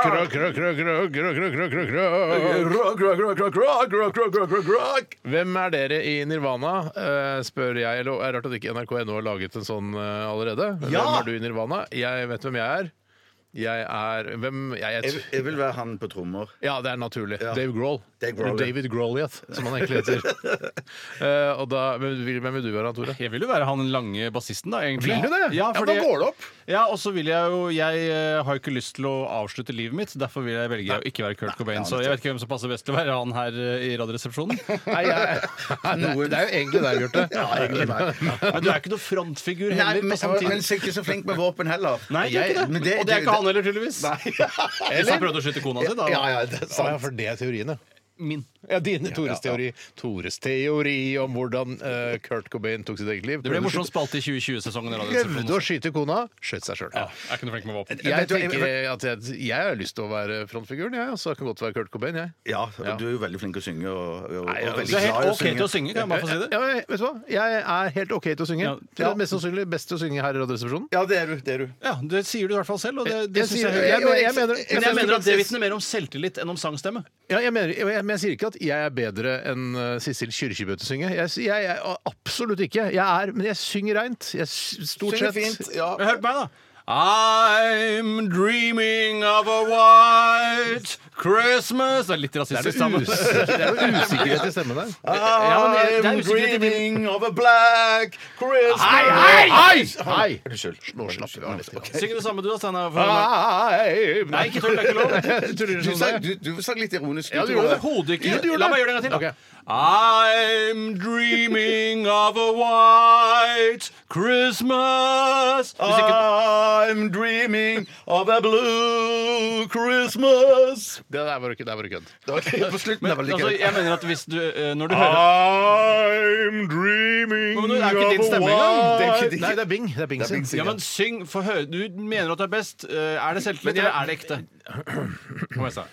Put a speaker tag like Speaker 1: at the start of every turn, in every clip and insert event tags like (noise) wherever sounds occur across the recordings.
Speaker 1: Krø, krø, krø, krø, krø, krø, krø, krø, krø. Hvem er dere i Nirvana, eh, spør jeg. Eller, er det rart at ikke NRK.no har laget en sånn eh, allerede. Hvem er du i Nirvana? Jeg vet hvem jeg er. Jeg er Hvem jeg
Speaker 2: Jeg,
Speaker 1: er.
Speaker 2: jeg vil være han på trommer.
Speaker 1: Ja, det er naturlig.
Speaker 2: Ja.
Speaker 1: Dave Grohl.
Speaker 2: Dave Grohl,
Speaker 1: Eller
Speaker 2: ja.
Speaker 1: David Groliath, som han egentlig heter.
Speaker 2: (laughs)
Speaker 1: Eh, og da, hvem, vil, hvem vil du være, Tore?
Speaker 3: Jeg vil jo være han lange bassisten, da. egentlig
Speaker 1: Vil du det?
Speaker 3: Ja,
Speaker 1: Ja, for
Speaker 3: fordi,
Speaker 1: da går det opp.
Speaker 3: Ja, og så vil jeg jo Jeg eh, har jo ikke lyst til å avslutte livet mitt, derfor vil jeg velge å ikke være Kurt Cobain. Så jeg vet ikke hvem som passer best til å være han her eh, i Radioresepsjonen.
Speaker 1: (laughs) Nei, jeg, det, er, det er jo egentlig deg, (laughs) Bjarte.
Speaker 3: Men du er ikke noe frontfigur
Speaker 2: Nei,
Speaker 3: heller. på
Speaker 2: men, men,
Speaker 3: samtidig.
Speaker 2: så er jeg ikke så flink med våpen heller.
Speaker 3: Nei, du er
Speaker 2: Jeg-
Speaker 3: ikke det.
Speaker 2: men
Speaker 3: og det er ikke han heller, tydeligvis. (laughs) Hvis han prøvde å skyte kona si, da.
Speaker 2: Ja, ja, det er
Speaker 1: Ja,
Speaker 2: sant.
Speaker 1: for det er teorien, ja.
Speaker 3: Min.
Speaker 1: Ja, dine Tores teori. Tores teori om hvordan eh, Kurt Cobain tok sitt eget liv.
Speaker 3: Det ble en morsom spalte i 2020-sesongen. i
Speaker 1: Prøvde å
Speaker 3: Radioresepsjonen.
Speaker 1: skyte kona, skjøt seg sjøl.
Speaker 3: Ja, jeg er ikke noe flink med våpen.
Speaker 1: Jeg
Speaker 2: Vet du,
Speaker 1: tenker
Speaker 2: jeg-
Speaker 1: at jeg, jeg har lyst til å være frontfiguren, jeg. Så jeg kan godt være Kurt Cobain, jeg.
Speaker 2: Ja, og du er jo veldig flink til å synge. Og, og,
Speaker 1: Nei, ja,
Speaker 2: og
Speaker 3: Så
Speaker 2: veldig
Speaker 3: det er
Speaker 2: glad i
Speaker 3: helt altså, OK til å synge, kan jeg bare få si det?
Speaker 1: Ja, jeg- vet du hva? Jeg er helt OK til å synge.
Speaker 3: Ja.
Speaker 1: Det er mest sannsynlig best til å synge her i Radioresepsjonen.
Speaker 2: Ja, det er du. det er du
Speaker 3: Ja, Det sier du i hvert fall selv. Og det, det
Speaker 1: Jeg
Speaker 3: synes
Speaker 1: sier-
Speaker 3: jeg,
Speaker 1: jeg- jeg- jeg mener-
Speaker 3: men jeg
Speaker 1: jeg-
Speaker 3: mener at det vitner mer om selvtillit enn om sangstemme.
Speaker 1: Ja, jeg mener, jeg, jeg, men jeg sier ikke at jeg er bedre enn eh, Sissel Kyrkjebø til å synge. Jeg, sier- jeg, jeg, absolutt ikke. Jeg er, men jeg synger reint. Jeg s- Stort
Speaker 2: Synger
Speaker 1: sett.
Speaker 2: fint. Ja.
Speaker 3: Men hør på meg, da. I'm dreaming of a white Christmas Det er litt
Speaker 1: Det er
Speaker 3: rasistisk
Speaker 1: noe
Speaker 2: (laughs)
Speaker 3: sammen.
Speaker 1: us- det er noe usikkerhet i stemmen der.
Speaker 3: men det er- det er
Speaker 2: I'm
Speaker 3: usikkert i min-
Speaker 2: dreaming of a black Christmas
Speaker 1: Hei! Hei!
Speaker 2: Unnskyld.
Speaker 1: Nå slapper vi av litt. grann.
Speaker 3: Syng det samme, du da, Steinar.
Speaker 1: Ah,
Speaker 3: for-
Speaker 1: Hei!
Speaker 3: Nei, ikke tull. Det er ikke lov.
Speaker 1: Tuller
Speaker 2: Du
Speaker 1: du
Speaker 2: sang,
Speaker 1: sånn?
Speaker 2: du, du sang litt ironisk.
Speaker 1: (laughs) Ja, du
Speaker 2: Tore.
Speaker 1: gjorde det.
Speaker 3: Overhodet
Speaker 1: Jo, du
Speaker 3: ikke.
Speaker 1: gjorde
Speaker 3: La meg
Speaker 1: det.
Speaker 3: gjøre det en gang til. da.
Speaker 1: Ok.
Speaker 3: I'm dreaming of a white Christmas
Speaker 1: Ah.
Speaker 3: Hvis ikke
Speaker 2: I'm dreaming of a blue Christmas
Speaker 1: Det der var ikke, det var ikke kødd.
Speaker 2: Det var ikke på slutten. det var like
Speaker 3: Altså,
Speaker 2: greit.
Speaker 3: jeg mener at hvis du eh, Når du
Speaker 1: Ah,
Speaker 3: hører
Speaker 1: I'm dreaming
Speaker 3: Men det er ikke din stemme engang.
Speaker 1: Det er
Speaker 2: ikke
Speaker 1: ikke
Speaker 2: din-
Speaker 1: Nei, det er Bing. Det er Bing
Speaker 2: Det er
Speaker 1: sin.
Speaker 2: Bing sin.
Speaker 3: Ja, men syng, få høre. Du mener at du er best. Eh, Er det selvtillit,
Speaker 1: Men jeg-
Speaker 3: eller er det ekte? Kom igjen, Steinar.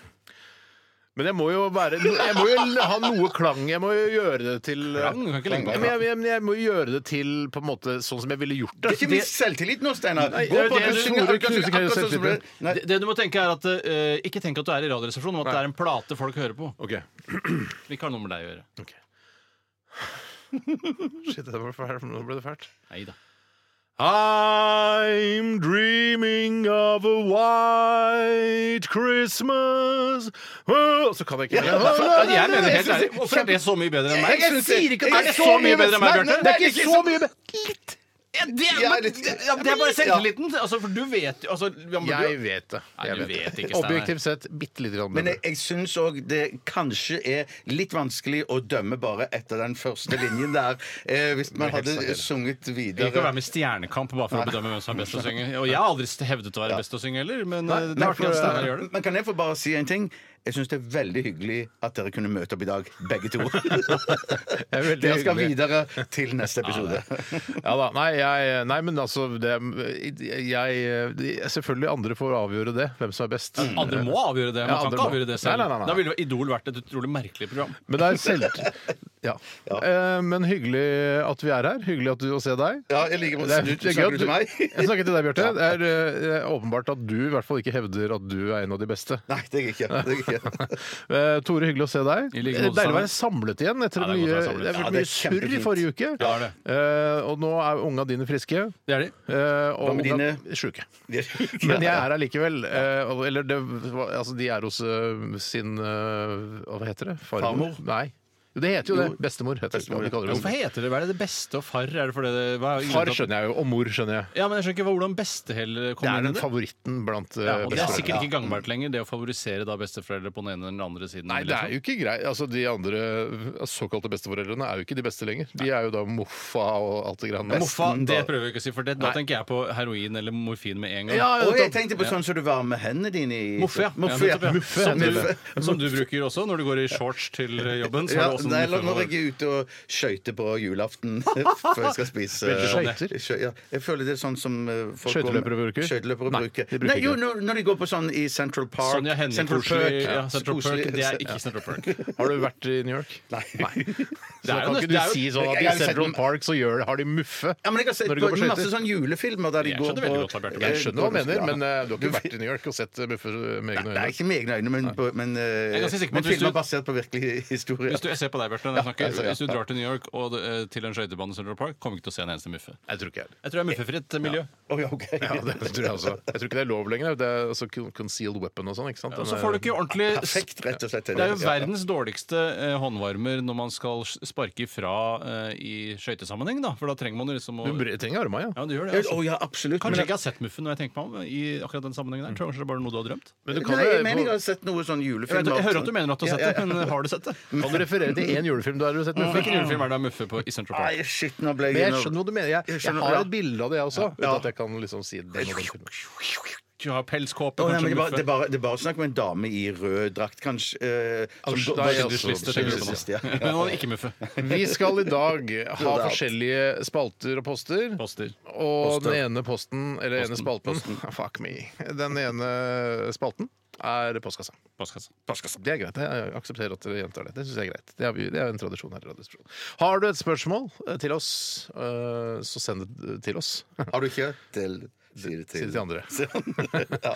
Speaker 1: Men jeg må jo være Jeg må jo ha noe klang. Jeg må jo gjøre det til
Speaker 3: Lang, du kan ikke legge
Speaker 1: Ja,
Speaker 3: på.
Speaker 1: Men jeg, jeg, jeg må jo gjøre det til på en måte sånn som jeg ville gjort det.
Speaker 2: Ikke minst selvtillit nå, Steinar. Gå
Speaker 1: det er
Speaker 2: på
Speaker 1: det
Speaker 2: at du
Speaker 1: du-
Speaker 2: synger
Speaker 1: du
Speaker 2: akkurat
Speaker 1: knuser
Speaker 2: akkurat sånn som
Speaker 1: selvtilliten.
Speaker 2: det- Nei,
Speaker 3: Det, det du må tenke er at eh, Ikke tenk at du er i Radioresepsjonen, men at det er en plate folk hører på.
Speaker 1: Ok.
Speaker 3: Vi ikke har noe med deg å gjøre.
Speaker 1: Shit, det var fælt. Nå ble det fælt.
Speaker 3: Neida.
Speaker 1: I'm dreaming of a white Christmas Åh, Så kan jeg ikke
Speaker 3: Jeg mener helt ærlig, Hvorfor er det så mye bedre enn meg?
Speaker 1: Jeg sier ikke at
Speaker 3: Er det så mye bedre enn meg, Bjarte?
Speaker 1: Det er ikke så
Speaker 2: sånn.
Speaker 1: mye bedre.
Speaker 3: Ja, Det er,
Speaker 2: Jeg er
Speaker 3: men,
Speaker 2: litt-
Speaker 3: ja, det er bare selvtilliten. Altså, for du vet jo altså, ja, men
Speaker 1: Jeg
Speaker 3: du-
Speaker 1: vet det.
Speaker 3: Nei,
Speaker 1: Jeg
Speaker 3: du
Speaker 1: vet
Speaker 3: vet
Speaker 1: det.
Speaker 3: ikke, Steinar.
Speaker 1: Objektivt sett bitte lite grann
Speaker 2: Men jeg,
Speaker 1: bedre.
Speaker 2: jeg syns òg det kanskje er litt vanskelig å dømme bare etter den første linjen der. Eh, hvis man hadde sunget
Speaker 3: Det gikk å være
Speaker 2: videre.
Speaker 3: med i Stjernekamp bare for å bedømme hvem som er best til å synge. Og jeg har aldri hevdet å være best til å synge heller, men eh, det er
Speaker 2: Nei,
Speaker 3: artig at Steinar gjør
Speaker 2: for,
Speaker 3: det.
Speaker 2: men kan jeg få bare si en ting? Jeg syns det er veldig hyggelig at dere kunne møte opp i dag, begge
Speaker 1: (laughs)
Speaker 2: to. (laughs)
Speaker 1: veldig
Speaker 2: dere skal
Speaker 1: hyggelig.
Speaker 2: videre til neste episode.
Speaker 1: Ja da. Nei, jeg, nei men altså det, jeg, Selvfølgelig andre får avgjøre det, hvem som er best.
Speaker 3: Mm. Andre må avgjøre det. Man
Speaker 1: Ja,
Speaker 3: kan
Speaker 1: andre
Speaker 3: ikke
Speaker 1: må.
Speaker 3: avgjøre det
Speaker 1: Nei,
Speaker 3: selv.
Speaker 1: nei, nei, nei.
Speaker 3: Da ville jo Idol vært et utrolig merkelig program.
Speaker 1: Men det er selvt... Ja.
Speaker 2: (laughs)
Speaker 1: Eh, Men hyggelig at vi er her. Hyggelig at du å se deg.
Speaker 2: Ja, jeg liker
Speaker 1: Det er-
Speaker 2: Du,
Speaker 1: det er
Speaker 2: du
Speaker 1: gøy at
Speaker 2: snakker
Speaker 1: du-
Speaker 2: til meg?
Speaker 1: (laughs) Jeg snakker til deg, Bjarte. Det er eh, åpenbart at du i hvert fall ikke hevder at du er en av de beste.
Speaker 2: (laughs) Nei, det er jeg ikke. Det er jeg ikke.
Speaker 1: (laughs) Eh, Tore, hyggelig å se deg.
Speaker 3: I like
Speaker 1: Eh, Deilig
Speaker 3: måte,
Speaker 1: å
Speaker 3: Steinar.
Speaker 1: være samlet igjen etter
Speaker 3: Ja, det er
Speaker 1: mye,
Speaker 3: godt å være samlet.
Speaker 1: det er
Speaker 2: Ja,
Speaker 1: vært
Speaker 2: det
Speaker 1: mye
Speaker 2: er
Speaker 1: surr i
Speaker 2: kjempefint.
Speaker 1: forrige uke.
Speaker 3: Ja, det
Speaker 1: Eh, og nå er unga dine friske,
Speaker 3: Det er de.
Speaker 1: eh, og
Speaker 2: Hva med
Speaker 1: unga
Speaker 2: dine?
Speaker 1: sjuke.
Speaker 2: Det er jeg ikke.
Speaker 1: Men jeg er her likevel. eh, og- Eller det, var- altså, de er hos eh, sin eh, Hva heter det?
Speaker 2: Farmor?
Speaker 1: Nei. Jo, det heter jo det. Bestemor heter
Speaker 2: Bestemor,
Speaker 1: det. Hva
Speaker 2: ja.
Speaker 1: de kaller
Speaker 3: Hvorfor
Speaker 1: det.
Speaker 3: heter det hva er det det beste og farr? Er det fordi det hva er
Speaker 1: Far
Speaker 3: grunnen til at-
Speaker 1: skjønner jeg jo, og mor skjønner jeg.
Speaker 3: Ja, men jeg skjønner ikke hva- hvordan beste heller
Speaker 1: Det
Speaker 3: kommer
Speaker 1: er
Speaker 3: inn i
Speaker 1: den
Speaker 3: det.
Speaker 1: favoritten blant eh,
Speaker 3: Ja, og det er
Speaker 1: besteforeldre.
Speaker 3: sikkert ikke gangbart lenger, det å favorisere da besteforeldre på den ene eller den andre siden.
Speaker 1: Nei, det
Speaker 2: liksom.
Speaker 1: er jo ikke greit. Altså, de andre såkalte besteforeldrene er jo ikke de beste lenger. De er jo da moffa og alt det greiene der.
Speaker 3: Moffa,
Speaker 2: Besten,
Speaker 3: det
Speaker 2: da.
Speaker 3: prøver jeg ikke å si, for det, da tenker jeg på heroin eller morfin med en gang.
Speaker 1: Ja,
Speaker 2: Og jeg tenkte på sånn som du varmer hendene dine i
Speaker 3: Moffe, ja.
Speaker 2: Moffe, ja.
Speaker 3: nettopp, ja.
Speaker 2: Muffe,
Speaker 3: Som,
Speaker 2: muffe.
Speaker 3: du, som du bruker også når du går i shorts til jobben. Så er det
Speaker 2: Ja,
Speaker 3: også sånn
Speaker 2: Nei, eller
Speaker 3: før-
Speaker 2: når jeg er ute og skøyter på
Speaker 1: (laughs)
Speaker 2: julaften før jeg skal spise
Speaker 1: Veldig skøyter?
Speaker 2: Skøy- ja. Jeg føler det er sånn som eh, folk
Speaker 1: Skøyteløpere bruker?
Speaker 2: Skøyteløpere
Speaker 1: Nei,
Speaker 2: bruker.
Speaker 1: de bruker
Speaker 2: Nei, jo,
Speaker 1: ikke.
Speaker 2: når, når de går på sånn i Central Park
Speaker 3: Sonja Hennie
Speaker 2: Central
Speaker 3: koselig.
Speaker 2: Perk.
Speaker 3: Ja, Central Perk.
Speaker 2: Koselig.
Speaker 3: Det er ikke Central Perk.
Speaker 1: Har du vært i New York?
Speaker 2: (laughs) Nei.
Speaker 1: Så
Speaker 3: er jo
Speaker 1: kan
Speaker 3: nesten-
Speaker 1: ikke du
Speaker 3: det er jo-
Speaker 1: si sånn at
Speaker 2: Jeg
Speaker 1: i
Speaker 2: har jo sett
Speaker 1: Central
Speaker 2: dem-
Speaker 1: Park så gjør, har de muffe
Speaker 2: Ja, men jeg har sett
Speaker 1: når de går på
Speaker 2: på masse
Speaker 1: skøyter?
Speaker 2: sånn julefilmer der de
Speaker 3: Jeg
Speaker 2: går
Speaker 3: skjønner
Speaker 2: på Eh,
Speaker 3: veldig godt hva Bjarte
Speaker 1: Jeg
Speaker 3: mener.
Speaker 1: skjønner hva han mener, men eh, du har
Speaker 2: Du-
Speaker 1: ikke vært i New York og sett eh, muffe med egne
Speaker 2: Nei,
Speaker 1: øyne?
Speaker 2: ikke med egne øyne, men, på, men, eh,
Speaker 3: er ganske sikker på
Speaker 2: men
Speaker 3: at hvis
Speaker 2: filmer
Speaker 3: du-
Speaker 2: basert på virkelig historie.
Speaker 3: Hvis du, jeg ser på deg, Bjarte, når jeg snakker.
Speaker 2: altså, ja.
Speaker 3: Hvis du drar til New York og eh, til en skøytebane i Central Park, kommer ikke til å se en eneste muffe.
Speaker 1: Jeg tror ikke jeg
Speaker 3: Jeg tror det er muffefritt miljø.
Speaker 2: Å, ja, ok.
Speaker 1: ja, det tror jeg også. Jeg tror ikke det er lov lenger. Det er altså con- concealed weapon og sånn. ikke sant?
Speaker 3: Og så får du ikke ordentlig
Speaker 2: Perfekt, rett og slett.
Speaker 3: Det er jo
Speaker 2: Ja.
Speaker 3: verdens dårligste eh, håndvarmer når man skal s- sparke ifra eh, i skøytesammenheng, da. For da trenger man liksom å
Speaker 1: Du br- trenger arma, ja.
Speaker 3: Ja, du gjør
Speaker 2: Ja,
Speaker 3: det. Altså.
Speaker 2: Å ja, absolutt.
Speaker 3: Kanskje jeg
Speaker 2: men- Mm.
Speaker 3: ikke har sett Muffen når jeg tenker meg om i akkurat den sammenhengen der. Tror jeg Kanskje det er bare noe du har drømt?
Speaker 1: Men du kan,
Speaker 2: Nei, jeg
Speaker 1: jo-
Speaker 2: mener jeg har sett noe sånn
Speaker 3: Jeg, vet,
Speaker 2: julefilm.
Speaker 3: jeg hører at du mener at du har
Speaker 2: Ja,
Speaker 3: sett
Speaker 2: ja,
Speaker 3: det,
Speaker 2: ja.
Speaker 3: men eh, har du sett det?
Speaker 1: kan du referere til én julefilm du har sett muffe?
Speaker 3: Hvilken julefilm er det av Muffe på i Central Park?
Speaker 2: Nei, shit, nå ble
Speaker 1: Men
Speaker 2: jeg
Speaker 1: jeg skjønner hva du mener. Jeg, jeg
Speaker 2: skjønner,
Speaker 1: har
Speaker 2: ja.
Speaker 1: et bilde av det, jeg også. Uten
Speaker 2: Ja.
Speaker 1: at jeg kan liksom si det. når den filmen-
Speaker 3: Du har pelskåpe,
Speaker 2: Å, nei,
Speaker 3: kanskje
Speaker 2: men det, er bare,
Speaker 3: Muffe.
Speaker 2: det, er bare, det er bare snakk om en dame i rød drakt, kanskje. eh, som
Speaker 1: Asj,
Speaker 2: går-
Speaker 1: nei,
Speaker 2: bare-
Speaker 1: altså,
Speaker 3: Skjønnhetsliste, tenker du på nå.
Speaker 2: Skjønnhetsliste, ja.
Speaker 3: Men han er
Speaker 2: (laughs)
Speaker 3: ikke Muffe.
Speaker 1: Vi skal i dag ha
Speaker 2: er alt.
Speaker 1: forskjellige spalter og poster.
Speaker 3: Poster.
Speaker 1: Og
Speaker 2: Poster.
Speaker 1: den ene posten, eller ene spalten (laughs) Fuck me. Den ene spalten er postkassa.
Speaker 3: Postkassa.
Speaker 1: Det er greit. Jeg aksepterer at dere gjentar det. Det synes jeg er greit. Det er, vi- det er en tradisjon her i Radioresepsjonen. Har du et spørsmål eh, til oss, eh, så send det til oss.
Speaker 2: Har du ikke? Til, si det
Speaker 1: Si det til andre. (laughs)
Speaker 2: Ja.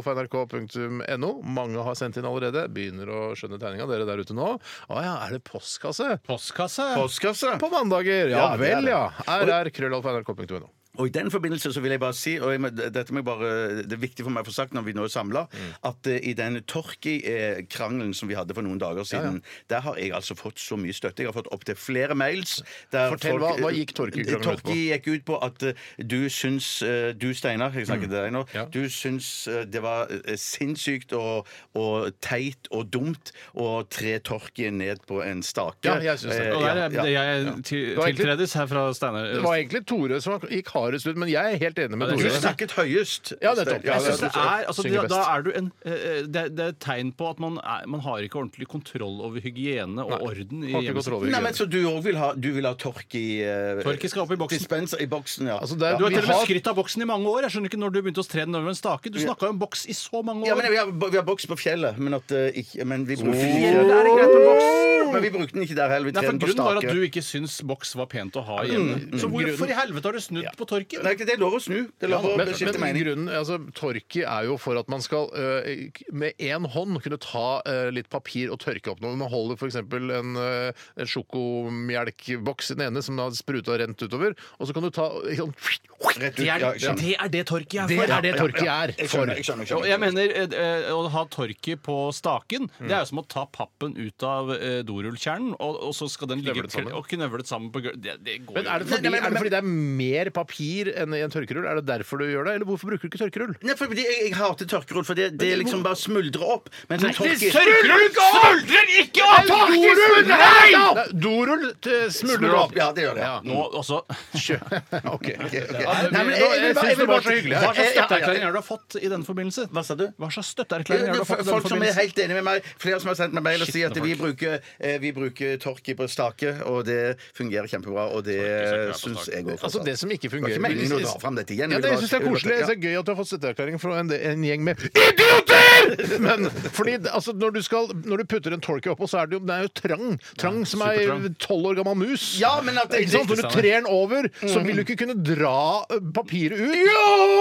Speaker 1: rr.krøllalfa.nrk.no. Mange har sendt inn allerede. Begynner å skjønne tegninga, dere der ute nå. Å ja, er det postkasse?
Speaker 3: Postkasse?
Speaker 2: Postkasse.
Speaker 1: På mandager! Ja,
Speaker 2: Ja, det er
Speaker 1: vel,
Speaker 2: det.
Speaker 1: ja. rr.krøllalfa.nrk.no.
Speaker 2: Og i den forbindelse så vil jeg bare si, og jeg, må- dette må jeg bare, det er viktig for meg å få sagt når vi nå er samla,
Speaker 1: Mm.
Speaker 2: at eh, i den Torki-krangelen som vi hadde for noen dager siden, der har jeg altså fått så mye støtte. Jeg har fått opptil flere mails. der
Speaker 1: Fortell, hva- hva gikk Torki-krangelen ut på?
Speaker 2: Torki gikk ut på at eh, du syns eh, Du, Steinar, jeg snakker til deg nå.
Speaker 1: Mm. Ja.
Speaker 2: Du syns eh, det var eh, sinnssykt og, og teit og dumt å tre Torki ned på en stake.
Speaker 1: Ja, jeg synes det.
Speaker 2: Eh,
Speaker 3: Og der er
Speaker 2: ja,
Speaker 3: det
Speaker 2: ja.
Speaker 3: jeg til-
Speaker 1: var egentlig-
Speaker 3: tiltredes her fra Steinar.
Speaker 1: Det var egentlig Tore som gikk hardest ut, men jeg er helt enig med
Speaker 3: Ja, det
Speaker 2: Du
Speaker 3: er
Speaker 1: Tore.
Speaker 3: sant.
Speaker 2: snakket høyest.
Speaker 1: Ja, nettopp.
Speaker 2: Stein.
Speaker 1: Ja,
Speaker 3: Jeg synes det
Speaker 1: det er-
Speaker 3: er, altså,
Speaker 1: synger
Speaker 3: da, da
Speaker 1: best.
Speaker 3: er du en, eh, det, det er et tegn på at man, er, man har ikke ordentlig kontroll over hygiene og orden i
Speaker 1: Har ikke
Speaker 3: hjemmet.
Speaker 1: kontroll over
Speaker 2: Nei, men
Speaker 1: hygiene.
Speaker 2: Så du òg vil ha, du vil ha tork i eh,
Speaker 3: Tork skal opp i boksen.
Speaker 2: Dispenser i boksen, ja.
Speaker 1: Altså, det er-
Speaker 2: ja.
Speaker 3: Du har
Speaker 1: Vi
Speaker 3: til og med
Speaker 1: har-
Speaker 3: skrytt av boksen i mange år. Jeg skjønner ikke når du begynte å tre den over en stake. Du snakka jo om boks i så mange
Speaker 2: ja, men
Speaker 3: år.
Speaker 2: vi har, vi har boks på fjellet, men, at, eh, ikke, men vi brukte den
Speaker 3: Ja, det er
Speaker 2: ikke.
Speaker 3: greit med boks.
Speaker 2: Men vi brukte den ikke der heller. Vi
Speaker 3: Nei, for
Speaker 2: trener på
Speaker 3: Grunnen var at
Speaker 2: stake.
Speaker 3: du ikke syns boks var pent å
Speaker 1: Mm,
Speaker 3: ha hjemme. Så hvorfor i helvete har du snudd på torket?
Speaker 2: Nei, det er lov å snu. Det er lov å
Speaker 1: Men,
Speaker 2: skifte
Speaker 1: men
Speaker 2: mening.
Speaker 1: grunnen, altså, Torki er jo for at man skal øh, med én hånd kunne ta øh, litt papir og tørke opp noe. Man holder f.eks. en, øh, en sjokomelkboks i den ene som har spruta og rent utover, og så kan du ta ikke sant,
Speaker 2: Rett ut.
Speaker 3: Det
Speaker 2: Ja,
Speaker 3: er
Speaker 2: jeg skjønner.
Speaker 3: det, er det torket
Speaker 1: Det
Speaker 3: jeg
Speaker 1: er
Speaker 3: er for.
Speaker 1: det Torki er
Speaker 2: Jeg
Speaker 1: for.
Speaker 2: skjønner, jeg skjønner, jeg
Speaker 3: Og
Speaker 2: skjønner.
Speaker 3: jeg mener eh, eh, Å ha torket på staken Det er jo som å ta pappen ut av eh, dorullkjernen, og, og så skal den ligge
Speaker 1: Knøvlet sammen.
Speaker 3: og knøvlet sammen på gulvet. Det, det går
Speaker 1: Men er det,
Speaker 3: jo
Speaker 1: fordi,
Speaker 2: Nei, nei, men-
Speaker 1: er det fordi det er mer papir enn i en tørkerull? Er det derfor du gjør det, eller hvorfor bruker du ikke tørkerull?
Speaker 2: Nei, for jeg, jeg hater tørkerull, for det, det liksom bare smuldrer opp. Men så tork i-
Speaker 3: smuldrer ikke opp!
Speaker 1: Nei, Dorull eh, smuldrer opp!
Speaker 2: Ja, det gjør det.
Speaker 1: Ja.
Speaker 3: Nå, altså
Speaker 1: (laughs)
Speaker 2: Ok, ok, ok.
Speaker 1: det-
Speaker 2: Nei, men jeg- jeg vil
Speaker 1: jeg synes
Speaker 2: bare- jeg
Speaker 1: det
Speaker 2: vil
Speaker 1: var
Speaker 2: bare-
Speaker 1: så hyggelig her.
Speaker 3: Hva slags
Speaker 2: Ja, ja, ja.
Speaker 3: støtteerklæring har du fått i denne forbindelse?
Speaker 2: Hva sa du?
Speaker 3: Hva slags
Speaker 2: Ja,
Speaker 3: støtteerklæring har
Speaker 2: det
Speaker 3: du fått i
Speaker 2: er
Speaker 3: denne
Speaker 2: Folk som er
Speaker 3: forbindelse?
Speaker 2: helt enig med meg. Flere som har sendt meg mail og sier at vi bruker, eh, vi bruker torki på stake, og det fungerer kjempebra. Og det syns jeg òg.
Speaker 1: Altså Det som ikke fungerer
Speaker 2: Det var ikke meningen å dra frem dette igjen.
Speaker 1: Ja, det,
Speaker 2: Jeg
Speaker 1: jeg
Speaker 2: vil
Speaker 1: synes det er
Speaker 2: bare-
Speaker 1: koselig. Jeg
Speaker 2: Ja.
Speaker 1: synes det er Gøy at du har fått støtteerklæring fra en, en gjeng
Speaker 2: (laughs)
Speaker 1: med idioter! Men fordi, altså, når, du skal, når du putter en torky oppå, så er det jo, den er jo trang. Trang som ei
Speaker 3: supertrang.
Speaker 1: tolv år gammel mus.
Speaker 2: Ja, men at det- Mm.
Speaker 1: ikke sant? Når du
Speaker 3: Stemmer.
Speaker 1: trer den over, så vil du ikke kunne dra ø, papiret ut.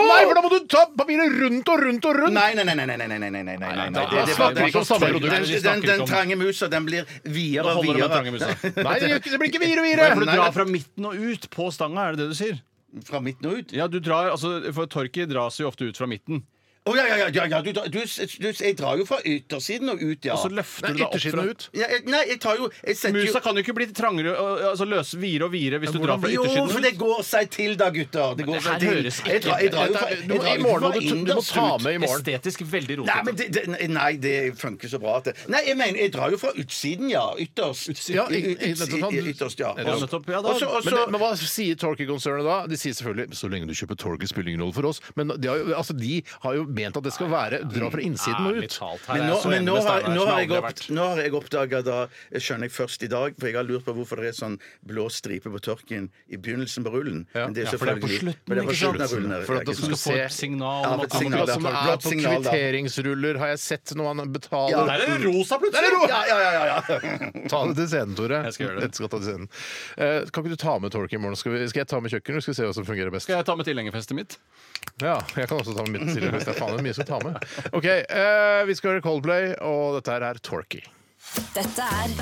Speaker 1: Nei, for da må du ta papiret rundt og rundt og rundt!
Speaker 2: Nei, nei, nei, nei, nei, nei, nei, nei, nei, nei, nei,
Speaker 3: da
Speaker 2: nei. Det- det-
Speaker 3: snakker vi
Speaker 2: det-
Speaker 3: ikke om samme produkt.
Speaker 2: Den, den, den, den trange musa, den blir videre
Speaker 3: Nå
Speaker 2: og
Speaker 3: holder det med trange
Speaker 2: (laughs) videre.
Speaker 3: musa.
Speaker 1: Nei, det, gjør ikke- det blir ikke videre og
Speaker 3: Nei, for du
Speaker 1: videre!
Speaker 3: drar fra midten og ut på stanga, er det det du sier?
Speaker 2: Fra midten og ut.
Speaker 3: Ja, du drar, altså, for torket dras jo ofte ut fra midten.
Speaker 2: Å ja, ja, ja, ja, ja. Du, drar- du, du, jeg drar jo fra yttersiden og ut, ja.
Speaker 3: Og så løfter
Speaker 1: Nei,
Speaker 3: du deg opp
Speaker 1: yttersiden
Speaker 3: fra
Speaker 1: og ut.
Speaker 2: ja jeg, nei, jeg tar jo Jeg setter jo
Speaker 3: Altså, Musa kan jo ikke bli trangere, og- altså løse videre og videre hvis du drar fra
Speaker 2: jo,
Speaker 3: yttersiden
Speaker 2: for
Speaker 3: ut.
Speaker 2: det går seg til da, gutter. Det går
Speaker 3: det
Speaker 2: seg
Speaker 3: her
Speaker 2: til.
Speaker 3: høres ikke-
Speaker 2: Jeg drar, jeg drar jo fra,
Speaker 1: Dette er- du må-
Speaker 2: jeg drar
Speaker 1: I
Speaker 2: jo
Speaker 1: morgen
Speaker 2: fra
Speaker 1: må du, du må
Speaker 2: innerst
Speaker 1: ta
Speaker 2: ut.
Speaker 1: med i morgen.
Speaker 3: Estetisk veldig
Speaker 2: Nei,
Speaker 3: rotete.
Speaker 2: men det, det, nei, det funker så bra. At det. Nei, jeg mener, jeg drar jo fra utsiden, ja. Ytterst.
Speaker 1: Ja, i- i-
Speaker 2: Ut- ut-
Speaker 1: nettopp, sånn.
Speaker 2: i- ytterst, ja.
Speaker 3: Ja, nettopp, ja, da-
Speaker 2: Også- også-
Speaker 1: Men, det- men hva sier Torky-konsernet da? De sier selvfølgelig så lenge du kjøper Torky, spiller ingen rolle for oss. Men de har jo, altså, de har jo ment at det skal være dra fra innsiden og
Speaker 3: Ærlig
Speaker 1: ut.
Speaker 3: talt. Her
Speaker 2: Men
Speaker 3: er
Speaker 2: nå,
Speaker 3: jeg så
Speaker 2: men
Speaker 3: enig
Speaker 2: nå,
Speaker 3: med
Speaker 2: har,
Speaker 3: Steinar,
Speaker 2: nå,
Speaker 3: som jeg
Speaker 2: har jeg
Speaker 3: aldri har
Speaker 2: opp,
Speaker 3: vært.
Speaker 2: nå har jeg oppdaga da Skjønner jeg først i dag, for jeg har lurt på hvorfor det er sånn blå stripe på tørken i begynnelsen på rullen.
Speaker 1: Ja.
Speaker 2: Men det
Speaker 3: Ja,
Speaker 2: er
Speaker 3: for det er på
Speaker 2: selvfølgelig-
Speaker 3: slutten,
Speaker 2: men det er på
Speaker 3: ikke sant?
Speaker 2: slutten av rullen. her,
Speaker 1: For at
Speaker 2: ikke
Speaker 1: det skal
Speaker 2: sant?
Speaker 3: Du får
Speaker 1: se-
Speaker 3: et signal
Speaker 2: Ja,
Speaker 3: om
Speaker 2: for
Speaker 3: at
Speaker 2: et signal,
Speaker 1: Akkurat
Speaker 2: da.
Speaker 1: som
Speaker 2: klart.
Speaker 1: er
Speaker 2: Blått
Speaker 1: på
Speaker 2: signal, da.
Speaker 1: kvitteringsruller, har jeg sett når man
Speaker 2: Ja.
Speaker 1: betaler.
Speaker 3: Der er det rosa, plutselig!
Speaker 2: Ja, ja, ja, ja, ja.
Speaker 1: Ta det til scenen, Tore.
Speaker 3: Jeg skal gjøre det.
Speaker 1: Dette skal ta til scenen. Eh, kan ikke du ta med Tork i morgen? Skal, vi, skal jeg ta med kjøkkenet? Skal vi se hva som fungerer best?
Speaker 3: Skal jeg ta med tilhengerfestet mitt?
Speaker 1: Ja, jeg kan også ta med mitt silver. Det er faen det er mye jeg skal ta med. Ok, eh, Vi skal høre Coldplay, og dette her er Torky.
Speaker 4: Dette er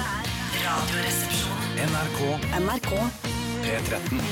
Speaker 4: Radioresepsjonen.
Speaker 5: NRK
Speaker 4: NRK.
Speaker 5: P13.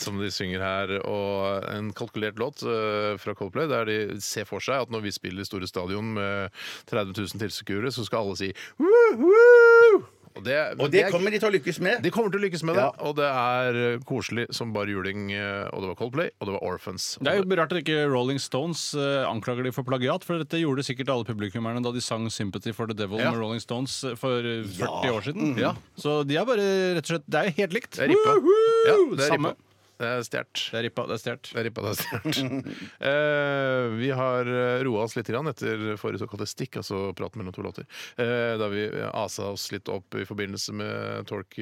Speaker 1: Som de synger her. Og en kalkulert låt eh, fra Coldplay der de ser for seg at når vi spiller Store Stadion med 30 000 tilskuere, så skal alle si «Woohoo!» Og det,
Speaker 2: Og det kommer de til å lykkes med.
Speaker 1: De kommer til å lykkes med det,
Speaker 2: Ja.
Speaker 1: og det er eh, koselig som bare juling. eh, Og det var Coldplay, og det var Orphans.
Speaker 3: Det er jo rart at ikke Rolling Stones eh, anklager de for plagiat, for dette gjorde sikkert alle publikummerne da de sang 'Sympathy for the Devil'
Speaker 1: Ja.
Speaker 3: med Rolling Stones eh, for eh, 40 år siden. Så de er bare rett og slett Det er jo helt likt.
Speaker 1: Det er rippa. Ja, det er
Speaker 3: Samme.
Speaker 1: rippa. Det er stjert.
Speaker 3: Det er rippa, det er stjålet.
Speaker 1: Det er rippa, det er stjert. Eh, vi har eh, roa oss litt grann etter forrige såkalte stikk, altså prat mellom to låter. Eh, da vi asa oss litt opp i forbindelse med tolk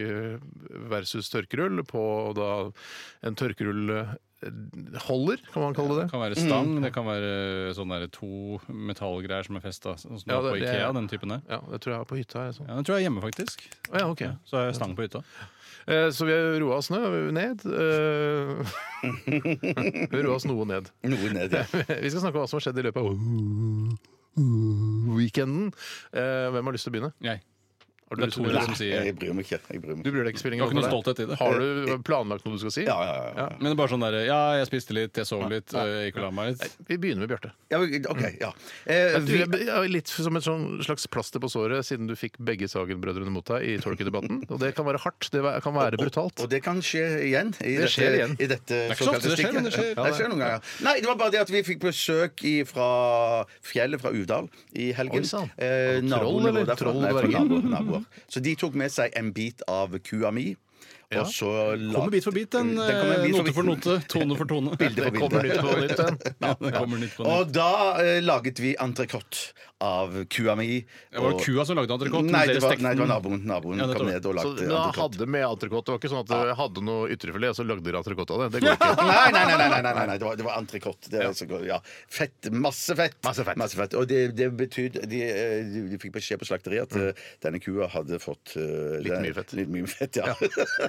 Speaker 1: versus tørkerull på da en tørkerull eh, holder, kan man kalle det det.
Speaker 3: Det kan
Speaker 2: Mm.
Speaker 3: være stang, det kan være sånn der to metallgreier som er festa sånn som
Speaker 1: Ja,
Speaker 3: er på
Speaker 1: det- det-
Speaker 3: Ikea. Den typen der.
Speaker 1: Ja, det tror jeg er på hytta. jeg, Sånn.
Speaker 3: Ja, Den tror jeg er hjemme, faktisk.
Speaker 1: Å ja, ok.
Speaker 3: Så har jeg stang på hytta.
Speaker 1: Eh, så vi har roa oss ned. ned. eh, (laughs) vi roa oss noe ned. (laughs)
Speaker 2: Noe ned, ja.
Speaker 1: Vi skal snakke om hva som har skjedd i løpet av weekenden. Eh, hvem har lyst til å begynne?
Speaker 3: Jeg.
Speaker 1: Har
Speaker 3: Det er
Speaker 1: lyst til å
Speaker 3: Tore
Speaker 1: begynne?
Speaker 3: som sier
Speaker 2: Jeg bryr meg ikke. Jeg bryr meg.
Speaker 1: Du
Speaker 2: ikke.
Speaker 1: bryr deg ikke spilling
Speaker 3: Jeg har ikke noe stolthet i det.
Speaker 1: Har du planlagt noe du skal si?
Speaker 2: Ja, ja, ja, ja.
Speaker 3: Men det er bare sånn derre Ja, jeg spiste litt, jeg sov litt, eh, gikk og la meg litt.
Speaker 1: Vi begynner med Bjarte.
Speaker 2: ja. OK, ja. Eh,
Speaker 1: Du
Speaker 2: vi,
Speaker 1: er ja, litt som et sånn slags plaster på såret siden du fikk begge Sagen-brødrene mot deg i Tolkien-debatten. Og det kan være hardt. Det kan være brutalt.
Speaker 2: Og det kan skje igjen. I
Speaker 1: Det skjer igjen.
Speaker 2: I dette det
Speaker 3: er ikke så ofte det skjer, men det skjer.
Speaker 2: Ja, det skjer noen ganger. Nei, det var bare det at vi fikk besøk i, fra fjellet fra Uvdal i
Speaker 1: Oi,
Speaker 2: helgen.
Speaker 1: sann.
Speaker 2: Eh,
Speaker 1: Troll,
Speaker 2: naboene
Speaker 1: eller?
Speaker 2: våre derfra.
Speaker 1: Troll
Speaker 2: Nei, fra
Speaker 1: og dverger?
Speaker 2: naboer, naboer. Så de tok med seg en bit av kua mi.
Speaker 1: Ja.
Speaker 2: Og så la-
Speaker 3: Kommer bit for bit, den.
Speaker 2: kommer
Speaker 3: eh,
Speaker 2: bit for
Speaker 3: note
Speaker 2: bit.
Speaker 3: for note, tone for tone.
Speaker 2: Bilde for
Speaker 3: Det
Speaker 2: bilde.
Speaker 3: kommer nytt på nytt.
Speaker 1: igjen.
Speaker 3: (laughs)
Speaker 2: (laughs)
Speaker 3: Ja, det kommer nytt på nytt.
Speaker 2: Og da eh, laget vi entrecôte av kua mi.
Speaker 3: Det var
Speaker 2: og-
Speaker 3: kua som lagde entrecôte.
Speaker 2: Nei,
Speaker 3: men dere
Speaker 2: det var,
Speaker 3: stekte
Speaker 2: nei, det
Speaker 3: den.
Speaker 2: var naboen. Naboen
Speaker 3: Ja, nettopp.
Speaker 2: kom ned og
Speaker 1: Så da
Speaker 2: lagde entrecôte.
Speaker 1: hadde med entrecôte. Det var ikke sånn at du hadde noe ytrefilet, og så lagde dere entrecôte av det. Det går
Speaker 2: (laughs)
Speaker 1: ikke.
Speaker 2: Nei, nei, nei, nei, nei, nei, nei, nei. det var, det var entrecôte. Det er så godt, Ja. Fett. Masse fett.
Speaker 1: Masse fett.
Speaker 2: Og det, det betydde de, eh, de, de fikk beskjed på slakteriet at eh, denne kua hadde fått eh,
Speaker 1: Litt
Speaker 2: den-
Speaker 1: mye fett.
Speaker 2: Litt mye fett, (laughs) ja.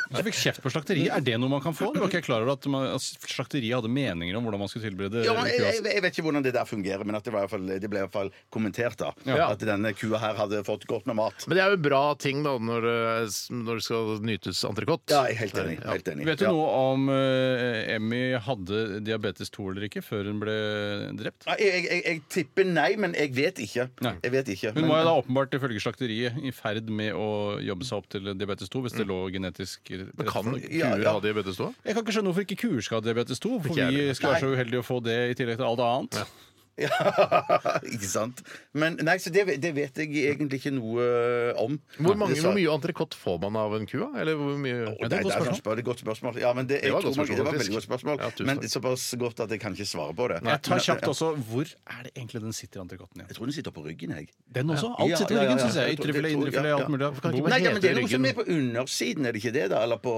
Speaker 3: Så fikk kjeft på slakteriet. Er det noe man kan få? Det var ikke jeg klar over at, man, at slakteriet hadde meninger om hvordan man skulle tilberede
Speaker 2: Ja, men jeg,
Speaker 3: kua.
Speaker 2: jeg, jeg vet ikke hvordan det der fungerer, men at det, var i hvert fall, det ble i hvert fall kommentert da
Speaker 1: Ja.
Speaker 2: at denne kua her hadde fått godt med mat.
Speaker 1: Men det er jo en bra ting da, når, eh, når det skal nytes entrecôte.
Speaker 2: Ja, jeg er helt enig. Helt enig.
Speaker 3: Vet du
Speaker 2: ja.
Speaker 3: noe om eh, Emmy hadde diabetes 2 eller ikke før hun ble drept?
Speaker 2: Nei, Jeg, jeg, jeg tipper nei, men jeg vet ikke.
Speaker 3: Nei.
Speaker 2: Jeg vet ikke
Speaker 3: Hun
Speaker 2: men-
Speaker 3: var jo da åpenbart ifølge slakteriet i ferd med å jobbe seg opp til diabetes 2 hvis
Speaker 2: Mm.
Speaker 3: det lå genetisk
Speaker 1: Men kan kuer
Speaker 2: Ja, ja.
Speaker 1: ha diabetes da?
Speaker 3: Jeg kan ikke skjønne hvorfor ikke kuer skal ha diabetes 2, for
Speaker 1: Ikke jeg
Speaker 3: vi
Speaker 1: heller.
Speaker 3: skal være så uheldige å få det i tillegg til alt annet.
Speaker 2: (laughs) Ja, ikke sant? Men nei, så det, det vet jeg egentlig ikke noe om.
Speaker 1: Hvor, mange,
Speaker 2: Så-
Speaker 1: hvor mye entrecôte får man av en ku? da? Eller hvor mye
Speaker 2: Nei, det er et godt spørsmål. Det er et godt spørsmål. Ja, men det, jeg
Speaker 1: Det var et godt
Speaker 2: tror man- det var
Speaker 1: spørsmål,
Speaker 2: et veldig godt spørsmål.
Speaker 1: faktisk. Ja, tusen
Speaker 2: men
Speaker 1: takk.
Speaker 2: det er såpass godt at jeg kan ikke svare på det.
Speaker 3: Jeg tar kjapt
Speaker 2: Men-
Speaker 3: også Hvor er det egentlig den sitter entrecôten igjen?
Speaker 2: Jeg tror den sitter på ryggen, jeg.
Speaker 3: Den også?
Speaker 2: Ja,
Speaker 3: Alt sitter på
Speaker 2: ja, ja,
Speaker 3: ryggen,
Speaker 2: ja.
Speaker 3: syns jeg.
Speaker 2: Jeg tror-
Speaker 3: Ytrefilet,
Speaker 2: jeg tror-
Speaker 3: indrefilet,
Speaker 2: ja,
Speaker 3: alt
Speaker 2: ja.
Speaker 3: mulig.
Speaker 1: Hvorfor kan ikke bare
Speaker 3: Bo-
Speaker 2: Nei, ja, men
Speaker 1: hete
Speaker 2: Det er noe som
Speaker 1: ryggen?
Speaker 2: er på undersiden, er det ikke det? da? Eller, på,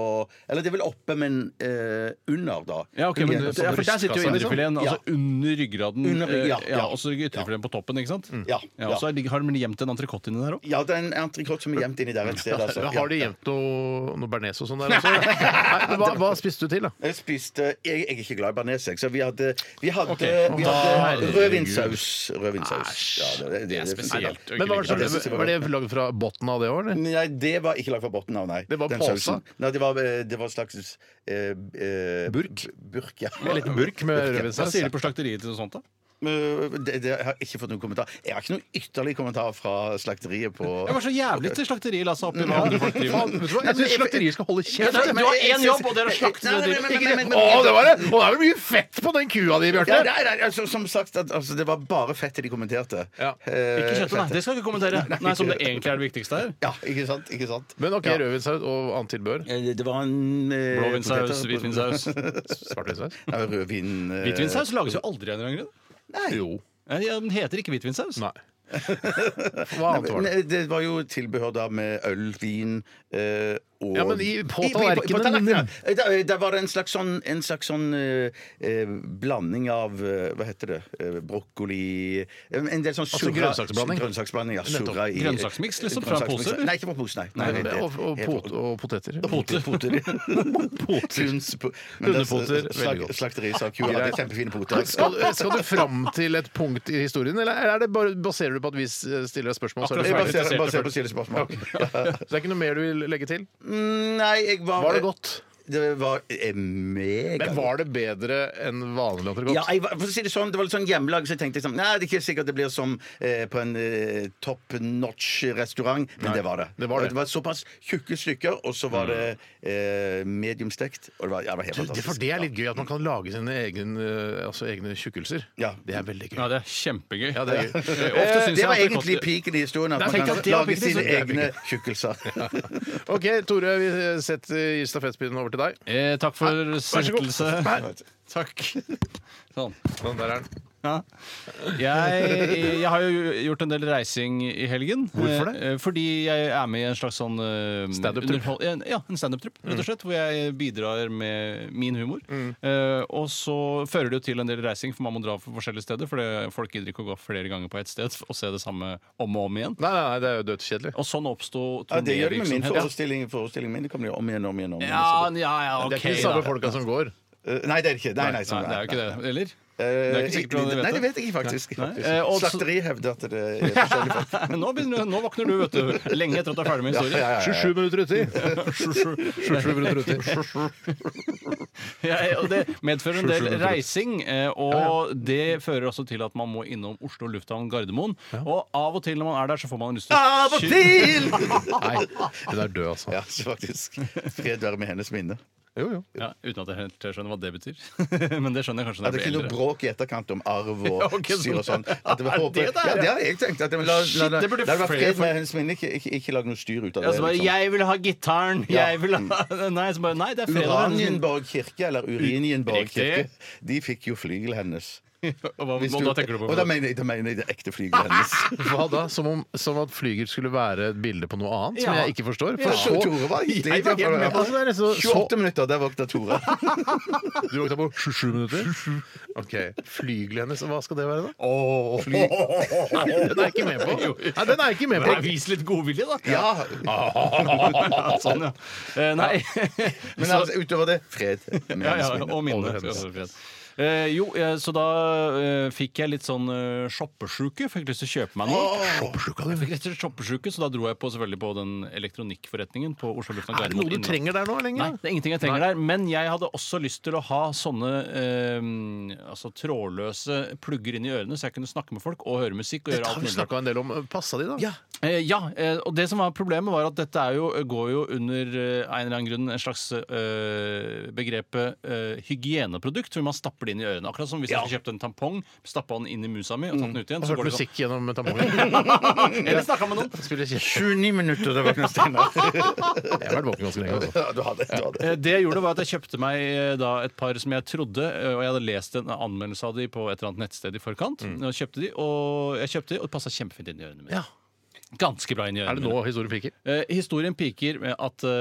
Speaker 2: eller det er vel oppe, men eh, under, da.
Speaker 3: Ja, ok, men
Speaker 2: Ja,
Speaker 3: det, ja, for Der sitter jo
Speaker 1: brystkassa,
Speaker 3: indrefileten,
Speaker 2: liksom.
Speaker 3: altså under ryggraden.
Speaker 2: Under rygg- ja,
Speaker 3: eh,
Speaker 2: ja. Mm.
Speaker 3: og så ytrefileten på toppen, ikke sant?
Speaker 2: Ja,
Speaker 3: Ja, og så er- har de gjemt en entrecôte inni der òg.
Speaker 2: Ja, det er en entrecôte som er gjemt inni der
Speaker 1: (laughs)
Speaker 2: et sted. Altså.
Speaker 1: Har de
Speaker 2: Ja.
Speaker 1: gjemt noe, noe bearnés og sånn der også?
Speaker 2: (laughs)
Speaker 1: Nei, men hva, hva spiste du til, da?
Speaker 2: Jeg spiste Jeg, jeg er ikke glad i bearnés, jeg, så vi hadde, vi hadde, vi hadde
Speaker 3: herregud.
Speaker 2: rødvinsaus. Rødvinsaus. Ja, det, det, det,
Speaker 3: spesielt.
Speaker 1: Men hva var,
Speaker 2: Ja,
Speaker 1: det,
Speaker 2: det synes jeg
Speaker 1: som-
Speaker 2: var
Speaker 1: var det lagd fra bunnen av det òg, eller?
Speaker 2: Nei, det var ikke lagt fra bunnen av, nei.
Speaker 1: Det var
Speaker 2: Den
Speaker 1: påse?
Speaker 2: sausen. Nei, det var, eh, det var en slags eh, eh,
Speaker 1: Burk?
Speaker 2: b- Burk, ja.
Speaker 1: En liten burk med
Speaker 2: Burk, ja.
Speaker 1: rødvinssaus?
Speaker 2: Altså,
Speaker 3: Hva sier de på slakteriet til noe sånt, da?
Speaker 2: øh, det, det, jeg har ikke fått noen kommentar. Jeg har ikke noen ytterligere kommentar fra slakteriet på
Speaker 3: Det var så jævlig til slakteriet la seg opp i hva andre folk driver
Speaker 1: Faen,
Speaker 3: med.
Speaker 1: vet du hva?
Speaker 2: Altså,
Speaker 1: Jeg syns slakteriet skal holde kjeft.
Speaker 3: Ja,
Speaker 1: Å,
Speaker 3: det- du har én jobb, og det er å slakte
Speaker 2: Nei, nei,
Speaker 3: dyr.
Speaker 2: nei, nei, nei, nei, nei,
Speaker 1: det var det! Og det er vel mye fett på den kua di,
Speaker 2: Ja,
Speaker 1: Bjarte.
Speaker 2: nei, nei, altså, som sagt, at, altså, det var bare fettet de kommenterte.
Speaker 1: Ja.
Speaker 3: Ikke
Speaker 2: Eh,
Speaker 3: kjøttet, nei.
Speaker 2: fettet.
Speaker 3: Det skal vi ikke kommentere. Nei, Som det egentlig er det viktigste her.
Speaker 2: Ja, ikke sant? Ikke sant?
Speaker 1: Men OK,
Speaker 2: Ja.
Speaker 1: rødvinssaus og annet tilbehør.
Speaker 2: Eh, Det var en eh,
Speaker 3: Blåvinsaus,
Speaker 2: poteter-
Speaker 3: hvitvinsaus.
Speaker 1: (laughs) Svartvinsaus?
Speaker 2: Ja, Rødvin eh,
Speaker 3: Hvitvinsaus lages jo aldri av en eller annen grunn.
Speaker 2: Nei.
Speaker 1: Jo.
Speaker 3: Eh, ja, Den heter ikke hvitvinsaus.
Speaker 2: (laughs)
Speaker 1: Nei. Hva annet var det?
Speaker 2: Nei, eh, det var jo tilbehør da med øl, vin eh, og
Speaker 1: Ja, men i- på
Speaker 2: I- i-
Speaker 1: tallerkenen.
Speaker 2: på tallerkenen, Eh, ja. Der, der var det en slags sånn, en slags sånn eh, eh, blanding av eh, Hva heter det? Eh, brokkoli eh, En del sånn
Speaker 1: Altså
Speaker 2: surra-
Speaker 1: grønnsaksblanding?
Speaker 2: grønnsaksblanding, ja. Surra i
Speaker 3: Grønnsaksmiks, liksom, fra en pose,
Speaker 2: Grønnsaksmiks.
Speaker 3: eller?
Speaker 2: Nei, ikke fra pose, nei. nei,
Speaker 1: Nei,
Speaker 2: det-
Speaker 1: det-
Speaker 2: det-
Speaker 1: Og, og,
Speaker 2: helt-
Speaker 1: pot, og poteter. (laughs)
Speaker 2: Poter. Hunds- po- men altså, det-
Speaker 1: Hundepoter, veldig
Speaker 2: slak-
Speaker 1: godt.
Speaker 2: Slakteriet sa kua hadde
Speaker 1: Greit.
Speaker 2: kjempefine poter. altså.
Speaker 1: Skal, skal du fram til et punkt i historien, eller er det bare, baserer du på at vi stiller deg spørsmål? Så er
Speaker 3: Akkurat
Speaker 1: det,
Speaker 2: Jeg
Speaker 1: ferdig?
Speaker 3: det.
Speaker 2: baserer baserer på Siljes spørsmål.
Speaker 1: så det er ikke noe mer du vil legge til?
Speaker 2: Nei, jeg var
Speaker 1: Var det godt?
Speaker 2: Det var eh, mega
Speaker 1: Men var det bedre enn vanlig
Speaker 2: godt. Ja,
Speaker 1: entrecôte?
Speaker 2: jeg, var- for å si det sånn, det var litt sånn hjemmelag, så jeg tenkte sånn, nei, det er ikke sikkert det blir som eh, på en eh, top notch restaurant, men det var det.
Speaker 1: det var det.
Speaker 2: var såpass tjukke stykker, og så var det eh, mediumstekt, og det var, ja, det var helt
Speaker 1: Du, det,
Speaker 2: fantastisk.
Speaker 1: for det er litt gøy at man kan lage sine egne, eh, altså egne tjukkelser.
Speaker 2: Ja.
Speaker 1: Det er veldig gøy.
Speaker 3: Ja, det er kjempegøy.
Speaker 1: Ja, det er gøy.
Speaker 3: Eh,
Speaker 2: Eh,
Speaker 3: Ofte syns
Speaker 2: det
Speaker 3: jeg
Speaker 2: var
Speaker 3: at det
Speaker 2: egentlig
Speaker 3: koster-
Speaker 2: piken i historien, at
Speaker 3: Nei,
Speaker 2: man
Speaker 3: tenk
Speaker 2: kan
Speaker 3: at det var
Speaker 2: lage
Speaker 3: piken i
Speaker 2: sine
Speaker 3: historien.
Speaker 2: egne tjukkelser.
Speaker 1: OK, Tore, vi setter stafettpinnen over til deg.
Speaker 3: Eh, takk for settelse.
Speaker 1: Nei.
Speaker 3: Takk. Sånn.
Speaker 1: Sånn, der er den.
Speaker 3: Ja. Jeg, jeg har jo gjort en del reising i helgen.
Speaker 1: Hvorfor det?
Speaker 3: Eh, Fordi jeg er med i en slags sånn eh,
Speaker 1: Stand-up-trupp?
Speaker 3: underhold- en- Ja, en standup-trupp,
Speaker 2: Mm.
Speaker 3: rett og slett. Hvor jeg bidrar med min humor. Eh, og så fører det jo til en del reising, for man må dra på forskjellige steder. For det- folk gidder ikke å gå flere ganger på ett sted og se det samme om og om igjen.
Speaker 1: Nei, nei, nei, det er jo dødskjedelig.
Speaker 3: Og sånn oppsto
Speaker 2: Ja, det gjør det med min
Speaker 3: turnévirksomhet.
Speaker 2: forestilling, forestillingen min, det kommer jo om igjen, om igjen, om igjen.
Speaker 3: liksom. Ja, ja, ja, ok.
Speaker 1: Det er ikke de
Speaker 3: da.
Speaker 1: samme folka som går.
Speaker 2: Eh, Nei, det er det ikke. Nei, nei, sånn,
Speaker 3: Nei, det er jo ikke det. Eller?
Speaker 2: Eh,
Speaker 3: Det er ikke sikkert hvordan de vet
Speaker 2: Nei, det
Speaker 3: det.
Speaker 2: vet jeg ikke faktisk.
Speaker 3: Nei.
Speaker 2: faktisk.
Speaker 3: Eh, og så-
Speaker 2: Slakteriet hevder at
Speaker 3: (laughs)
Speaker 2: det er forskjellig.
Speaker 3: Nå, begynner, du- nå våkner du, vet du. Lenge etter at du er ferdig med historien.
Speaker 2: Ja, ja, ja.
Speaker 1: 27 minutter uti.
Speaker 3: Ja, og det medfører en del reising, eh, og det fører også til at man må innom Oslo lufthavn Gardermoen. Og av og til når man er der, så får man lyst til å
Speaker 2: Av og
Speaker 3: sky-
Speaker 2: til!
Speaker 1: Nei, hun er død, altså.
Speaker 2: (laughs) Ja, faktisk. Fred være med hennes minne.
Speaker 1: Jo, jo.
Speaker 3: Ja, uten at jeg helt skjønner hva det betyr. (laughs) Men det skjønner jeg kanskje
Speaker 2: Ja,
Speaker 3: når
Speaker 2: det er
Speaker 3: jeg
Speaker 2: ikke
Speaker 3: blir
Speaker 2: noe
Speaker 3: eldre.
Speaker 2: bråk i etterkant om
Speaker 3: (laughs)
Speaker 2: arv og
Speaker 3: Ja, ok,
Speaker 2: styr og sånn. At
Speaker 3: (laughs)
Speaker 2: jeg
Speaker 3: Er det
Speaker 2: håper-
Speaker 3: det det er?
Speaker 2: ja, det har jeg tenkt. At jeg, la, la,
Speaker 3: Shit,
Speaker 2: la,
Speaker 3: det
Speaker 2: la,
Speaker 3: burde
Speaker 2: det være
Speaker 3: flere
Speaker 2: fred
Speaker 3: folk-
Speaker 2: med hennes minne. Ikke, ikke, ikke lag noe styr ut
Speaker 3: Ja,
Speaker 2: av det.
Speaker 3: så bare,
Speaker 2: liksom.
Speaker 3: jeg vil ha gitaren! Jeg vil ha (laughs) Nei, så bare, nei det er fredag.
Speaker 2: Uranienborg kirke, eller Urinienborg
Speaker 3: Riktig.
Speaker 2: kirke, de fikk jo flygel hennes.
Speaker 3: Og hva-
Speaker 2: Hvis
Speaker 3: og da tenker du på
Speaker 2: og da mener jeg, da mener jeg det ekte flygel hennes.
Speaker 3: (laughs)
Speaker 1: Hva da? Som, om, som at flyger skulle være et bilde på noe annet, som
Speaker 3: Ja.
Speaker 1: jeg ikke forstår? For
Speaker 2: For så,
Speaker 1: så,
Speaker 2: Tore var egentlig
Speaker 1: Jeg var helt med på det. Det er liksom-
Speaker 2: 28 minutter, der våkna Tore.
Speaker 3: (laughs)
Speaker 1: du våkna på 27 minutter? Ok, Flygelet hennes, hva skal det være, da? Fly... Nei, den er jeg ikke med på. Nei, den er jeg ikke med på.
Speaker 3: Nei, Vis litt godvilje, da! (laughs)
Speaker 2: Ja,
Speaker 3: Sånn, ja. Eh, Nei.
Speaker 2: Men
Speaker 3: Så-
Speaker 2: altså, utover det, fred
Speaker 3: Ja,
Speaker 2: med
Speaker 3: ja,
Speaker 2: hennes minne.
Speaker 3: og minne.
Speaker 1: Over hennes.
Speaker 3: Ja, fred. Eh, jo, eh, så da eh, fikk jeg litt sånn eh, shoppesjuke. Fikk lyst til å kjøpe meg noe.
Speaker 1: Shoppesjuka, du.
Speaker 3: Jeg (laughs) fikk litt shoppesjuke, så da dro jeg på, selvfølgelig på den elektronikkforretningen på Oslo Lufthavn
Speaker 1: Er det
Speaker 3: Gardermoen.
Speaker 1: noe du
Speaker 3: innenlands.
Speaker 1: trenger der nå lenger?
Speaker 3: Nei, det er ingenting jeg trenger der. Men jeg hadde også lyst til å ha sånne eh, altså, trådløse plugger inn i ørene, så jeg kunne snakke med folk og høre musikk. og
Speaker 1: Det
Speaker 3: gjøre
Speaker 1: har
Speaker 3: alt
Speaker 1: vi
Speaker 3: mulig. rart.
Speaker 1: snakka en del om. Passa de, da?
Speaker 2: Ja.
Speaker 3: Eh, ja, eh, og det som var problemet, var at dette er jo, går jo under eh, en eller annen grunn en slags eh, begrepet eh, hygieneprodukt, hvor man stapper det inn i ørene. Akkurat som hvis jeg skulle kjøpt en tampong, stappa den inn i musa mi og tatt den ut igjen.
Speaker 1: Og
Speaker 3: Så
Speaker 1: hørt
Speaker 3: går det
Speaker 1: musikk gjennom tampongen?
Speaker 3: sånn. Eller snakka med noen.
Speaker 1: Spiller kjeft.
Speaker 2: 29 minutter, der våkna Steinar.
Speaker 1: Jeg har vært våken ganske lenge. Altså.
Speaker 2: Ja, du hadde, du hadde.
Speaker 3: Eh, Det jeg gjorde var at jeg kjøpte meg eh, da et par som jeg trodde, eh, og jeg hadde lest en anmeldelse av de på et eller annet nettsted i forkant. Og kjøpte de, og jeg kjøpte de, og det passa kjempefint inn i ørene mine.
Speaker 1: Ja.
Speaker 3: Ganske bra inn i ørene
Speaker 1: Er det nå historien piker?
Speaker 3: mine. Eh, historien piker med at eh,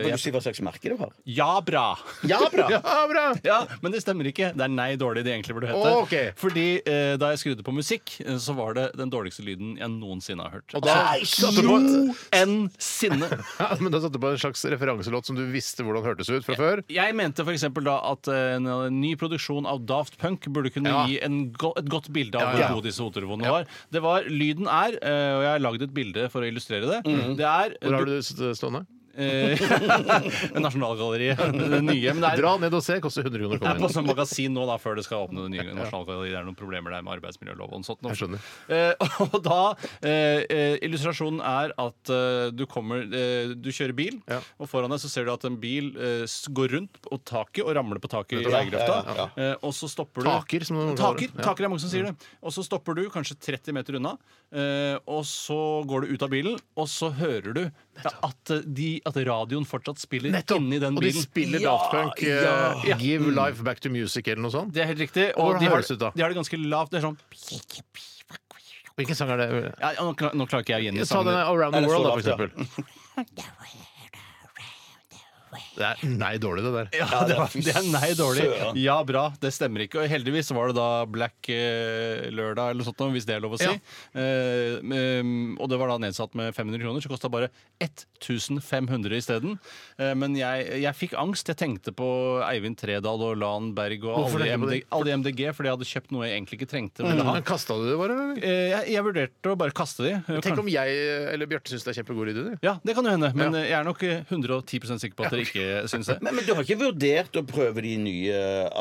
Speaker 2: Vil du
Speaker 3: jeg,
Speaker 2: si hva slags merke det var?
Speaker 3: Ja, bra!
Speaker 2: Ja, bra!
Speaker 1: Ja, bra!
Speaker 3: Ja, Men det stemmer ikke. Det er Nei dårlig det egentlig burde hete.
Speaker 1: Å, ok.
Speaker 3: Fordi eh, da jeg skrudde på musikk, eh, så var det den dårligste lyden jeg noensinne har hørt. Altså,
Speaker 1: Og da satte du på,
Speaker 3: Noensinne!
Speaker 1: ja, men da satte du på en slags referanselåt som du visste hvordan hørtes ut fra før.
Speaker 3: Jeg mente f.eks. da at eh, en ny produksjon av Daft Punk burde kunne
Speaker 1: Ja.
Speaker 3: gi en go et godt bilde av
Speaker 1: Ja,
Speaker 3: hvor
Speaker 1: ja.
Speaker 3: god disse hodetelefonene var.
Speaker 1: Mhm.
Speaker 3: Det var Lyden er, eh, og jeg har lagd et bilde for å illustrere det Det er
Speaker 1: Hvor har du det stående?
Speaker 3: Eh, (laughs) Nasjonalgalleriet. Det nye. Men det er,
Speaker 1: Dra ned og se. Koster 100 kroner å
Speaker 3: det er
Speaker 1: komme
Speaker 3: på
Speaker 1: inn.
Speaker 3: sånn magasin nå, da, før det skal åpne det nye Nasjonalgalleriet. Det er noen problemer der med arbeidsmiljølov og sånt. nå.
Speaker 1: Jeg skjønner.
Speaker 3: Eh, (laughs) og da eh, eh, Illustrasjonen er at eh, du kommer eh, Du kjører bil,
Speaker 1: Ja.
Speaker 3: og foran deg så ser du at en bil eh, s- går rundt på taket og ramler på taket i
Speaker 2: Ja, ja,
Speaker 3: veigrøfta.
Speaker 2: ja,
Speaker 3: Eh, og så stopper du
Speaker 1: Taker, som noen kaller
Speaker 3: Taker,
Speaker 1: det. Ja. Mm.
Speaker 3: taker er mange som sier det. Og så stopper du kanskje 30 meter unna, eh, og så går du ut av bilen, og så hører du at, eh, de, at radioen fortsatt spiller inni den bilen.
Speaker 1: Og de spiller Daft Punk. eh,
Speaker 3: Ja, ja.
Speaker 1: Give Life Back to Music eller noe sånt.
Speaker 3: Det er helt riktig.
Speaker 1: Og
Speaker 3: Og
Speaker 1: hvordan
Speaker 3: de har,
Speaker 1: høres det ut da?
Speaker 3: de har det ganske lavt. Det er sånn
Speaker 1: Hvilken sang er det?
Speaker 3: ja, nå, kla- nå klarer ikke jeg å gjengi
Speaker 1: Ta
Speaker 3: sangen.
Speaker 1: den Around the
Speaker 2: Eller
Speaker 1: World, da,
Speaker 2: så
Speaker 1: for eksempel. Det er nei dårlig, det der.
Speaker 3: Ja, det, var, det er nei dårlig. Ja, bra. Det stemmer ikke. Og heldigvis var det da Black eh, Lørdag eller noe sånt, noe, hvis det er lov å si. Eh, mm, og det var da nedsatt med 500 kroner, så kosta bare 1500 isteden. Eh, men jeg, jeg fikk angst. Jeg tenkte på Eivind Tredal og Lan Berg og
Speaker 1: Hvorfor
Speaker 3: alle i
Speaker 1: tenkte du på
Speaker 3: MDG,
Speaker 1: det?
Speaker 3: alle i MDG, fordi jeg hadde kjøpt noe jeg egentlig ikke trengte. Men da,
Speaker 1: Men Kasta du det bare? eller?
Speaker 3: eh, jeg, jeg vurderte å bare kaste de.
Speaker 1: Tenk om jeg eller Bjarte syns det er kjempegod idé. du.
Speaker 3: Ja, det kan jo hende, men eh, jeg er nok eh, 110 sikker på at dere ikke syns det.
Speaker 2: (laughs) Men, men du har ikke vurdert å prøve de nye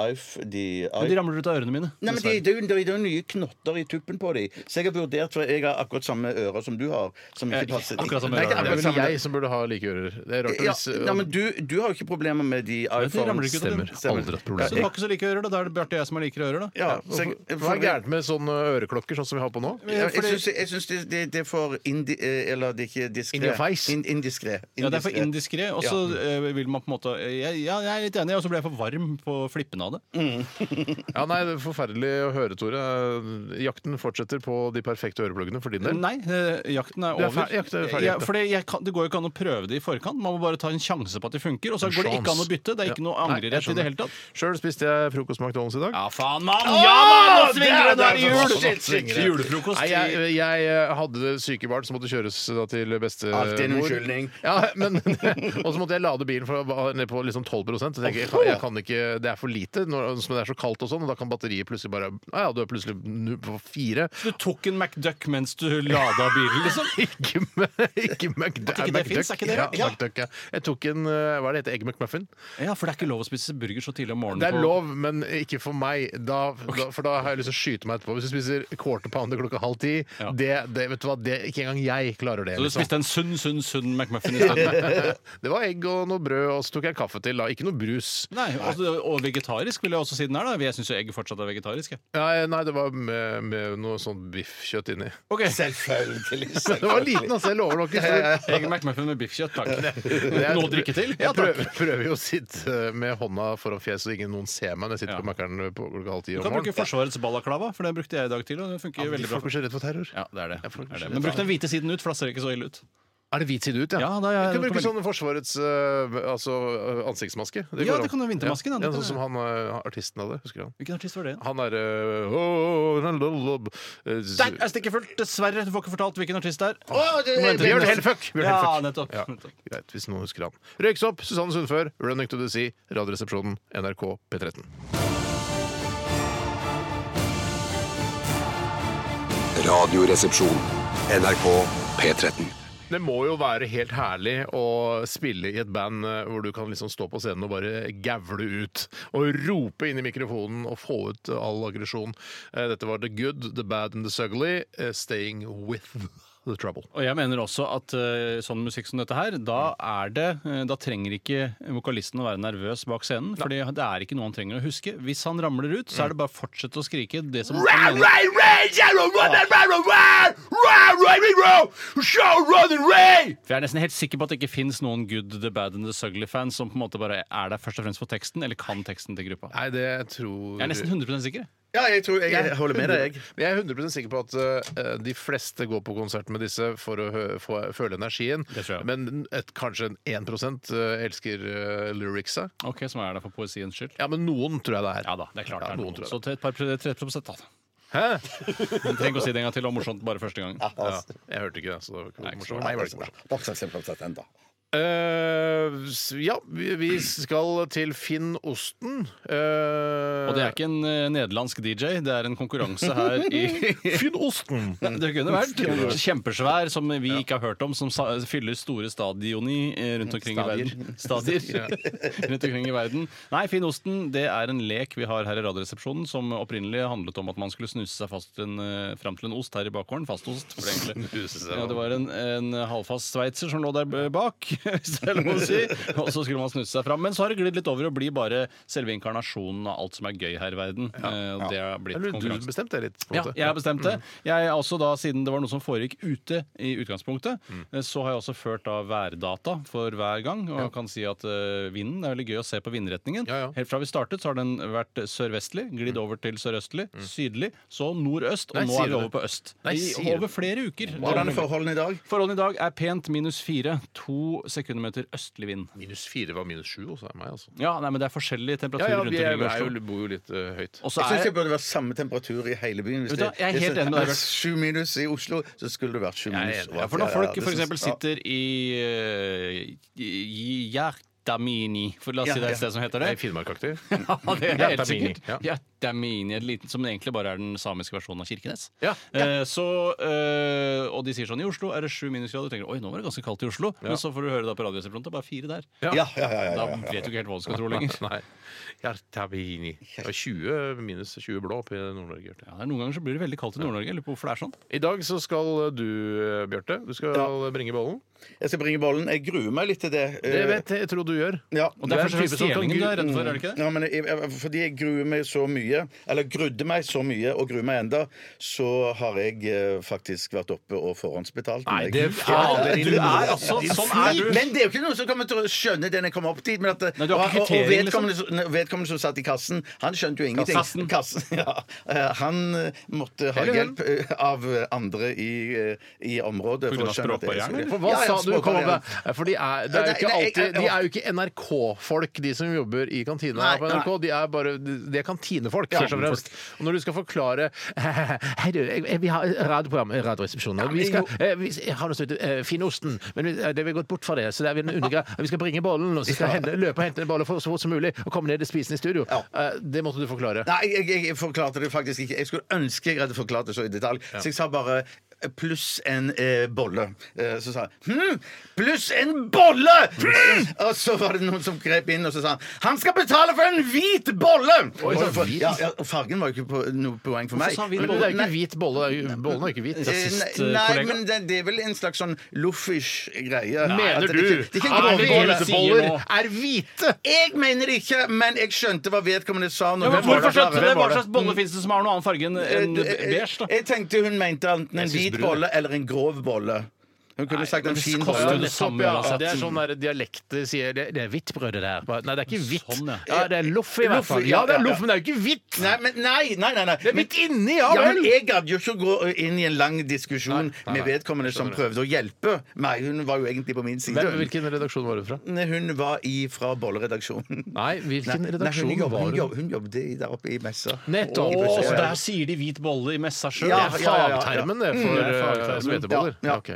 Speaker 2: iPh... De,
Speaker 3: Men de ramler ut av ørene mine.
Speaker 2: Nei, men det,
Speaker 3: dessverre.
Speaker 2: det, er jo- det er jo nye knotter i tuppen på dem. Så jeg har vurdert, for jeg har akkurat samme ører som du har. Som
Speaker 3: Eh,
Speaker 2: ikke passer
Speaker 3: akkurat samme
Speaker 1: Nei, det
Speaker 3: ører.
Speaker 1: er vel jeg som burde ha like ører. Det er rart
Speaker 2: Ja,
Speaker 1: hvis eh,
Speaker 2: nei, men du, du har jo ikke problemer med de
Speaker 3: ramler
Speaker 2: iPhones.
Speaker 3: ikke ut av
Speaker 1: Stemmer.
Speaker 3: det.
Speaker 1: Aldri et problem.
Speaker 3: Så du har ikke så like ører, da? Da er det Bjarte og jeg som har likere ører, da?
Speaker 2: Ja, så jeg,
Speaker 1: Hvorfor- Hva er gærent med sånne øreklokker sånn som vi har på nå?
Speaker 2: Ja, Jeg syns, jeg syns det, det, det er for indi... eh, Eller det er ikke diskré.
Speaker 1: In your face?
Speaker 2: In, indiskré.
Speaker 3: Ja, det er for indiskré, og så eh, vil man på en måte jeg, Ja, jeg er litt enig, og så ble jeg for varm på flippene av det.
Speaker 1: Ja, nei, det er Forferdelig å høre, Tore. Jakten fortsetter på de perfekte ørepluggene for din del.
Speaker 3: Nei, eh, jakten er
Speaker 1: Du er
Speaker 3: over.
Speaker 1: fer- jakten er ferdig,
Speaker 3: ja,
Speaker 1: jakten.
Speaker 3: for det, jeg kan, det går jo ikke an å prøve det i forkant. Man må bare ta en sjanse på at det funker, og så
Speaker 1: En
Speaker 3: går det ikke an
Speaker 1: sjans.
Speaker 3: å bytte. Det er ikke
Speaker 1: Ja.
Speaker 3: noe
Speaker 1: Nei, jeg
Speaker 3: angrerett i
Speaker 1: skjønner.
Speaker 3: det hele tatt.
Speaker 1: Sjøl spiste jeg frokost med McDonald's i dag.
Speaker 3: Ja, faen, mann! Ja, mann! Nå svinger det! Nå er det
Speaker 1: Åh,
Speaker 3: jul!
Speaker 1: det er sånn at
Speaker 3: Shit,
Speaker 1: det
Speaker 3: shit, shit.
Speaker 1: svinger.
Speaker 3: Julefrokost.
Speaker 1: Nei, jeg, jeg hadde syke barn som måtte kjøres eh, da til bestemor.
Speaker 2: Alltid en unnskyldning.
Speaker 1: Ja, men, (laughs) og så måtte jeg lade bilen for å være ned på liksom 12 Så tenker jeg, jeg, kan, jeg kan ikke, Det er for lite når når det er så kaldt, og sånn, og da kan batteriet plutselig bare ah, Ja, du er plutselig nu- på fire.
Speaker 3: Du tok en McDuck mens du lada bilen, liksom?
Speaker 1: Ikke, med- ikke McDuck.
Speaker 3: At ikke det finnes, er ikke det
Speaker 1: ja,
Speaker 3: rart? Ja.
Speaker 1: McDuck, ja. Jeg tok en eh, hva er det heter, egg McMuffin.
Speaker 3: Ja, for det er ikke lov å spise burger så tidlig om morgenen.
Speaker 1: Det er
Speaker 3: på-
Speaker 1: lov, men ikke for meg. Da, da, for da har jeg lyst til å skyte meg etterpå. Hvis du spiser quarter pounder klokka halv ti,
Speaker 3: Ja.
Speaker 1: det, det, vet du hva, det, ikke engang jeg klarer det.
Speaker 3: Så du
Speaker 1: liksom.
Speaker 3: spiste en sunn, sunn, sunn McMuffin isteden? (laughs)
Speaker 1: det var egg og noe brød, og så tok jeg kaffe til. da. Ikke noe brus.
Speaker 3: Nei, og, og vegetarisk vil jeg også si den er. da Jeg syns jo egg fortsatt er vegetarisk. jeg.
Speaker 1: Nei, nei det var med, med noe sånn biffkjøtt inni. (laughs)
Speaker 2: Selvfølgelig.
Speaker 1: Det var liten, altså. Jeg lover nok ikke.
Speaker 3: Egg McMuffin med biffkjøtt, (laughs) takk.
Speaker 1: Jeg-
Speaker 3: Noe å drikke til? Ja,
Speaker 1: Jeg
Speaker 3: takk.
Speaker 1: prøver, prøver jo å sitte eh, med hånda foran fjeset så ingen noen ser meg når jeg sitter
Speaker 3: Ja.
Speaker 1: på Mækkern på klokka halv ti
Speaker 3: Du
Speaker 1: om
Speaker 3: kan bruke
Speaker 1: morgenen.
Speaker 3: Forsvarets balaklava, for det brukte jeg i dag tidlig. Og det funker
Speaker 1: Ja,
Speaker 3: jo
Speaker 1: men
Speaker 3: veldig bra.
Speaker 1: Folk blir så redd for terror.
Speaker 3: Ja, det er det.
Speaker 1: Jeg får ikke
Speaker 3: det, er det.
Speaker 1: skylde
Speaker 3: Men bruk
Speaker 1: for
Speaker 3: den hvite siden ut, for da ser det ikke så ille ut.
Speaker 1: Er det hvit side ut, ja?
Speaker 3: Ja, da er jeg-
Speaker 1: du kan bruke
Speaker 3: det kommer-
Speaker 1: sånn Forsvarets øh, altså, øh, ansiktsmaske.
Speaker 3: Ja,
Speaker 1: går
Speaker 3: det
Speaker 1: an.
Speaker 3: kan du ha vintermasken, da.
Speaker 1: Ja,
Speaker 3: Det kan
Speaker 1: sånn som han øh, artisten hadde. Husker du han?
Speaker 3: Hvilken artist var det?
Speaker 1: Han er øh, åh, la, la, la, øh, s-
Speaker 3: Der er stikket fullt! Dessverre. Du får ikke fortalt hvilken artist det er.
Speaker 1: Åh, det-
Speaker 3: Nå venter vi
Speaker 1: Bjørn
Speaker 3: neste-
Speaker 1: Helfuck! Bjørn
Speaker 3: Ja,
Speaker 1: Helfuck.
Speaker 3: nettopp.
Speaker 1: Ja,
Speaker 3: nettopp.
Speaker 1: greit, hvis noen husker han. Røyksopp, Susanne Sundfør, 'Running to the Sea', Radioresepsjonen, NRK P13.
Speaker 6: Radioresepsjon. NRK P13.
Speaker 1: Det må jo være helt herlig å spille i et band eh, hvor du kan liksom stå på scenen og bare gavle ut. Og rope inn i mikrofonen og få ut eh, all aggresjon. Eh, Dette var The Good, The Bad and The Sugly, eh, Staying With The Trouble.
Speaker 3: Og jeg mener også at eh, sånn musikk som dette her, da er det eh, Da trenger ikke vokalisten å være nervøs bak scenen, for det er ikke noe han trenger å huske. Hvis han ramler ut,
Speaker 1: Mm.
Speaker 3: så er det bare å fortsette å skrike det som han mener. For jeg er nesten helt sikker på at det ikke fins noen Good, The Bad and The Sugly-fans som på en måte bare er der først og fremst for teksten, eller kan teksten til gruppa.
Speaker 1: Nei, det tror
Speaker 3: Jeg er nesten 100 sikker.
Speaker 2: Ja, jeg tror jeg, holder med deg, jeg.
Speaker 1: Men jeg er 100 sikker på at eh, de fleste går på konsert med disse for å hø få, føle energien.
Speaker 3: Det tror jeg.
Speaker 1: Men et, kanskje 1 eh, elsker uh, lyricsa.
Speaker 3: Ok, Som er der for poesiens skyld.
Speaker 1: Ja, men noen tror jeg det er.
Speaker 3: Ja da, det er klart.
Speaker 1: Ja,
Speaker 3: det er
Speaker 1: noen
Speaker 3: noen.
Speaker 1: tror jeg
Speaker 3: Så til et par 30 da.
Speaker 1: Hæ?
Speaker 3: (laughs) Du trenger ikke å si det en gang til, det var morsomt bare første gang.
Speaker 1: Ja, jeg hørte ikke det, så det var ikke
Speaker 3: Nei,
Speaker 1: morsomt.
Speaker 3: ikke
Speaker 1: Nei, det var ikke morsomt.
Speaker 2: Boksaksen, boksaksen, da.
Speaker 1: Eh, s- ja, vi vi skal til Finn Osten. Eh,
Speaker 3: Og det er ikke en eh, nederlandsk DJ, det er en konkurranse her
Speaker 1: (laughs)
Speaker 3: i
Speaker 1: Finn Osten!
Speaker 3: Det kunne vært kjempesvær, som vi ikke har hørt om, som sa- fyller store stadioni eh, rundt omkring i verden. Stadier. (laughs) rundt omkring i verden. Nei, Finn osten, det er en lek vi har her i Radioresepsjonen, som opprinnelig handlet om at man skulle snuse seg fast til en, eh, fram til en ost her i bakgården. Fastost. For det, (laughs) egentlig. Ja, det var en, en halvfast sveitser som lå der b- bak, (laughs) hvis det er lov å si. Og så skulle man snuse seg fram. Men så har det glidd litt over og blir bare selve inkarnasjonen av alt som er gøy her i verden. Eh, og Det har blitt
Speaker 1: Eller du
Speaker 3: konkurransen.
Speaker 1: bestemte Mm. det litt. på en
Speaker 3: Ja,
Speaker 1: måte.
Speaker 3: jeg har bestemt det. Jeg er også da, Siden det var noe som foregikk ute, i utgangspunktet, eh, så har jeg også ført da værdata for hver gang. Og jeg kan si at eh, vinden det er veldig gøy å se på vindretningen.
Speaker 1: Ja, ja.
Speaker 3: Helt fra vi startet, så har den vært sørvestlig, glidd over til sørøstlig, sydlig, så nordøst, og
Speaker 1: Mm. Nei,
Speaker 3: nå
Speaker 1: sier
Speaker 3: er
Speaker 1: du
Speaker 3: vi
Speaker 1: det?
Speaker 3: over på øst.
Speaker 1: Nei,
Speaker 3: I,
Speaker 1: sier du
Speaker 3: over flere uker.
Speaker 2: Hvordan er forholdene i dag?
Speaker 3: Forholdene i dag er pent minus fire. To sekundmeter østlig vind.
Speaker 1: Minus fire var minus sju, og så er det meg, altså.
Speaker 3: Ja, nei, men Det er forskjellige
Speaker 1: Ja,
Speaker 3: temperaturer
Speaker 1: ja,
Speaker 3: rundt
Speaker 1: vi er,
Speaker 3: omkring i
Speaker 1: er
Speaker 3: Oslo.
Speaker 1: jo, bor jo litt eh, høyt.
Speaker 3: Og så
Speaker 2: Jeg syns
Speaker 3: er
Speaker 2: det burde være samme temperatur i hele byen. Hvis
Speaker 3: Vet du hva, jeg er
Speaker 2: hvis
Speaker 3: helt
Speaker 2: det-
Speaker 3: enig med deg,
Speaker 2: hvis Sju minus i Oslo, så skulle det vært sju
Speaker 1: er
Speaker 2: minus.
Speaker 1: enig.
Speaker 2: overalt.
Speaker 3: Ja, for når
Speaker 2: Ja, ja,
Speaker 3: folk
Speaker 2: det
Speaker 3: for
Speaker 2: syns-
Speaker 3: eksempel
Speaker 2: ja.
Speaker 3: sitter i, eh, i Hjertamini, for la oss si det er et sted som heter
Speaker 1: Er
Speaker 3: det.
Speaker 1: jeg Finnmarkaktig? (laughs)
Speaker 3: Ja, (laughs) det er helt
Speaker 1: Hjertamini,
Speaker 3: sikkert.
Speaker 1: ja.
Speaker 3: Hjertamini, et liten- som egentlig bare er den samiske versjonen av Kirkenes.
Speaker 1: Ja,
Speaker 3: Eh, så, eh, og de sier sånn, i Oslo er det sju minusgrader. Du tenker, oi, nå var det ganske kaldt i Oslo. Men så får du høre da på radioresepsjonen, det er bare fire der.
Speaker 2: Ja, ja, ja, ja,
Speaker 3: Da
Speaker 2: ja, ja.
Speaker 3: vet du ikke helt hva du skal tro lenger.
Speaker 1: Nei. Hjertabini. Det var 20 minus 20 blå oppe i Nord-Norge. Bjarte.
Speaker 3: Ja, det er Noen ganger så blir det veldig kaldt i Nord-Norge. Jeg Lurer på hvorfor det er sånn.
Speaker 1: I dag så skal du, eh, Bjarte, du skal bringe bollen.
Speaker 2: Jeg skal bringe bollen. Jeg gruer meg litt til det.
Speaker 1: Det vet jeg, jeg tror du gjør.
Speaker 2: Eh, Ja.
Speaker 3: Og det
Speaker 1: Du er
Speaker 3: er
Speaker 1: en
Speaker 3: først
Speaker 1: type som kan
Speaker 3: stjelingen du
Speaker 1: gru-
Speaker 3: er redd for, er det ikke det?
Speaker 2: Ja, men jeg, jeg, fordi jeg gruer meg så mye, eller grudde meg så mye og gruer meg enda, så har jeg eh, faktisk vært oppe og forhåndsbetalt. meg.
Speaker 3: fader, du er altså Sånn er du!
Speaker 2: Men det er jo ikke noen som kommer til å skjønne den jeg kom opp dit. Men at,
Speaker 3: Nei, du har ikke liksom.
Speaker 2: og, og, og
Speaker 3: kvittering,
Speaker 2: vedkommende, som- vedkommende som satt i kassen, han skjønte jo ingenting.
Speaker 3: Kassen.
Speaker 2: Kassen, (laughs) ja. Eh, Han eh, måtte ha
Speaker 1: Eller hun.
Speaker 2: hjelp eh, av andre i, eh, i området.
Speaker 3: På grunn av språkbarrieren, eller?
Speaker 1: For hva sa du? Kom opp med. For de er, det er jo ikke
Speaker 2: Nei, nei, jeg-
Speaker 1: alltid
Speaker 2: jeg-
Speaker 1: De er jo ikke NRK-folk, de som jobber i kantina
Speaker 2: Nei,
Speaker 1: på NRK. De er bare de er kantinefolk, først og fremst. Og når du skal forklare (laughs) Hei, du, jeg- jeg- vi har et radioprogram i Radioresepsjonen. og Vi skal eh, vi s- har noe som heter eh, Finnosten, men vi, eh, det vi har gått bort fra det. Så det er vi en
Speaker 2: (laughs)
Speaker 1: undergra- Vi skal bringe bollen, og så skal hente, løpe og hente en bolle for så fort som mulig, og komme ned og spise den i studio. Eh, Det måtte du forklare.
Speaker 2: Nei, jeg, jeg, jeg forklarte det faktisk ikke. Jeg skulle ønske jeg hadde forklart det så i detalj. Så jeg sa bare Pluss en eh, bolle. Eh, så sa jeg hm, pluss en bolle!
Speaker 3: Hmm!
Speaker 2: Hm! Og så var det noen som grep inn og så sa han, han skal betale for en hvit bolle!
Speaker 1: Oi,
Speaker 2: Og
Speaker 1: så
Speaker 2: for,
Speaker 1: hvit.
Speaker 2: ja, ja, fargen var jo ikke på, noe poeng for meg.
Speaker 3: sa han hvit
Speaker 1: Men
Speaker 2: Men-
Speaker 1: det er jo ikke
Speaker 2: Nei,
Speaker 1: hvit bolle. det er jo- Bollen er jo ikke hvit.
Speaker 2: eh,
Speaker 3: rasist,
Speaker 2: nei,
Speaker 3: eh,
Speaker 2: nei,
Speaker 3: kollega.
Speaker 2: men det, det er vel en slags sånn loffish greie. At
Speaker 1: Mener
Speaker 2: det, ikke-
Speaker 1: du
Speaker 2: det er ikke en
Speaker 1: at
Speaker 2: grov bolle.
Speaker 3: hvite
Speaker 1: hveteboller
Speaker 3: Sier nå.
Speaker 1: er hvite?
Speaker 2: Jeg mener det ikke, men jeg skjønte hva vedkommende sa.
Speaker 3: Ja,
Speaker 2: Når
Speaker 3: men
Speaker 2: hun forklarte
Speaker 3: hvorfor skjønte du
Speaker 2: det.
Speaker 3: det? Hva slags bolle finnes det som har noen annen farge enn enn
Speaker 2: Eh, eh,
Speaker 3: beige? da?
Speaker 2: Jeg tenkte hun mente enten en
Speaker 1: syns
Speaker 2: hvit
Speaker 1: brun,
Speaker 2: bolle eller en grov bolle. Hun kunne sagt en fin
Speaker 3: koster
Speaker 1: Ja,
Speaker 2: bolle.
Speaker 3: det
Speaker 1: nettopp,
Speaker 3: samme
Speaker 1: ja.
Speaker 3: uansett.
Speaker 1: Det er sånn der dialekter sier Det, det er hvitt brød, det der. Bare, Nei, det er ikke hvitt.
Speaker 3: Sånn, ja.
Speaker 1: ja. Det er loff, i hvert
Speaker 2: Loff,
Speaker 1: fall. Ja,
Speaker 2: ja,
Speaker 1: det er
Speaker 2: ja,
Speaker 1: loff,
Speaker 2: ja.
Speaker 1: men det er jo ikke hvitt!
Speaker 2: Nei, men nei, nei, nei, nei.
Speaker 1: Det er midt inni, ja
Speaker 2: Ja, men
Speaker 1: vel!
Speaker 2: jeg gadd jo ikke å gå inn i en lang diskusjon
Speaker 1: Nei, nei, nei.
Speaker 2: med vedkommende som
Speaker 1: Skjønner
Speaker 2: prøvde å hjelpe meg. Hun var jo egentlig på min side.
Speaker 1: Hvem, hvilken redaksjon var du fra?
Speaker 2: Hun var i fra bolleredaksjonen.
Speaker 1: Nei, hvilken
Speaker 2: Nei,
Speaker 1: redaksjon
Speaker 2: hun, jobb,
Speaker 1: var
Speaker 2: hun,
Speaker 1: du?
Speaker 2: jobb, hun jobbet i- der oppe i messa.
Speaker 1: Nettopp.
Speaker 2: I
Speaker 3: Å,
Speaker 2: Brussel,
Speaker 3: så
Speaker 2: ja.
Speaker 3: der sier de hvit bolle i messa sjøl.
Speaker 2: Ja,
Speaker 1: Det er
Speaker 2: ja, ja, ja.
Speaker 1: fagtermen, det,
Speaker 3: Mm, det er
Speaker 1: for eh,
Speaker 3: fagtermen.
Speaker 1: sveteboller.
Speaker 2: Ja, ja.
Speaker 1: Ok.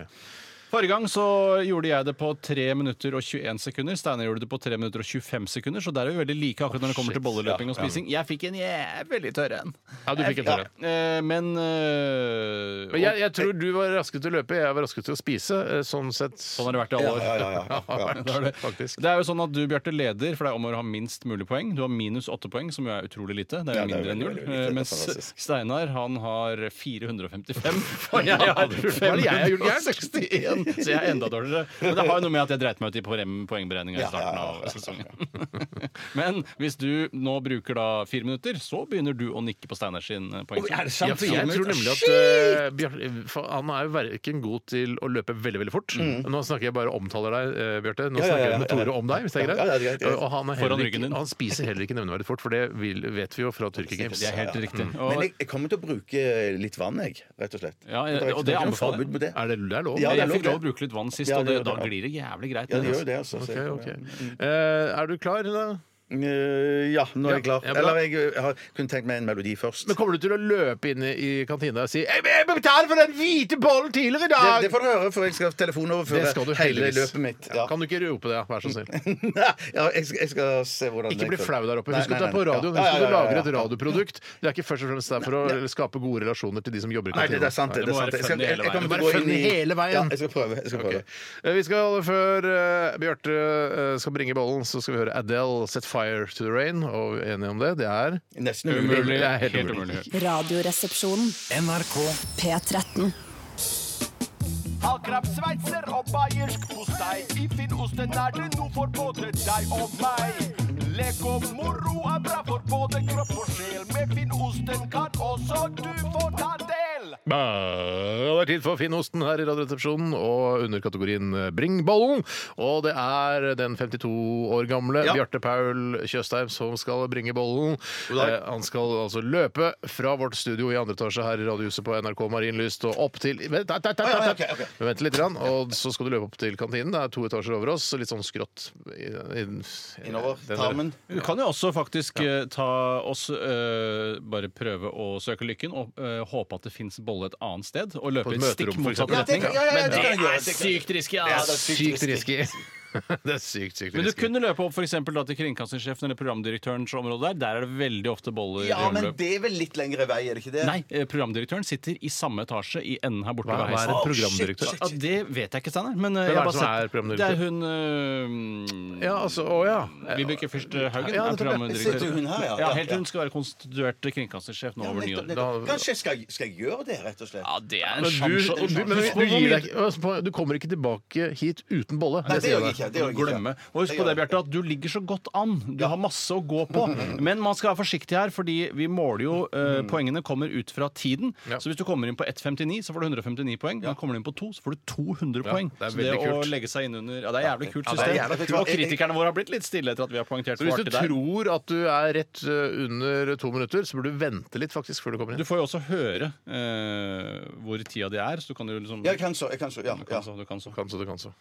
Speaker 3: Forrige gang så gjorde jeg det på 3 minutter og 21 sekunder. Steinar gjorde det på 3 minutter og 25 sekunder, så der er vi veldig like akkurat når det kommer til bolleløping og spising. Jeg fikk en jævlig tørr en.
Speaker 1: Ja, du fikk en tørre.
Speaker 3: Eh, Men eh,
Speaker 1: Men jeg, jeg tror du var raskere til å løpe, jeg var raskere til å spise. eh, Sånn sett
Speaker 3: Sånn har det vært i alle år.
Speaker 2: Ja, ja, ja, ja.
Speaker 1: har
Speaker 3: (laughs) Det er det.
Speaker 1: vært, faktisk.
Speaker 3: Det er jo sånn at Du Bjarte, leder, for det er om å gjøre å ha minst mulig poeng. Du har minus åtte poeng, som jo er utrolig lite. Det er jo
Speaker 2: Ja, det er
Speaker 3: mindre enn
Speaker 2: veldig,
Speaker 3: null.
Speaker 2: veldig lite.
Speaker 3: Eh, Mens
Speaker 2: Det er fantastisk.
Speaker 3: Steinar han har
Speaker 2: (laughs)
Speaker 3: 455, og jeg har
Speaker 1: er det jeg har gjort gærent?
Speaker 3: 561. Så jeg er enda dårligere. Men det har jo noe med at jeg dreit meg ut i poeng- poengberegninga i
Speaker 2: Ja, ja,
Speaker 3: starten
Speaker 2: ja,
Speaker 3: av sesongen. (laughs) Men hvis du nå bruker da fire minutter, så begynner du å nikke på Steinar sin eh, poeng.
Speaker 2: Oi, er det sant?
Speaker 1: Ja, for jeg tror nemlig at eh, Bjar- for han er jo verken god til å løpe veldig veldig fort. Nå snakker jeg bare omtaler deg, eh, Bjarte. Nå
Speaker 2: Mm. Ja, ja,
Speaker 1: snakker
Speaker 2: ja,
Speaker 1: jeg med
Speaker 2: ja, ja.
Speaker 1: Tore om deg, hvis det er
Speaker 2: Ja,
Speaker 1: greit.
Speaker 2: ja, det er greit, det er greit.
Speaker 1: Og han, er
Speaker 3: Foran
Speaker 1: heller
Speaker 3: ryggen
Speaker 1: ikke,
Speaker 3: din.
Speaker 1: han spiser heller ikke nevneverdig fort, for det vil, vet vi jo fra Tyrkia Games.
Speaker 3: Det er helt riktig.
Speaker 2: Mm. Men jeg,
Speaker 3: Og,
Speaker 2: jeg kommer til å bruke litt vann, jeg, rett og slett.
Speaker 3: Ja, ja,
Speaker 2: er ikke-
Speaker 3: og det
Speaker 2: er
Speaker 3: anbefaler
Speaker 2: ikke noe
Speaker 3: jeg.
Speaker 2: forbud mot det.
Speaker 1: Er det, det er lov?
Speaker 2: Ja, det er
Speaker 3: jeg fikk
Speaker 2: lov,
Speaker 3: lov å bruke litt vann sist,
Speaker 2: Ja,
Speaker 3: og
Speaker 2: det
Speaker 3: det,
Speaker 2: gjør
Speaker 3: da
Speaker 2: det, ja.
Speaker 3: glir det jævlig greit. altså.
Speaker 2: Ja,
Speaker 3: ned,
Speaker 2: det
Speaker 3: altså.
Speaker 2: gjør det, altså.
Speaker 1: Ok, ok. Eh, er du klar, da?
Speaker 2: Eh, ja, nå er jeg klar.
Speaker 1: Ja, bra.
Speaker 2: Eller jeg, eh, har kun tenkt meg en melodi først.
Speaker 1: Men kommer du til å løpe inn i i kantina og si «Jeg- Jeg betalte for den hvite bollen tidligere i
Speaker 2: det,
Speaker 1: dag!
Speaker 2: det får du høre, for jeg skal telefonoverføre
Speaker 1: Det skal du
Speaker 2: hele
Speaker 1: heldigvis.
Speaker 2: løpet mitt. Ja.
Speaker 1: Kan du ikke rope det, vær så snill?
Speaker 2: ja, (laughs) jeg, skal, jeg skal se hvordan
Speaker 1: Ikke bli
Speaker 2: går.
Speaker 1: flau der oppe.
Speaker 2: Nei,
Speaker 1: Husk at
Speaker 2: nei,
Speaker 1: du er på
Speaker 2: nei, ja.
Speaker 1: radioen.
Speaker 2: Ja,
Speaker 1: Husk
Speaker 2: ja,
Speaker 1: at du
Speaker 2: ja, ja,
Speaker 1: lager et
Speaker 2: ja.
Speaker 1: radioprodukt. Det er ikke først og fremst der for å skape gode relasjoner til de som jobber i
Speaker 2: Nei, det, det
Speaker 1: kantina.
Speaker 2: er sant. Det,
Speaker 3: Det
Speaker 2: det
Speaker 3: må
Speaker 2: er sant.
Speaker 3: være funny
Speaker 2: Jeg skal-
Speaker 3: hele
Speaker 2: jeg kommer
Speaker 1: Det må
Speaker 3: veien.
Speaker 2: til å gå
Speaker 1: være
Speaker 2: inn i-
Speaker 1: funny hele veien.
Speaker 2: Ja, jeg skal prøve. Jeg skal prøve.
Speaker 1: Eh, Vi skal Før eh, Bjarte eh, skal bringe bollen, så skal vi høre Adele set fire to the rain. Og vi er enige om det? Det er
Speaker 2: Nesten umulig.
Speaker 3: Umulig.
Speaker 1: Det er helt
Speaker 3: Helt
Speaker 1: umulig.
Speaker 3: umulig.
Speaker 4: Radioresepsjonen.
Speaker 5: NRK
Speaker 4: P13.
Speaker 7: Akrab, sveitser og bayersk postei. I Finnosten er det noe for både deg og meg. Lek og moro er bra for både kropp og sjel. Med Finnosten kan også du få ta del.
Speaker 1: Ja, Det er tid for Finnosten her i Radioresepsjonen og under kategorien Bring bollen. Og det er den 52 år gamle
Speaker 2: Ja.
Speaker 1: Bjarte Paul Tjøstheim som skal bringe bollen.
Speaker 2: God dag.
Speaker 1: Eh, han skal altså løpe fra vårt studio i andre etasje her i Radiohuset på NRK Marienlyst og opp til Vent, vent, vent,
Speaker 2: ja,
Speaker 1: vent,
Speaker 2: ok, ok.
Speaker 1: vent. Vent litt, grann, og så skal du løpe opp til kantinen. Det er to etasjer over oss, så litt sånn skrått i, i,
Speaker 2: Innover.
Speaker 1: den der-
Speaker 2: Tarmen.
Speaker 3: Du kan jo også faktisk eh, ta oss eh, Bare prøve å søke lykken og eh, håpe at det fins bolle et annet sted, og
Speaker 1: På
Speaker 3: løpe
Speaker 1: et
Speaker 3: i stikk
Speaker 1: møterom, for
Speaker 3: motsatt
Speaker 1: eksempel.
Speaker 3: retning.
Speaker 2: Ja, det- ja, ja, det kan jeg
Speaker 3: Men det
Speaker 2: gjøre, det
Speaker 3: er
Speaker 2: kan jeg
Speaker 3: sykt risky!
Speaker 1: Det er
Speaker 3: ass.
Speaker 1: sykt risky. (laughs) Det er sykt, sykt
Speaker 3: Men du
Speaker 1: risky.
Speaker 3: kunne løpe opp for eksempel, da, til kringkastingssjefen eller programdirektørens område der. Der er det veldig ofte boller.
Speaker 2: Ja,
Speaker 3: i
Speaker 2: men
Speaker 3: omløp.
Speaker 2: det er vel litt lengre vei, er det ikke det?
Speaker 3: Nei, eh, programdirektøren sitter i samme etasje i enden her borte
Speaker 1: Hva, hva
Speaker 3: ved
Speaker 1: er
Speaker 3: heisen.
Speaker 1: en programdirektør?
Speaker 3: Ja, det vet jeg ikke, Steinar. Men eh,
Speaker 1: Hvem er
Speaker 3: jeg har
Speaker 1: det som
Speaker 3: bare
Speaker 1: er
Speaker 3: sett-
Speaker 1: programdirektør?
Speaker 3: Det er hun eh,
Speaker 1: Ja, altså, å ja.
Speaker 3: Vibeke Fyrst Haugen
Speaker 1: Ja,
Speaker 3: er
Speaker 1: nettopp, ja.
Speaker 3: programdirektør.
Speaker 2: Sitter hun her, ja,
Speaker 3: ja,
Speaker 2: ja,
Speaker 3: helt
Speaker 2: ja.
Speaker 3: til hun skal være konstituert kringkastingssjef nå
Speaker 2: Ja,
Speaker 3: over
Speaker 2: nettopp,
Speaker 3: nyår.
Speaker 2: nettopp. Kanskje skal, jeg- skal jeg gjøre det, rett og slett?
Speaker 3: Ja, det er
Speaker 1: Men
Speaker 3: en
Speaker 1: du,
Speaker 3: sjanse.
Speaker 1: og du, men
Speaker 3: Husk
Speaker 1: du,
Speaker 3: på hvor
Speaker 1: gir
Speaker 3: mye-
Speaker 1: deg, ikke- altså, på- du kommer ikke tilbake hit uten bolle.
Speaker 2: Nei, det
Speaker 1: sier
Speaker 2: gjør jeg
Speaker 1: deg.
Speaker 2: ikke. Det gjør jeg ikke.
Speaker 3: Glemme. Og husk på det, Bjarte, at du ligger så godt an. Du har masse å gå
Speaker 2: (laughs)
Speaker 3: på. Men man skal være forsiktig her, fordi vi måler jo eh,
Speaker 2: Mm.
Speaker 3: Poengene kommer ut fra tiden.
Speaker 1: Ja.
Speaker 3: Så hvis du kommer inn på 1,59, så får du 159 poeng. Men kommer du inn på 2, så får du 200 poeng.
Speaker 1: det er
Speaker 3: så det
Speaker 1: veldig
Speaker 3: å
Speaker 1: kult.
Speaker 3: legge seg innunder Ja, det er jævlig kult
Speaker 2: det er
Speaker 3: system.
Speaker 2: jævlig kult.
Speaker 3: Og kritikerne våre har blitt litt stille etter at vi har poengtert
Speaker 1: Så hvis du
Speaker 3: svarte der.
Speaker 1: tror at du er rett eh, under to minutter, så burde du vente litt faktisk før du kommer
Speaker 3: Du
Speaker 1: inn.
Speaker 3: får jo også høre eh, hvor tida di er, så du kan jo liksom
Speaker 2: Ja, jeg kan så. Jeg kan så, ja,
Speaker 3: Du
Speaker 2: ja.
Speaker 3: kan så, du kan så.
Speaker 1: Kan så du kan så.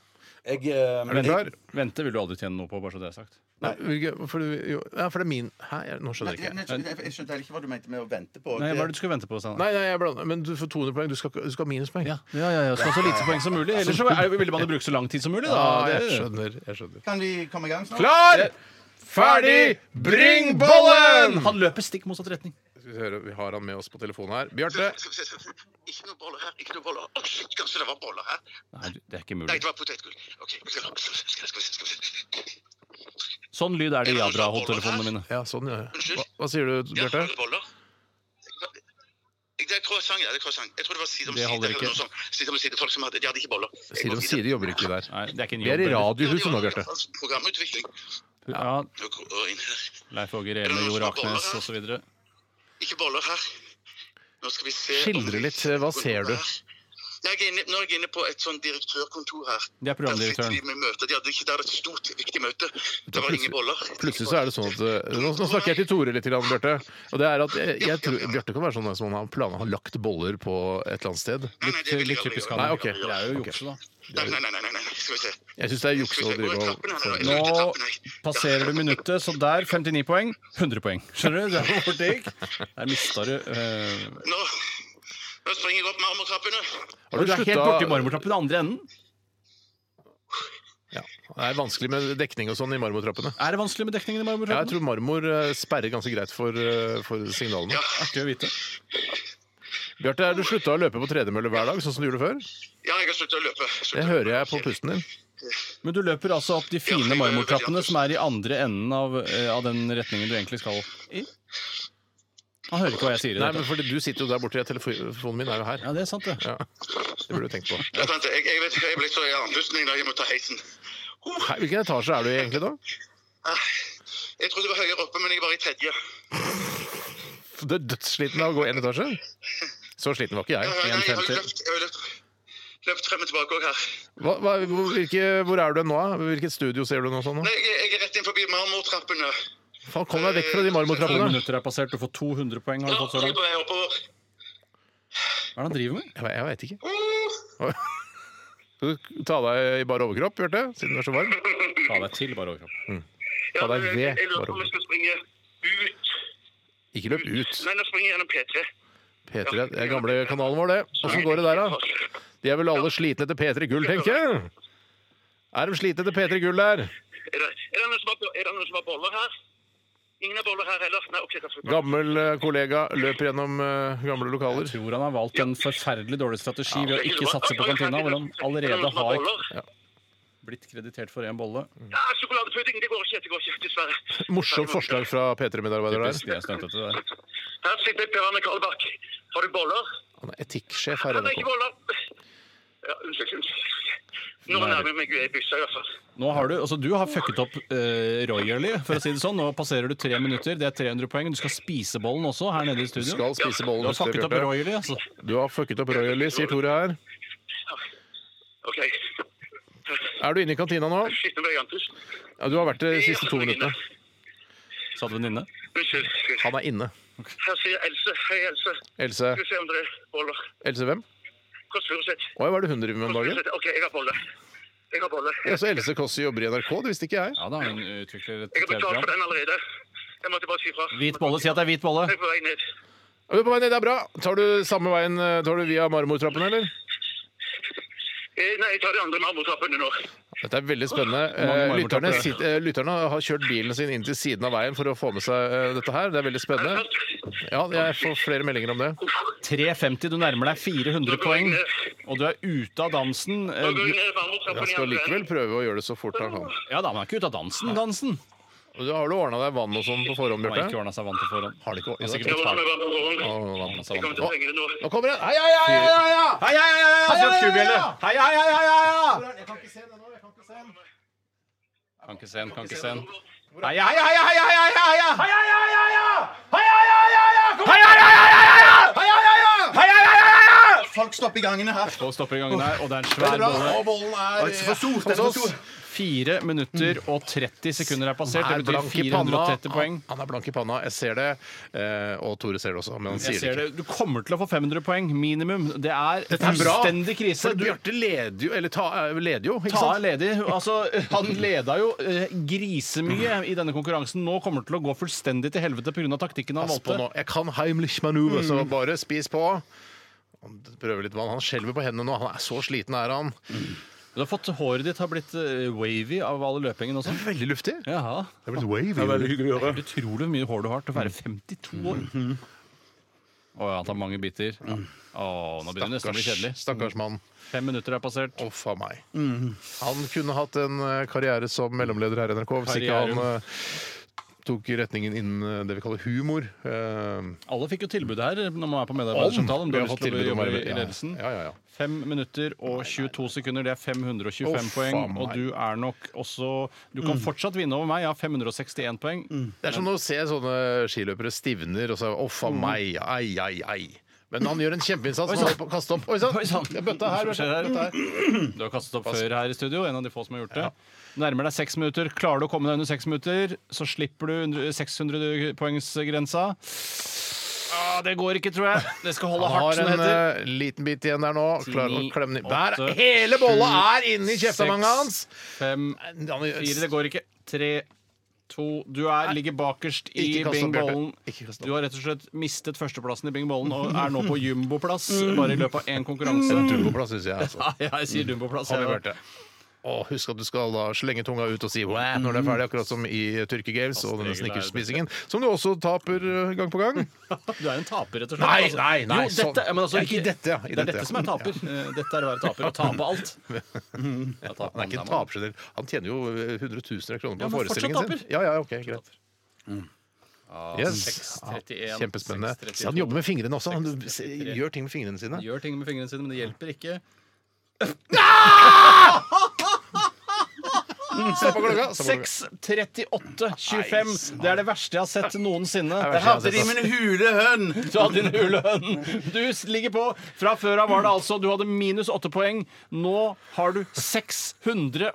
Speaker 2: Jeg, eh,
Speaker 1: Er du klar?
Speaker 3: Vente vil du aldri tjene noe på, bare så det er sagt.
Speaker 1: Nei, hvilke- hvorfor du- jo, ja, for det er min Hæ, jeg- nå skjønner
Speaker 2: Nei,
Speaker 1: jeg
Speaker 2: jeg,
Speaker 1: ikke.
Speaker 2: jeg, jeg, jeg skjønte heller ikke hva du mente med å vente på.
Speaker 3: Nei,
Speaker 2: Det-
Speaker 3: Hva er det du skal vente på? Steinar?
Speaker 1: Nei, nei, jeg blander. Men du får 200 poeng. Du skal, ikke- du skal ha minuspoeng.
Speaker 3: Ja, ja, ja, ja. Skal ha så lite poeng som mulig. Ellers så er, vil man jo bruke så lang tid som mulig, da.
Speaker 1: Ja,
Speaker 3: Det-
Speaker 1: jeg skjønner. Jeg skjønner.
Speaker 2: Kan vi komme i gang snart?
Speaker 1: Klar, ferdig, bring bollen!
Speaker 3: Han løper stikk motsatt retning.
Speaker 1: Skal vi, høre, vi har han med oss på telefonen her. Bjarte.
Speaker 8: Skal vi se, skal vi se. Ikke noe boller her. ikke noe boller. Å, shit, kanskje det var boller her?
Speaker 3: Nei, det er ikke
Speaker 8: Nei,
Speaker 3: mulig.
Speaker 8: det var potetgull. Ok, skal, skal, skal, skal vi se, skal vi se.
Speaker 3: Sånn lyd er det i Jabra-hodetelefonene mine.
Speaker 1: Ja, sånn, ja.
Speaker 8: Unnskyld?
Speaker 1: Hva, hva sier du,
Speaker 8: Ja, var
Speaker 1: Bjarte?
Speaker 8: det boller? Det er croissant, ja. det er croissant. Jeg tror det var side om
Speaker 3: Det
Speaker 8: side.
Speaker 3: holder
Speaker 8: eller
Speaker 3: ikke.
Speaker 8: noe sånt. Side om side, folk som hadde, De hadde ikke boller. Jeg
Speaker 1: Side
Speaker 8: går
Speaker 1: om
Speaker 8: videre.
Speaker 1: side jobber ikke vi der.
Speaker 3: Nei, det er ikke en
Speaker 1: Vi er i
Speaker 3: jobb.
Speaker 1: radiohuset nå,
Speaker 8: Ja,
Speaker 1: Bjarte.
Speaker 8: altså, det var i hvert fall Programutvikling.
Speaker 3: Ja,
Speaker 8: Nå går jeg inn her.
Speaker 3: Leif Åge Reme, Jord Aknes osv. Det
Speaker 8: Ikke boller her. Nå skal vi se om-
Speaker 1: Skildre litt, hva ser du?
Speaker 8: Jeg er inne, nå er jeg inne på et sånn direktørkontor her.
Speaker 3: Det er programdirektøren.
Speaker 8: Der sitter de med møte. De hadde ikke der et stort, viktig møte. Det var ingen boller.
Speaker 1: Plutselig så er det sånn at eh, Nå, nå snakker jeg til Tore litt, grann, Bjarte. Og det er at jeg, jeg tror Bjarte kan være sånn som han har planer har lagt boller på et eller annet sted.
Speaker 8: Nei, nei, det vil jeg
Speaker 3: litt
Speaker 8: aldri
Speaker 3: typisk han.
Speaker 8: gjøre.
Speaker 1: Nei, ok.
Speaker 8: Det
Speaker 3: er jo
Speaker 8: er jo
Speaker 3: jukse, da.
Speaker 8: Nei, nei, nei, nei, nei, nei. Skal vi se.
Speaker 1: Jeg syns det er juks å drive og
Speaker 3: Nå
Speaker 8: Nå
Speaker 3: passerer du minuttet, så der 59 poeng. 100 poeng. Skjønner du? Det er hvor fort det gikk. Der mista du eh,
Speaker 8: Nå, nå springer jeg opp marmortrappene.
Speaker 1: Har du
Speaker 3: Du er helt
Speaker 1: slutta-
Speaker 3: borti marmortrappen i andre enden.
Speaker 1: Ja. Det er vanskelig med dekning og sånn i marmortrappene.
Speaker 3: Er det vanskelig med dekningen i
Speaker 1: Ja, jeg
Speaker 3: marmortrappen?
Speaker 1: tror marmor eh, sperrer ganske greit for, eh, for signalene.
Speaker 3: Artig å vite.
Speaker 1: Bjarte, er du slutta å løpe på tredemølle hver dag, sånn som du gjorde før?
Speaker 8: Ja, jeg har sluttet å løpe. Sluttet
Speaker 1: Det
Speaker 8: å
Speaker 1: hører
Speaker 8: løpe.
Speaker 1: jeg på pusten din.
Speaker 3: Men du løper altså opp de fine marmortrappene som er i andre enden av, eh, av den retningen du egentlig skal i? Han hører ikke hva jeg sier i det
Speaker 1: Nei,
Speaker 3: hele
Speaker 1: men
Speaker 3: tatt.
Speaker 1: fordi du sitter jo der borte. jeg- Telefonen min er jo her.
Speaker 3: Ja, det er sant, det.
Speaker 1: Ja. Det burde du tenkt på.
Speaker 8: Ja, sant, Jeg, jeg, vet, jeg ble så i andpustning da jeg måtte ta heisen. Uh,
Speaker 1: Hei, Hvilken etasje er du i egentlig da?
Speaker 8: Ah, Jeg trodde det var høyere oppe, men jeg var i tredje.
Speaker 1: Du er dødssliten av å gå én etasje? Så sliten var ikke
Speaker 8: Ja, ja,
Speaker 1: jeg.
Speaker 8: ja, jeg har
Speaker 1: 1,50.
Speaker 8: løpt, jeg har løpt, løpt frem og tilbake også her.
Speaker 1: Hva, hva, hvor, hvilke, hvor er du nå? da? Hvilket studio ser du nå? sånn nå?
Speaker 8: Nei, jeg, jeg er rett inn forbi marmortrappene.
Speaker 1: Faen, kom deg vekk
Speaker 8: Eh,
Speaker 1: fra de
Speaker 3: Ti
Speaker 1: marmortrappene!
Speaker 3: minutter er passert, du får 200 poeng. har
Speaker 8: Ja,
Speaker 3: du fått så
Speaker 8: jeg er
Speaker 3: langt.
Speaker 8: på vei oppover.
Speaker 3: Hva er det han driver med?
Speaker 1: Jeg, jeg veit ikke.
Speaker 8: Uh,
Speaker 1: Skal du ta deg i bar overkropp, Bjarte? Siden du er så varm?
Speaker 3: Ta deg til, bare overkropp.
Speaker 8: Ja,
Speaker 1: Ta deg
Speaker 8: men
Speaker 1: ved.
Speaker 8: Jeg lurer på om jeg skal springe ut.
Speaker 1: Ikke løp ut.
Speaker 8: Nei, nå springer jeg gjennom P3.
Speaker 1: P3 det er gamle kanalen vår, det. Åssen går det der, da? De er vel alle slitne etter P3 Gull, tenker jeg. Er de slitne etter P3 Gull der?
Speaker 8: Er det, er det noen som har, bo- er det noen som har boller her? Ingen har boller her heller? Nei, ok, da skal vi gå.
Speaker 1: Gammel eh, kollega løper gjennom eh, gamle lokaler.
Speaker 3: Jeg tror han har valgt en forferdelig dårlig strategi ved å ikke satse på kantina, hvor han
Speaker 8: Er det
Speaker 3: allerede
Speaker 8: noen som
Speaker 3: har
Speaker 8: boller?
Speaker 3: blitt kreditert for én bolle.
Speaker 8: Ja, sjokoladepudding, det går ikke, det går ikke, dessverre.
Speaker 1: Morsomt forslag fra P3-medarbeidere
Speaker 3: Typisk de
Speaker 1: der.
Speaker 3: er stuntete der.
Speaker 8: Her sitter Per Arne Karlbakk. Har du boller?
Speaker 1: Han er etikksjef her i
Speaker 8: Han har ikke
Speaker 1: NRK.
Speaker 8: boller. Ja, unnskyld, unnskyld. Nå nærmer jeg meg i byssa i hvert fall.
Speaker 3: Nå har du, altså du har fucket opp eh, royally, for å si det sånn. Nå passerer du tre minutter. Det er 300 poeng. Du skal spise bollen også her nede i
Speaker 1: Du
Speaker 3: studio.
Speaker 1: skal spise
Speaker 3: du
Speaker 1: bollen hvis
Speaker 3: har
Speaker 1: det
Speaker 3: fucket opp
Speaker 1: Bjarte.
Speaker 3: royally, altså.
Speaker 1: Du har fucket opp royally, sier Tore her.
Speaker 8: Ok.
Speaker 1: Er du inne i kantina nå?
Speaker 8: Shit, nå ble jeg andpust.
Speaker 1: Ja, du har vært det de siste to minuttene.
Speaker 3: Sa du venninne?
Speaker 8: Unnskyld. unnskyld.
Speaker 1: Han er inne.
Speaker 8: Her sier Else. Hei, Else.
Speaker 1: Else,
Speaker 8: Skal vi se om det er boller.
Speaker 1: Else hvem?
Speaker 8: Kåss Furuseth.
Speaker 1: Oi, hva er det hun driver med om
Speaker 8: Kåss
Speaker 1: dagen?
Speaker 8: Furuseth. OK, jeg har boller. Jeg har boller.
Speaker 1: Ja, så Else Kåss jobber i NRK, det visste ikke jeg.
Speaker 3: Ja da, hun utvikler et
Speaker 8: Jeg har betalt for
Speaker 3: TV-program.
Speaker 8: den allerede. Jeg måtte bare si fra.
Speaker 3: Hvit bolle. Si at det er hvit bolle.
Speaker 8: Jeg er på vei ned.
Speaker 1: Ja, Du er på vei ned, det er bra. Tar du samme veien eh, tar du via marmortrappen, eller?
Speaker 8: Eh, Nei, jeg tar de andre marmortrappene nå.
Speaker 1: Dette er veldig spennende.
Speaker 3: Mange
Speaker 1: Eh,
Speaker 3: marmortrapper.
Speaker 1: Lytterne, sit, eh, lytterne har kjørt bilen sin inn til siden av veien for å få med seg eh, dette her. Det er veldig spennende. Ja, jeg får flere meldinger om det.
Speaker 3: 350. Du nærmer deg 400 poeng. Og du er ute av dansen. Eh,
Speaker 8: Nå går jeg
Speaker 3: du-
Speaker 8: ned marmortrappen
Speaker 1: Han
Speaker 8: igjen.
Speaker 1: skal likevel prøve å gjøre det så fort han kan.
Speaker 3: Ja da, men han er ikke ute av dansen, dansen.
Speaker 1: Og Da har du ordna deg vann og sånn på forhånd,
Speaker 3: Han har ikke
Speaker 1: Bjarte?
Speaker 3: ordna seg vann til forhånd.
Speaker 1: Har du ikke ordnet
Speaker 3: sikkert
Speaker 8: Jeg ordner meg varm på
Speaker 1: Å,
Speaker 8: morgenen.
Speaker 1: vann. altså.
Speaker 3: Han sa vann.
Speaker 8: Jeg kommer til å trenge det nå.
Speaker 1: Nå kommer det! Hei, hei, hei, hei, hei, hei!
Speaker 2: Hei, hei, hei, hei, hei, hei, hei, hei! Hei, hei, hei, hei, hei!
Speaker 3: Kan ikke se en, kan ikke se en.
Speaker 2: Hei, hei, hei, hei, hei, hei, hei, hei! Folk stopper i gangen her.
Speaker 3: Og stopper i gangen her, og det er en svær bolle.
Speaker 1: bollen
Speaker 2: Å, det er eh, for stor, det er for stor.
Speaker 3: 4 minutter og 30 sekunder er passert.
Speaker 1: er
Speaker 3: Det betyr
Speaker 1: blank i panna.
Speaker 3: 430 poeng.
Speaker 1: Han, han er blank i panna. Jeg ser det. Eh, og Tore ser det også, men han
Speaker 3: Jeg
Speaker 1: sier det
Speaker 3: ser
Speaker 1: ikke.
Speaker 3: det. Du kommer til å få 500 poeng, minimum. Det er
Speaker 1: Dette er bra.
Speaker 3: fullstendig krise.
Speaker 1: For
Speaker 3: Du
Speaker 1: Bjarte leder jo, eller ta, eh, leder jo, ikke
Speaker 3: ta er
Speaker 1: sant?
Speaker 3: ledig. Altså, han leda jo eh, grisemye i denne konkurransen. Nå kommer det til å gå fullstendig til helvete pga. taktikken han
Speaker 1: Pass på nå.
Speaker 3: valgte.
Speaker 1: Jeg kan Heimlich manøver, så
Speaker 3: Mm.
Speaker 1: bare spis på. Han prøver litt vann. Han skjelver på hendene nå. Han er så sliten, er han.
Speaker 3: Du har fått Håret ditt har blitt eh, wavy av all løpingen også.
Speaker 1: Veldig luftig.
Speaker 3: Jaha.
Speaker 1: Det er blitt wavy.
Speaker 2: hyggelig å
Speaker 3: Det er Utrolig mye hår du har til å være 52 år.
Speaker 1: Mhm.
Speaker 3: Å ja, han tar mange biter. Å, nå begynner det nesten å
Speaker 1: Mm.
Speaker 3: bli
Speaker 1: Stakkars,
Speaker 3: kjedelig.
Speaker 1: stakkars mann.
Speaker 3: Fem minutter er passert.
Speaker 1: Å, faen meg.
Speaker 3: Mm.
Speaker 1: Han kunne hatt en eh, karriere som mellomleder her i NRK hvis ikke
Speaker 3: Karriere.
Speaker 1: han eh, tok retningen innen eh, det vi kaller humor. Eh,
Speaker 3: Alle fikk jo tilbudet her når man er på medarbeidersentralen. Du
Speaker 1: Jeg har
Speaker 3: har lyst til å
Speaker 1: tilbud om
Speaker 3: jobbe i
Speaker 1: arbeid. Ja, ja.
Speaker 3: ledelsen.
Speaker 1: Ja, ja, ja.
Speaker 3: 5 minutter og 22 sekunder. Det er 525
Speaker 1: Å, faen
Speaker 3: poeng. Og
Speaker 1: meg. Mm.
Speaker 3: du er nok også Du kan fortsatt vinne over meg. Jeg har 561 poeng.
Speaker 1: Det er som å se sånne skiløpere stivner og så er det, 'Å,
Speaker 3: Mm.
Speaker 1: faen meg. Ai, ai, ai'. Men han gjør en kjempeinnsats. Han holder på å kaste opp. Oi
Speaker 3: (laughs) sånn. Oi, sånn. sann.
Speaker 1: sann! Det er Bøtta her.
Speaker 3: Hva skjer her?
Speaker 1: Bøtta her.
Speaker 3: Du har kastet opp før her i studio. En av de få som har gjort det. Nærmer deg seks minutter. Klarer du å komme deg under seks minutter, så slipper du under- 600-poengsgrensa. Ah, det går ikke, tror jeg. Det skal holde
Speaker 1: Han
Speaker 3: hardt,
Speaker 1: har
Speaker 3: som det
Speaker 1: en
Speaker 3: heter.
Speaker 1: eh, liten bit igjen der nå. Klarer å
Speaker 3: Ni,
Speaker 1: klemme ned
Speaker 3: åtte,
Speaker 1: Der! Hele bolla er inni
Speaker 3: seks,
Speaker 1: kjeftemanget hans!
Speaker 3: Fem,
Speaker 1: Han gjør-
Speaker 3: Fire, det går ikke. Tre, to Du er, ligger bakerst i
Speaker 1: Ikke kast opp, Bjarte.
Speaker 3: bingbollen.
Speaker 1: Ikke kast opp.
Speaker 3: Du har rett og slett mistet førsteplassen i bingbollen og er nå på jumboplass
Speaker 1: Mm.
Speaker 3: bare i løpet av én konkurranse.
Speaker 1: Turboplass, synes jeg. Altså.
Speaker 3: Ja, jeg sier jumboplass.
Speaker 1: Kom igjen,
Speaker 3: jeg.
Speaker 1: Bjarte. Og husk at du skal da slenge tunga ut og si «Wæ» når det er ferdig, akkurat som i Tyrkia Games og denne snickerspisingen, som du også taper eh, gang på gang.
Speaker 3: Du er en taper, rett og slett.
Speaker 1: Nei,
Speaker 3: Altså,
Speaker 1: nei, nei,
Speaker 3: Jo, dette,
Speaker 1: sånn.
Speaker 3: men altså,
Speaker 1: Ja, ikke dette, ja, i
Speaker 3: Det er
Speaker 1: dette, ja.
Speaker 3: dette som er taper. Eh, Dette er å være taper. Å tape alt.
Speaker 1: (laughs)
Speaker 3: Mm. Ja, taper
Speaker 1: Han er ikke
Speaker 3: man,
Speaker 1: en
Speaker 3: da, man.
Speaker 1: taper generelt. Han tjener jo eh, hundretusener av kroner på
Speaker 3: Ja, men fortsatt
Speaker 1: forestillingen sin.
Speaker 3: taper.
Speaker 1: Ja, ja, ok, greit. Yes.
Speaker 3: 6.31,
Speaker 1: Ja, Kjempespennende.
Speaker 3: 6.32.
Speaker 1: Se, han jobber med fingrene også. Han se, gjør ting med fingrene sine.
Speaker 3: Gjør ting med fingrene sine, men det hjelper ikke.
Speaker 1: Stopp av klokka! stopp av klokka.
Speaker 3: 6.38,25. Det er det verste jeg har sett noensinne.
Speaker 1: Det er det verste jeg
Speaker 2: Der
Speaker 1: har
Speaker 2: hadde
Speaker 1: sett,
Speaker 2: de
Speaker 1: ass.
Speaker 2: min hulehønn.
Speaker 3: Du hadde din ulønn. Du ligger på. Fra før av var det altså Du hadde minus åtte poeng. Nå har du 630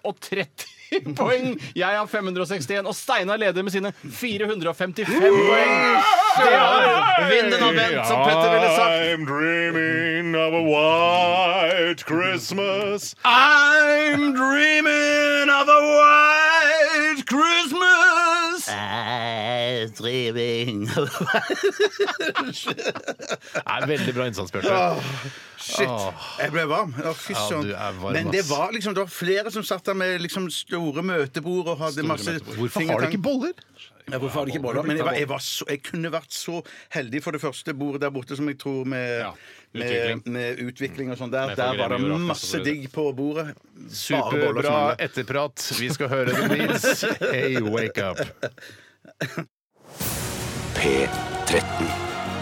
Speaker 3: (laughs) poeng. Jeg har 561, og Steinar leder med sine 455 poeng. Det er vinden og vent, som Petter ville sagt.
Speaker 1: I'm dreaming of a white Christmas.
Speaker 3: I'm dreaming of a white Christmas.
Speaker 2: driving
Speaker 1: (laughs) Nei, veldig bra innsats, Bjarte. Ah,
Speaker 2: Shit. Jeg ble varm. Å, fy
Speaker 1: Ja,
Speaker 2: søren.
Speaker 1: du er varm,
Speaker 2: Men det
Speaker 1: ass.
Speaker 2: var liksom Det var flere som satt der med liksom store møtebord og hadde masse
Speaker 1: Hvorfor har de ikke boller?
Speaker 2: Ja, hvorfor har de ikke boller? Men jeg, var, jeg, var så, jeg kunne vært så heldig for det første bordet der borte, som jeg tror med,
Speaker 1: Ja,
Speaker 2: med,
Speaker 1: utvikling.
Speaker 2: med utvikling og sånn. Der,
Speaker 3: Med
Speaker 2: der var
Speaker 3: Fagerheim,
Speaker 2: det
Speaker 3: Joraffe, og så
Speaker 2: masse
Speaker 3: videre.
Speaker 2: digg på bordet. Bare boller som
Speaker 1: Superbra
Speaker 2: mangler.
Speaker 1: etterprat. Vi skal høre The Beats. Hey, wake up.
Speaker 6: P13.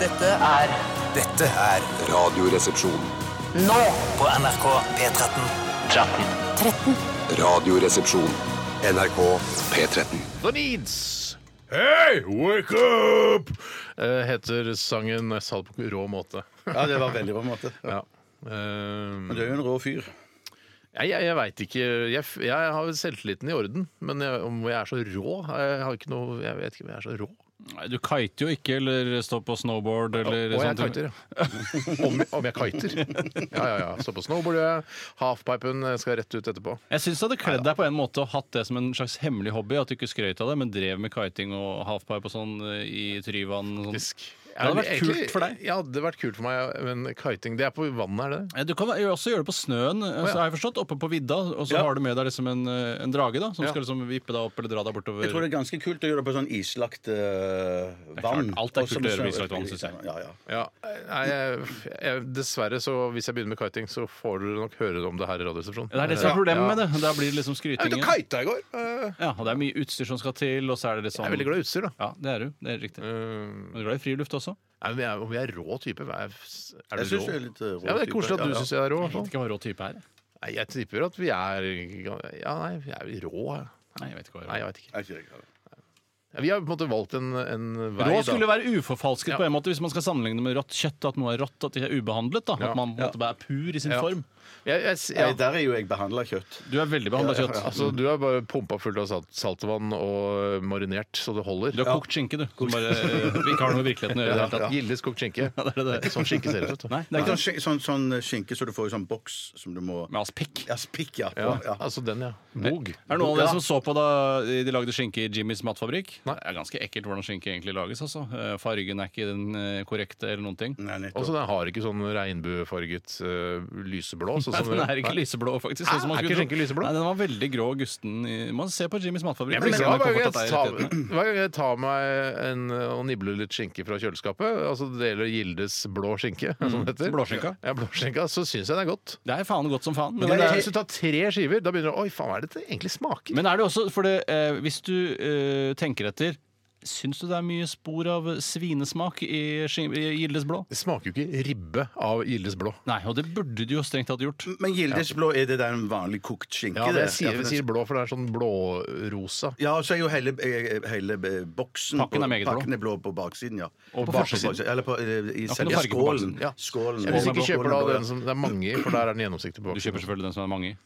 Speaker 9: Dette er
Speaker 5: Dette er
Speaker 6: Radioresepsjon.
Speaker 9: nå.
Speaker 5: på NRK P13.
Speaker 6: Radioresepsjon. NRK P13.
Speaker 1: The Needs. Hey, wake up! Eh, heter sangen Jeg sa det på en rå
Speaker 3: (laughs)
Speaker 1: måte.
Speaker 2: Ja, det var veldig bra måte.
Speaker 1: Ja. Ehm,
Speaker 2: Men du er jo en rå fyr.
Speaker 1: jeg jeg, jeg veit ikke. Jeg, f- jeg har selvtilliten i orden. Men jeg, om jeg er så rå Jeg har ikke noe Jeg vet ikke om jeg er så rå.
Speaker 3: Nei, Du kiter jo ikke, eller står på snowboard, eller
Speaker 1: og jeg
Speaker 3: sånne ting.
Speaker 1: kiter, ja. Om, om jeg kiter. Ja, ja, ja. Står på snowboard, jeg. Halfpipen eh, skal rett ut etterpå.
Speaker 3: Jeg syns det hadde kledd deg på en måte å hatt det som en slags hemmelig hobby. At du ikke skrøt av det, men drev med kiting og halfpipe og sånn eh, i Tryvann. og Sånn.
Speaker 1: Faktisk.
Speaker 3: Det hadde vært kult for deg.
Speaker 1: Ja, det hadde vært kult for meg, men kiting Det er på vannet, er det det?
Speaker 3: Eh, Du kan jo også gjøre det på snøen, eh,
Speaker 1: ja.
Speaker 3: så har jeg forstått, oppe på vidda. Og så
Speaker 2: Ja.
Speaker 3: har du med deg liksom en, eh, en drage da, som
Speaker 1: Ja.
Speaker 3: skal liksom vippe deg opp eller dra deg bortover.
Speaker 2: Jeg tror det er ganske kult å gjøre det på sånn islagt eh, vann.
Speaker 3: klart, alt er
Speaker 2: Og som
Speaker 3: kult å gjøre på
Speaker 2: snø-
Speaker 3: islagt vann, synes jeg.
Speaker 2: Ja, ja.
Speaker 1: Ja, nei, jeg, jeg, dessverre så Hvis jeg begynner med kiting, så får dere nok høre om det her i Radioresepsjonen.
Speaker 3: Det er det som er problemet
Speaker 1: Ja.
Speaker 3: med det. Da blir det liksom
Speaker 1: Jeg
Speaker 3: skrytingen.
Speaker 1: begynte å kite i går. Eh,
Speaker 3: Ja, og det er mye utstyr som skal til, og så er det liksom
Speaker 1: Jeg er veldig glad i utstyr, da.
Speaker 3: Ja, det er du. Det er riktig.
Speaker 1: Eh,
Speaker 3: Men du er glad i friluft også?
Speaker 1: Nei, men jeg, om jeg er rå type? hva Er, er
Speaker 2: Jeg
Speaker 1: du rå?
Speaker 2: syns du er litt eh, rå.
Speaker 1: Ja, men det er koselig at du
Speaker 2: type. Ja, ja.
Speaker 1: syns jeg er rå. i hvert
Speaker 3: Jeg vet
Speaker 1: fall.
Speaker 3: ikke hva rå type er.
Speaker 1: Nei, jeg tipper at vi er Ja, nei, vi er jo rå. jeg.
Speaker 3: Nei, jeg vet ikke
Speaker 1: Nei,
Speaker 3: hva rå
Speaker 1: jeg veit ikke.
Speaker 2: Er ikke det greit?
Speaker 1: Ja, Vi har på en måte valgt en, en vei.
Speaker 3: Rå
Speaker 1: da.
Speaker 3: skulle være uforfalsket
Speaker 1: Ja.
Speaker 3: på en måte hvis man skal sammenligne det med rått kjøtt. At noe er rått, at det ikke er ubehandlet. Da.
Speaker 1: Ja.
Speaker 3: At man på en måte bare er pur i sin
Speaker 1: Ja.
Speaker 3: form.
Speaker 1: Jeg- jeg s-
Speaker 2: Nei,
Speaker 1: ja.
Speaker 2: der er jo jeg behandla kjøtt.
Speaker 3: Du er veldig behandla kjøtt.
Speaker 1: Altså, du har bare pumpa fullt av salt, saltvann og marinert så det holder.
Speaker 3: Du har kokt skinke, du. Som bare eh, ikke har noe med virkeligheten å gjøre. i det hele tatt.
Speaker 1: Gildes kokt skinke.
Speaker 3: Ja, det er det.
Speaker 1: ikke sånn skinke ser ut. vet du.
Speaker 3: Nei, det er
Speaker 2: Ikke
Speaker 3: ikke
Speaker 2: sånn, skin- sånn, sånn skinke som du får i sånn boks som du må
Speaker 3: med aspikk.
Speaker 2: Ja, spikk, ja.
Speaker 1: Ja,
Speaker 2: På, ja.
Speaker 1: Altså den, ja. Mog.
Speaker 3: Er Mm. det noen av dere som
Speaker 2: Ja.
Speaker 3: så på da de lagde skinke i Jimmys matfabrikk? Det er ganske ekkelt hvordan skinke egentlig lages. altså. Eh, Fargen er ikke den eh, korrekte eller noen ting. (laughs)
Speaker 2: Nei, nettopp.
Speaker 1: Også den har ikke sånn regnbuefarget eh,
Speaker 3: (laughs)
Speaker 1: lyseblå. Sånn
Speaker 3: Nei,
Speaker 1: som-
Speaker 3: den er ikke lyseblå, faktisk. sånn som man
Speaker 1: Er
Speaker 3: skulle
Speaker 1: ikke
Speaker 3: tro.
Speaker 1: skinke lyseblå?
Speaker 3: Nei, den var veldig grå og gusten. i- Man ser på Jimmys matfabrikk.
Speaker 1: Jeg blir
Speaker 3: ser
Speaker 1: glad
Speaker 3: hvor
Speaker 1: hver gang
Speaker 3: komfort
Speaker 1: jeg
Speaker 3: at det er i
Speaker 1: tar-
Speaker 3: realiteten.
Speaker 1: hver gang jeg tar meg en, og nibler litt skinke fra kjøleskapet. Altså det gjelder Gildes blå skinke, (laughs)
Speaker 3: Mm.
Speaker 1: som det heter.
Speaker 3: blåskinka.
Speaker 1: Ja, blåskinka, så syns jeg det er godt.
Speaker 3: Det er faen godt som faen. Men,
Speaker 1: Men
Speaker 3: det
Speaker 1: hvis du
Speaker 3: er,
Speaker 1: tar tre skiver, da begynner du Oi, faen, hva er det det egentlig smaker?
Speaker 3: men er det også For det, eh, hvis du eh, tenker etter Syns du det er mye spor av svinesmak i, skin- i Gildes blå?
Speaker 1: det smaker jo ikke ribbe av Gildes blå.
Speaker 3: Nei, og det burde du jo strengt tatt gjort.
Speaker 2: Men Gildes blå, er det den vanlige kokt skinke?
Speaker 1: Ja, men jeg
Speaker 2: det?
Speaker 1: sier, jeg
Speaker 2: for den-
Speaker 1: sier blå, for det er sånn blårosa.
Speaker 2: ja, og så er jo hele, eh, hele eh, boksen
Speaker 3: Pakken er meget blå.
Speaker 2: pakken er blå på baksiden, ja.
Speaker 3: Og på
Speaker 2: Bak-
Speaker 3: forsiden.
Speaker 2: baksiden, Eller på, eh, i
Speaker 3: ikke
Speaker 2: selve
Speaker 3: noe farge på
Speaker 2: skålen.
Speaker 3: baksiden.
Speaker 2: Ja, skålen.
Speaker 1: Jeg vil ikke
Speaker 2: Skålen
Speaker 1: kjøpe
Speaker 2: er
Speaker 1: da
Speaker 2: blå, ja.
Speaker 1: den som det er mange i, for der er den gjennomsiktig på
Speaker 3: Du kjøper
Speaker 1: baksiden.
Speaker 3: selvfølgelig den som er mange i.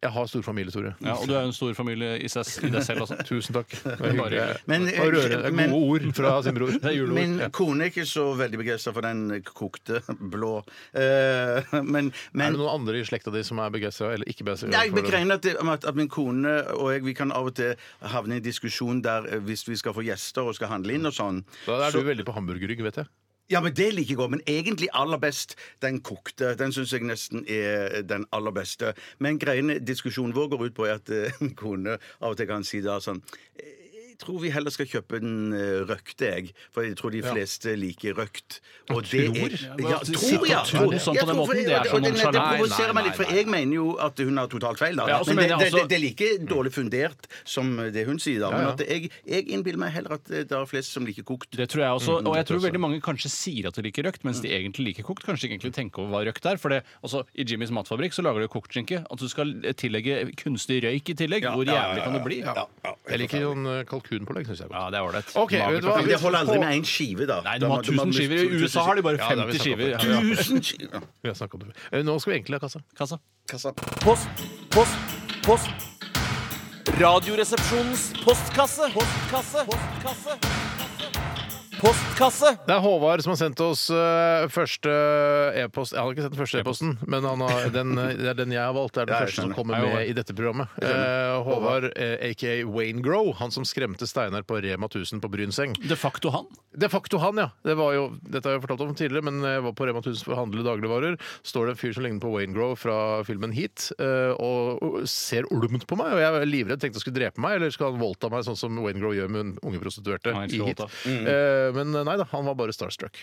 Speaker 1: Jeg har stor familie, Tore.
Speaker 3: Ja, og du er jo en stor familie i, ses, i deg selv (laughs) også.
Speaker 1: Tusen takk. Det var hyggelig.
Speaker 3: hyggelig.
Speaker 2: Men,
Speaker 1: Det var rørende.
Speaker 2: eh, men-
Speaker 1: Gode ord fra sin (laughs) bror.
Speaker 2: Min kone er ikke så veldig begeistra for den kokte blå. Eh, (laughs) men,
Speaker 1: Er
Speaker 2: men
Speaker 1: det noen andre i slekta di som er begeistra eller ikke begeistra?
Speaker 2: Nei, jeg begreiner at, det- om at, at min kone og jeg vi kan av og til havne i en diskusjon der eh, hvis vi skal få gjester og skal handle inn og sånn.
Speaker 1: Da er
Speaker 2: så-
Speaker 1: du veldig på hamburgerrygg, vet jeg.
Speaker 2: Ja, men Det liker jeg godt. Men egentlig aller best den kokte. Den syns jeg nesten er den aller beste. Men greiene diskusjonen vår går ut på er at eh, (laughs) min kone av og til kan si da sånn eh, jeg tror vi heller skal kjøpe den eh, røkte, jeg. For jeg tror de fleste liker røkt. Og det er,
Speaker 3: Ja,
Speaker 2: ja,
Speaker 3: bare sitte
Speaker 2: tror,
Speaker 3: og
Speaker 2: ja.
Speaker 3: tulle sånn på
Speaker 2: Jeg
Speaker 3: den
Speaker 2: tror-
Speaker 3: måten, det er
Speaker 2: og-
Speaker 3: så
Speaker 2: og Det, det
Speaker 3: nonchalant.
Speaker 2: provoserer
Speaker 1: Nei,
Speaker 2: meg litt, for
Speaker 1: nei, nei.
Speaker 2: jeg mener jo at hun har totalt feil. da.
Speaker 3: Ja, og så
Speaker 2: men det,
Speaker 3: mener jeg
Speaker 2: det,
Speaker 3: også-
Speaker 2: det, det er like dårlig fundert som det hun sier, da. Men at jeg, jeg innbiller meg heller at eh, det er flest som liker kokt.
Speaker 3: Mm, Det tror jeg også, Mm. og jeg tror veldig mange kanskje sier at de liker røkt, mens de egentlig liker kokt. Kanskje ikke egentlig tenker over hva røkt er. For det, altså, I Jimmys matfabrikk så lager de jo kokt skinke. At du skal tillegge kunstig røyk i tillegg. Hvor jævlig kan det bli? Ja,
Speaker 1: Jeg liker sånn eh, kalkunpålegg, syns jeg. er godt.
Speaker 3: det er ålreit.
Speaker 1: Ok, vet du hva?
Speaker 2: Men det holder aldri med én skive, da.
Speaker 3: Nei, du må ha 1000 skiver. I USA har de bare
Speaker 1: Ja, det har vi
Speaker 3: 50
Speaker 1: snakket om.
Speaker 3: skiver. Ja, ja.
Speaker 2: 1000 skiver!
Speaker 1: Vi har snakket om det. før. Eh, Nå skal vi egentlig ha kassa.
Speaker 3: Kassa.
Speaker 10: Post, post, post. Radioresepsjonens postkasse. Postkasse. Postkasse. postkasse.
Speaker 1: Det er Håvard som har sendt oss eh, første eh, e-post. Jeg har ikke sett den første e-posten, men han har, den, eh, det er den jeg har valgt. Det er den
Speaker 2: Ja, jeg
Speaker 1: første som
Speaker 2: skjønner.
Speaker 1: kommer
Speaker 3: Hei,
Speaker 1: med
Speaker 3: Håvard.
Speaker 1: i dette programmet. Eh, Håvard, eh, aka Wayne Grow, han som skremte Steinar på Rema 1000 på Brynseng.
Speaker 3: De facto han.
Speaker 1: De facto han, ja. Det var jo, dette har jeg fortalt om tidligere, men jeg var på Rema 1000 for å handle dagligvarer. Står det en fyr som ligner på Wayne Grow fra filmen Heat, eh, og og ser ulmt på meg. Og jeg er livredd, tenkte han skulle drepe meg, eller skal han voldta meg, sånn som Wayne Grow gjør med en unge prostituerte
Speaker 3: Nei, han
Speaker 1: i
Speaker 3: skal
Speaker 1: Heat.
Speaker 3: voldta.
Speaker 1: Eh, Men nei da, han var bare starstruck.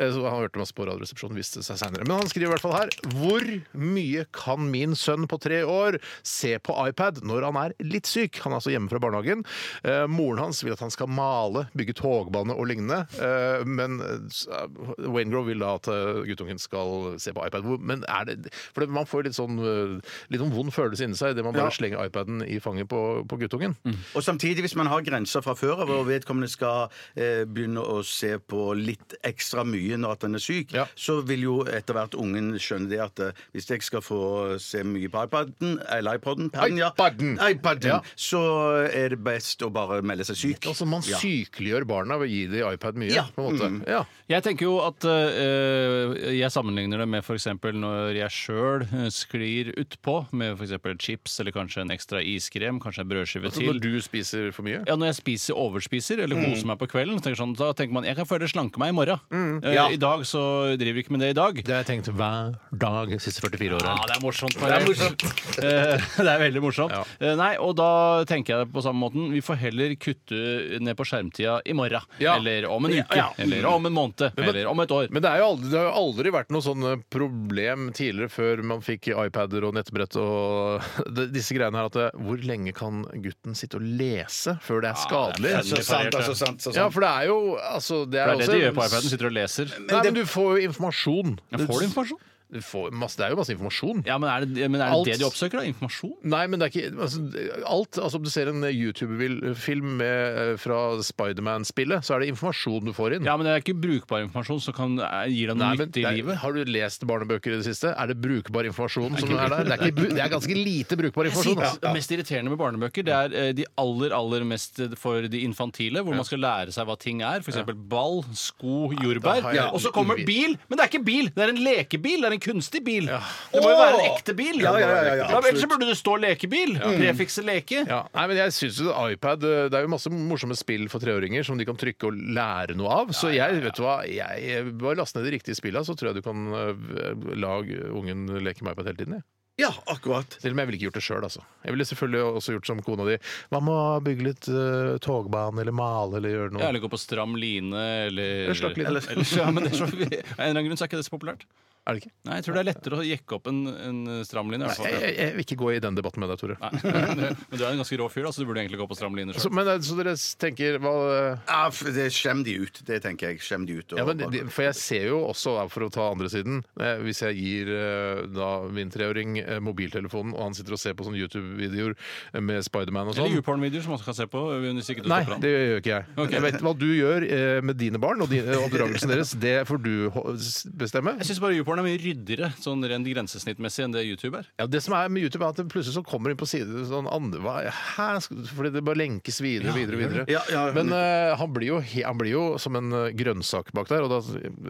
Speaker 1: Eh, Så han hørte masse på Radioresepsjonen, viste det seg seinere. Men han skriver i hvert fall her Hvor mye kan min sønn på tre år se på iPad når han er litt syk? Han er altså hjemme fra barnehagen. Eh, Moren hans vil at han skal male, bygge togbane og lignende. Eh, Men eh, Waingrove vil da at eh, guttungen skal se på iPad. Hvor- Men er det For det- man får litt sånn eh, litt sånn vond følelse inni seg idet man bare slenger iPaden i fanget på, på guttungen.
Speaker 2: Og samtidig, hvis man har grenser fra før av, og vedkommende skal eh, begynne å se på litt ekstra mye når at han er syk,
Speaker 1: Ja.
Speaker 2: så vil jo etter hvert ungen skjønne det at eh, hvis jeg skal få se mye på iPaden, eller iPoden, paden, ja,
Speaker 1: iPaden.
Speaker 2: iPaden
Speaker 1: Ja.
Speaker 2: så er det best å bare melde seg syk.
Speaker 1: Altså Man
Speaker 2: Ja.
Speaker 1: sykeliggjør barna ved å gi dem iPad mye.
Speaker 2: Ja.
Speaker 1: på en måte. Ja.
Speaker 3: Jeg tenker jo at eh, jeg sammenligner det med f.eks. når jeg sjøl eh, sklir utpå med f.eks. chips eller kanskje en ekstra iskrem, kanskje en brødskive
Speaker 1: Så Altså, når
Speaker 3: til.
Speaker 1: du spiser for mye?
Speaker 3: Ja, Når jeg spiser overspiser eller koser meg på kvelden, tenker jeg sånn, da tenker man jeg kan føle slanke meg i morgen. Eh, I dag så driver vi ikke med det i dag.
Speaker 1: Det har jeg tenkt hver dag de siste 44
Speaker 3: Ja,
Speaker 1: åra.
Speaker 3: det er morsomt. Det er, (laughs) det er veldig morsomt.
Speaker 1: Ja.
Speaker 3: Eh, Nei, og da tenker jeg det på samme måten. Vi får heller kutte ned på skjermtida i morgen.
Speaker 1: Ja.
Speaker 3: Eller om en uke.
Speaker 1: Ja, ja.
Speaker 3: Eller om en måned. eller om et år.
Speaker 1: Men det, er jo aldri, det har jo aldri vært noe sånn problem tidligere før man fikk iPader og nettbrett og (laughs) de- disse greiene her at det, hvor lenge kan gutten sitte og lese før det er skadelig?
Speaker 2: Så sant, altså sant, så sant.
Speaker 1: Ja, for det er jo altså, Det
Speaker 3: det
Speaker 1: er,
Speaker 3: er det
Speaker 1: også,
Speaker 3: de gjør på iPaden. Sitter og leser.
Speaker 1: Nei, men du får jo informasjon.
Speaker 3: Ja, får du informasjon?
Speaker 1: Du får masse, det er jo masse informasjon.
Speaker 3: Ja, men er det men er det,
Speaker 1: Alt-
Speaker 3: det de oppsøker? da? Informasjon?
Speaker 1: Nei, men det er ikke altså, alt. altså Om du ser en YouTube-film med- eh, fra Spiderman-spillet, så er det informasjon du får inn.
Speaker 3: Ja, men det er ikke brukbar informasjon som kan eh, gi deg noe
Speaker 1: Nei, men
Speaker 3: nytt i
Speaker 1: det er-
Speaker 3: livet.
Speaker 1: Har du lest barnebøker i det siste? Er det brukbar informasjon som er der? Det er, ikke, bru- det er ganske lite brukbar informasjon.
Speaker 3: Ja.
Speaker 1: Altså.
Speaker 3: Det mest irriterende med barnebøker Det er eh, de aller aller mest eh, for de infantile, hvor man skal lære seg hva ting er. F.eks. ball, sko,
Speaker 1: da
Speaker 3: jordbær.
Speaker 1: har jeg-
Speaker 3: Og så kommer
Speaker 1: Ja.
Speaker 3: bil! Men det er ikke bil! Det er en lekebil! Det er en kunstig bil! Det må
Speaker 2: Åh!
Speaker 3: jo være en ekte bil!
Speaker 2: Ja, ja, ja, ja, ja,
Speaker 3: Ellers så burde det stå lekebil! Prefikset leke.
Speaker 1: Ja. Nei, men jeg synes jo iPad eh, Det er jo masse morsomme spill for treåringer som de kan trykke og lære noe av. Så jeg, vet du hva, jeg bare last ned de riktige spillene, så tror jeg du kan eh, la ungen leke med iPad hele tiden. jeg.
Speaker 2: ja, akkurat.
Speaker 1: Selv om jeg ville ikke gjort det sjøl, altså. Jeg ville selvfølgelig også gjort som kona di. Hva med å bygge litt eh, togbane, eller male, eller gjøre
Speaker 3: Ja,
Speaker 1: noe?
Speaker 3: eller gå på stram line, eller
Speaker 1: Eller slakk line.
Speaker 3: eller- ja, men det er så, (laughs) Av en eller annen grunn så er ikke det så populært.
Speaker 1: Er det ikke?
Speaker 3: Nei, Jeg tror det er lettere å jekke opp en, en stram line. i hvert fall.
Speaker 1: Jeg, jeg, jeg vil ikke gå i den debatten med deg, Tore.
Speaker 3: Nei. (laughs) Men du er en ganske rå fyr, da, så du burde egentlig gå på stram line
Speaker 1: Så,
Speaker 3: sjøl.
Speaker 1: men eh, så dere tenker hva eh,
Speaker 2: Ja, f- det Skjem de ut, det tenker jeg. Skjem de ut. og-
Speaker 1: Ja, men de, for jeg ser jo også, da, for å ta andre siden eh, Hvis jeg gir eh, da min treåring eh, mobiltelefonen, og han sitter og ser på sånne YouTube-videoer eh, med Spiderman og
Speaker 3: Eller
Speaker 1: sånn
Speaker 3: YouPorn-videoer som man også kan se på. hvis ikke du
Speaker 1: Nei,
Speaker 3: stopper han.
Speaker 1: det gjør ikke jeg.
Speaker 3: Ok.
Speaker 1: Jeg vet Hva du gjør eh, med dine barn og din- og oppdragelsen deres, det får du ho- s- bestemme.
Speaker 3: Jeg syns bare YouPorn er mye ryddigere sånn rent grensesnittmessig enn det YouTube er.
Speaker 1: Ja, det som er med YouTube, er at det plutselig så kommer inn på siden sånn andre, hva, hæ, Skal- Fordi det bare lenkes videre og videre. og videre.
Speaker 2: Ja, ja, ja.
Speaker 1: Men eh, han, blir jo, he- han blir jo som en eh, grønnsak bak der. Og da,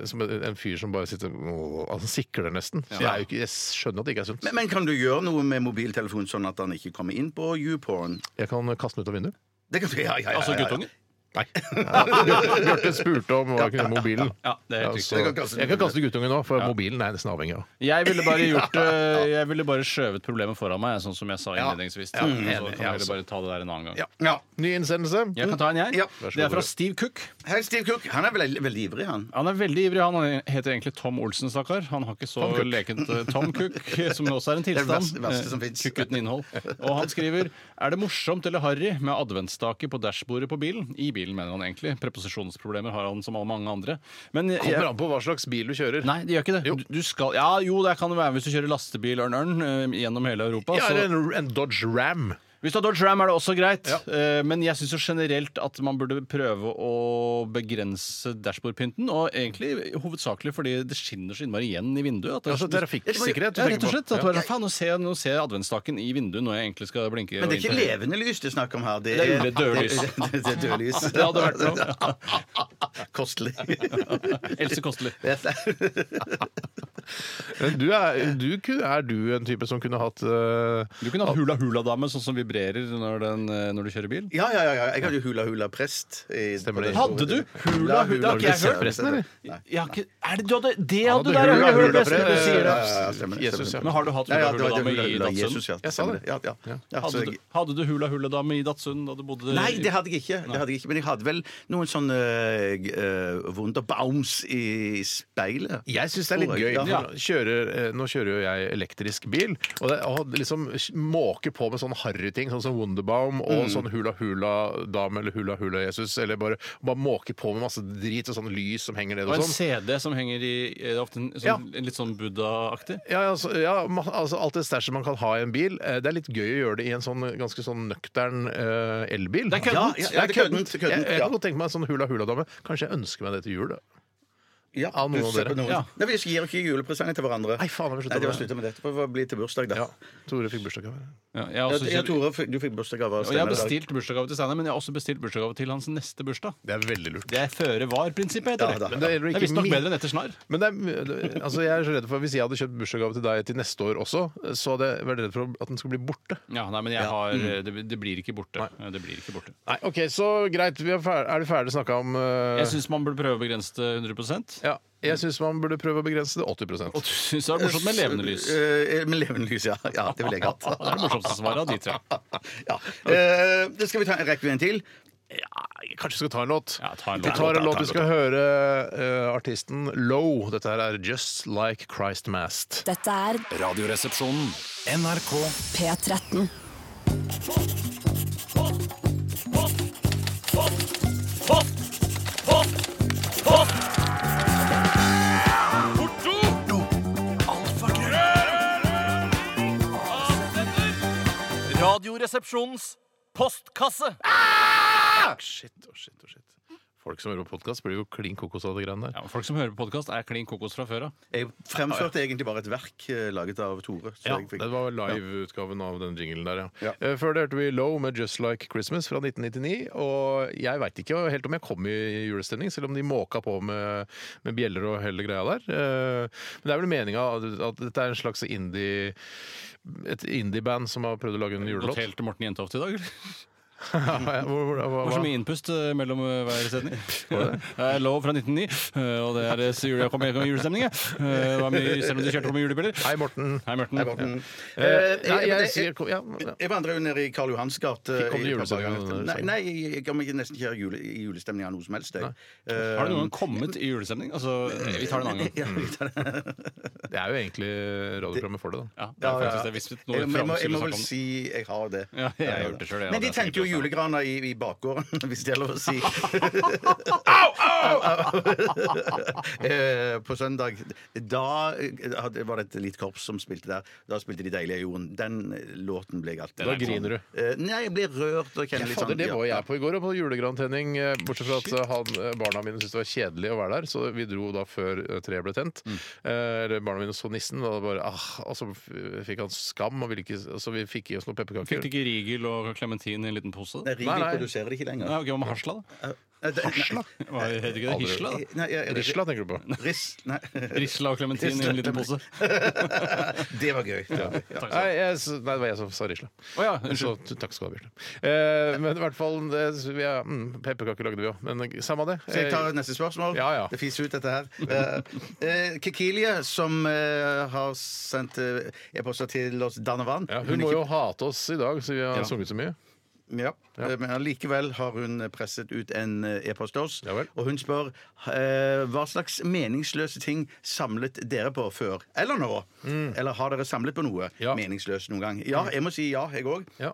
Speaker 1: som en, en fyr som bare sitter og han sikler nesten. Så jeg, er jo ikke, jeg skjønner at det ikke er sunt.
Speaker 2: men, men kan du gjøre noe med mobiltelefonen sånn at han ikke kommer inn på YouPorn?
Speaker 1: Jeg kan kaste den ut av vinduet.
Speaker 2: Det kan du, ja, ja, ja, ja, ja.
Speaker 3: Altså guttungen.
Speaker 1: (laughs) Nei. Bjarte spurte om hva jeg kunne gjøre med mobilen.
Speaker 3: Ja, det er helt
Speaker 1: så-
Speaker 2: Jeg kan kaste den
Speaker 1: jeg kan kaste guttungen nå, for mobilen er jeg nesten avhengig av.
Speaker 3: Jeg ville bare gjort eh, Jeg ville bare skjøvet problemet foran meg, sånn som jeg sa innledningsvis. Mm. Så
Speaker 1: enig,
Speaker 3: kan
Speaker 1: jeg
Speaker 3: dere bare ta det der en annen gang.
Speaker 2: Ja.
Speaker 1: Ny innsendelse.
Speaker 3: Jeg kan ta en, jeg.
Speaker 2: Ja.
Speaker 1: Vær så
Speaker 3: Det
Speaker 1: god,
Speaker 3: er fra
Speaker 1: dere.
Speaker 3: Steve Cook.
Speaker 2: Hei, Steve Cook. Han er veldig, veldig ivrig, han.
Speaker 3: Han er veldig ivrig. Han Han heter egentlig Tom Olsen, stakkar. Han har ikke så
Speaker 1: Tom Cook.
Speaker 3: lekent eh, Tom Cook, som også
Speaker 1: (laughs)
Speaker 3: er en tilstand.
Speaker 2: verste- verste som
Speaker 3: Eh,
Speaker 2: finnes.
Speaker 3: Cook uten innhold. Og han skriver Er det morsomt eller harry med adventsstake på dashbordet på bilen? I bilen, mener han egentlig. Preposisjonsproblemer har han som alle mange andre. Men eh, jeg,
Speaker 1: Kommer an på hva slags bil du kjører.
Speaker 3: Nei, det gjør ikke det.
Speaker 1: Jo.
Speaker 3: Du, du skal, ja, jo, det kan det være hvis du kjører lastebil ørn ørn eh, gjennom hele Europa.
Speaker 1: Ja,
Speaker 3: så-
Speaker 1: eller en, en Dodge Ram.
Speaker 3: hvis du har Dodge Ram, er det også greit.
Speaker 1: Ja.
Speaker 3: Eh, Men jeg syns generelt at man burde prøve å begrense dashbordpynten. Og egentlig hovedsakelig fordi det skinner så innmari igjen i vinduet. At det er-
Speaker 1: Altså trafikksikkerhet.
Speaker 3: ja, rett og slett. At du er sånn, faen, nå ser, jeg- nå ser jeg adventsstaken i vinduet når jeg egentlig skal blinke.
Speaker 2: Men
Speaker 3: og
Speaker 2: det er ikke
Speaker 3: innføre-
Speaker 2: levende lys (laughs) det er snakk om her.
Speaker 3: (laughs) Det er døde lys.
Speaker 2: Det, det, det er døde lys.
Speaker 3: Det hadde vært noe.
Speaker 2: (laughs) Kostelig.
Speaker 3: (laughs)
Speaker 2: (laughs)
Speaker 3: Else Kostelig.
Speaker 1: Men Du er, du, kunne- er du en type som kunne hatt eh,
Speaker 3: (laughs) Du kunne hatt hula-hula-dame, sånn som vibrerer når, den, eh, når du kjører bil.
Speaker 2: Ja, ja, ja, ja. Jeg hadde jo hula-hula-prest. i-
Speaker 1: Stemmer det.
Speaker 3: Hadde du hula-hula? Har ikke jeg hørt.
Speaker 1: Presten, eller?
Speaker 3: Jeg har ikke, er det du hadde Det
Speaker 1: Han
Speaker 3: hadde
Speaker 1: hadde
Speaker 3: du der!
Speaker 1: hula-hula
Speaker 3: hula-hula,
Speaker 1: prest.
Speaker 3: du sier det.
Speaker 2: Ja, ja, ja, stemmer det,
Speaker 1: Jesus, ja.
Speaker 2: stemmer det.
Speaker 3: Men har du hatt
Speaker 2: Ja, ja, det var
Speaker 3: hula-hula-dame i
Speaker 2: hula-hula, Jesus,
Speaker 3: Datsun?
Speaker 2: ja.
Speaker 1: Jeg sa
Speaker 2: stemmer
Speaker 1: det.
Speaker 2: Ja, ja. Ja, så
Speaker 3: Hadde
Speaker 2: jeg-
Speaker 3: du, hadde du hula-hula-dame i Datsun da du
Speaker 1: Eh,
Speaker 3: bodde
Speaker 2: Nei, det hadde jeg ikke. Det hadde jeg ikke. Men jeg hadde vel noen sånn, sånne uh, wunderbaums i speilet.
Speaker 1: Jeg syns det er litt
Speaker 2: Tror
Speaker 1: gøy.
Speaker 2: jeg. Ja.
Speaker 1: Nå Kjører, eh, nå kjører jo jeg elektrisk bil, og det, å liksom måke på med sånne harryting, sånn som Wunderbaum og sånn Hula Hula-dame eller Hula Hula-Jesus, eller bare, bare måke på med masse drit og sånn lys som henger ned
Speaker 3: Og
Speaker 1: og
Speaker 3: en
Speaker 1: sånn.
Speaker 3: CD som henger i er det ofte en, sånn,
Speaker 1: Ja.
Speaker 3: en Litt sånn Buddha-aktig?
Speaker 1: Ja, altså, ja, ma- altså Alt det stæsjet man kan ha i en bil. eh, Det er litt gøy å gjøre det i en sånn ganske sånn nøktern eh, elbil.
Speaker 3: Det er køddent.
Speaker 2: Ja, ja, ja, det er køddent, køddent,
Speaker 1: Jeg, jeg
Speaker 2: ja.
Speaker 1: kan godt tenke meg en sånn hula hula-dame. Kanskje jeg ønsker meg det til jul, da.
Speaker 2: Ja,
Speaker 1: Av noen
Speaker 2: du
Speaker 1: av
Speaker 2: ser
Speaker 1: dere.
Speaker 2: på
Speaker 3: Ja.
Speaker 2: Nei, Vi gir jo ikke julepresanger til hverandre.
Speaker 1: Nei, faen, har vi sluttet
Speaker 2: Nei, det
Speaker 1: med
Speaker 2: var
Speaker 1: det?
Speaker 2: slutta med det. Det får bli til bursdag, da.
Speaker 1: Ja. Altså, Tore fikk bursdagsgave.
Speaker 3: Ja, jeg, har
Speaker 2: Ja,
Speaker 3: også,
Speaker 2: ja, Tore, f- du fikk bursdagsgave av
Speaker 3: og jeg har
Speaker 2: Steinar i dag.
Speaker 3: bestilt bursdagsgave til Steinar, men jeg har også bestilt bursdagsgave til hans neste bursdag.
Speaker 1: Det er veldig lurt.
Speaker 3: Det er føre var-prinsippet, heter
Speaker 2: Ja,
Speaker 3: det.
Speaker 2: da.
Speaker 3: det.
Speaker 1: Men det gjelder
Speaker 3: Det
Speaker 1: ikke
Speaker 3: er visstnok
Speaker 1: min-
Speaker 3: bedre enn etter snar.
Speaker 1: Men det er, det- altså jeg er så redd for Hvis jeg hadde kjøpt bursdagsgave til deg til neste år også, så hadde jeg vært redd for at den skulle bli borte.
Speaker 3: Ja, nei, men jeg har, det, det blir ikke borte. Det blir ikke borte.
Speaker 1: Mm. Nei, ok, Så greit. Vi er, fer er du ferdig snakka om eh,
Speaker 3: Jeg syns man burde prøve å begrense det 100
Speaker 1: ja, jeg syns man burde prøve å begrense det 80
Speaker 3: Og du syns det er morsomt med levende lys. Det
Speaker 2: (laughs) Eh, med levende lys, ja. ja. Det ville jeg
Speaker 1: (laughs)
Speaker 2: hatt.
Speaker 3: er det morsomste svaret av de tre.
Speaker 2: (laughs) ja. Eh, det skal vi ta en rekke en til.
Speaker 1: Ja, jeg kanskje skal ta en låt.
Speaker 3: Ja, ta en
Speaker 1: Vi
Speaker 3: låt.
Speaker 1: tar
Speaker 3: Ta
Speaker 1: en
Speaker 3: en
Speaker 1: låt.
Speaker 3: låt,
Speaker 1: Vi skal høre eh, artisten Low. Dette her er Just Like Christ Mast.
Speaker 4: Dette er
Speaker 5: Radioresepsjonen. NRK
Speaker 4: P13.
Speaker 10: Radioresepsjonens postkasse.
Speaker 1: Shit, oh shit, oh shit. Folk som hører på podkast, blir jo klin kokos av de greiene der.
Speaker 3: Ja, men folk som hører på podkast, er klin kokos fra før av.
Speaker 2: Jeg fremførte egentlig bare et verk eh, laget av Tore. så
Speaker 1: Ja,
Speaker 2: jeg fikk-
Speaker 1: det var live-utgaven av den jinglen der, ja.
Speaker 2: Ja.
Speaker 1: Eh, Før det hørte vi Low med Just Like Christmas fra 1999. Og jeg veit ikke helt om jeg kom i julestemning, selv om de måka på med, med bjeller og hele greia der. Eh, Men det er vel meninga at dette er en slags indie et indie-band som har prøvd å lage en
Speaker 3: Gått
Speaker 1: julelåt.
Speaker 3: helt til Morten Jentoft i dag, eller?
Speaker 1: Ja, ja, hvor- hvor- hva-
Speaker 3: Det var så
Speaker 1: hva-
Speaker 3: mye innpust eh, mellom eh, hver
Speaker 2: (laughs)
Speaker 3: setning. Det er lov fra 1909, eh, og det er eh, så jule- jeg kom i kom i julestemning. jeg. Eh, Det var mye, selv om du kjørte på med julebiler.
Speaker 1: Hei, Morten.
Speaker 3: Hei, Morten.
Speaker 2: Nei, Morten.
Speaker 1: Eh, nei,
Speaker 2: Mm. men
Speaker 1: jeg
Speaker 2: det-
Speaker 1: sier ja, ja.
Speaker 2: Jeg vandra jo ned i Karl Johans gate. eh,
Speaker 1: Fikk kom det
Speaker 2: i-
Speaker 1: julesanger denne
Speaker 2: Nei,
Speaker 1: sangen?
Speaker 2: nei, jeg kan ikke- nesten ikke ha jule, i julestemning av noe som helst. Jeg. Eh,
Speaker 3: Har du noen gang kommet i julestemning? Altså, vi tar det en annen gang.
Speaker 2: (laughs) ja, vi tar det.
Speaker 1: Det er jo egentlig radioprogrammet for det, da.
Speaker 3: Ja, det er
Speaker 2: ja, ja.
Speaker 3: faktisk det. Hvis vi nå
Speaker 2: jeg, jeg, må, jeg
Speaker 3: skulle snakke
Speaker 2: må vel
Speaker 3: om det.
Speaker 2: si jeg har det.
Speaker 3: Ja, jeg har gjort det selv, jeg,
Speaker 2: Men
Speaker 3: og det
Speaker 2: de
Speaker 3: er
Speaker 2: tente jo
Speaker 3: sikkert
Speaker 2: julegrana i, i bakgården, (laughs) hvis det er lov å si. (laughs) Eh, På søndag. Da eh, hadde- var det et lite korps som spilte der. Da spilte de 'Deilige jorden'. Den eh, låten ble jeg alltid
Speaker 1: Da griner du.
Speaker 2: Eh, Nei, jeg blir rørt og kjenner litt
Speaker 3: liksom,
Speaker 1: Fader,
Speaker 2: sånn
Speaker 1: det
Speaker 2: ja.
Speaker 1: var jeg på i går, og på julegrantenning. eh, Bortsett fra at eh, han, eh, barna mine syntes det var kjedelig å være der, så vi dro da før eh, treet ble tent.
Speaker 3: Mm.
Speaker 1: Eh, Eller barna mine så nissen, og da bare ah, Og så f- fikk han skam, og ville ikke, så vi fikk i oss noen
Speaker 3: Fikk
Speaker 1: pepperkaker.
Speaker 3: du ikke Rigel og Clementine i en liten pose?
Speaker 2: Nei,
Speaker 3: Nei,
Speaker 2: Rigi
Speaker 1: Nei, nei.
Speaker 2: produserer det ikke lenger.
Speaker 3: ok, Hva med hasla, da?
Speaker 2: Eh, det-
Speaker 3: Hasla? Hva heter ikke det?
Speaker 1: Aldri.
Speaker 3: Hisla? da?
Speaker 2: Nei, jeg- jeg-
Speaker 1: Risla tenker
Speaker 3: (laughs)
Speaker 1: du på.
Speaker 2: Riss, nei. (laughs)
Speaker 3: Risla og Clementine i en liten pose.
Speaker 2: det var gøy. Det
Speaker 3: Takk
Speaker 2: var gøy.
Speaker 1: Nei,
Speaker 3: skal du ha.
Speaker 1: jeg, s- nei, det var jeg som sa Risla.
Speaker 3: Å ja,
Speaker 1: Så,
Speaker 3: unnskyld.
Speaker 1: t- takk skal du ha, Bjørte. Eh, men i hvert fall det, vi er, mm, Pepperkaker lagde vi òg, men eh, samme det.
Speaker 2: Så jeg tar neste spørsmål.
Speaker 1: Ja, ja.
Speaker 2: Det fiser ut, dette her. Eh, eh, Kikilie, som eh, har sendt eh, e-poster til oss Danavan
Speaker 1: Ja, hun
Speaker 2: er
Speaker 1: må
Speaker 2: ikke-
Speaker 1: jo hate oss i dag, så vi har
Speaker 3: Ja.
Speaker 1: sunget så mye.
Speaker 2: Ja, eh, Men allikevel har hun presset ut en eh, e-post til oss.
Speaker 1: Ja vel.
Speaker 2: og hun spør eh, hva slags meningsløse ting samlet dere på før eller nå? Eller har dere samlet på noe
Speaker 1: Mm. Ja. Mm.
Speaker 2: meningsløst noen gang? Ja, jeg må si ja, jeg òg.
Speaker 1: Ja.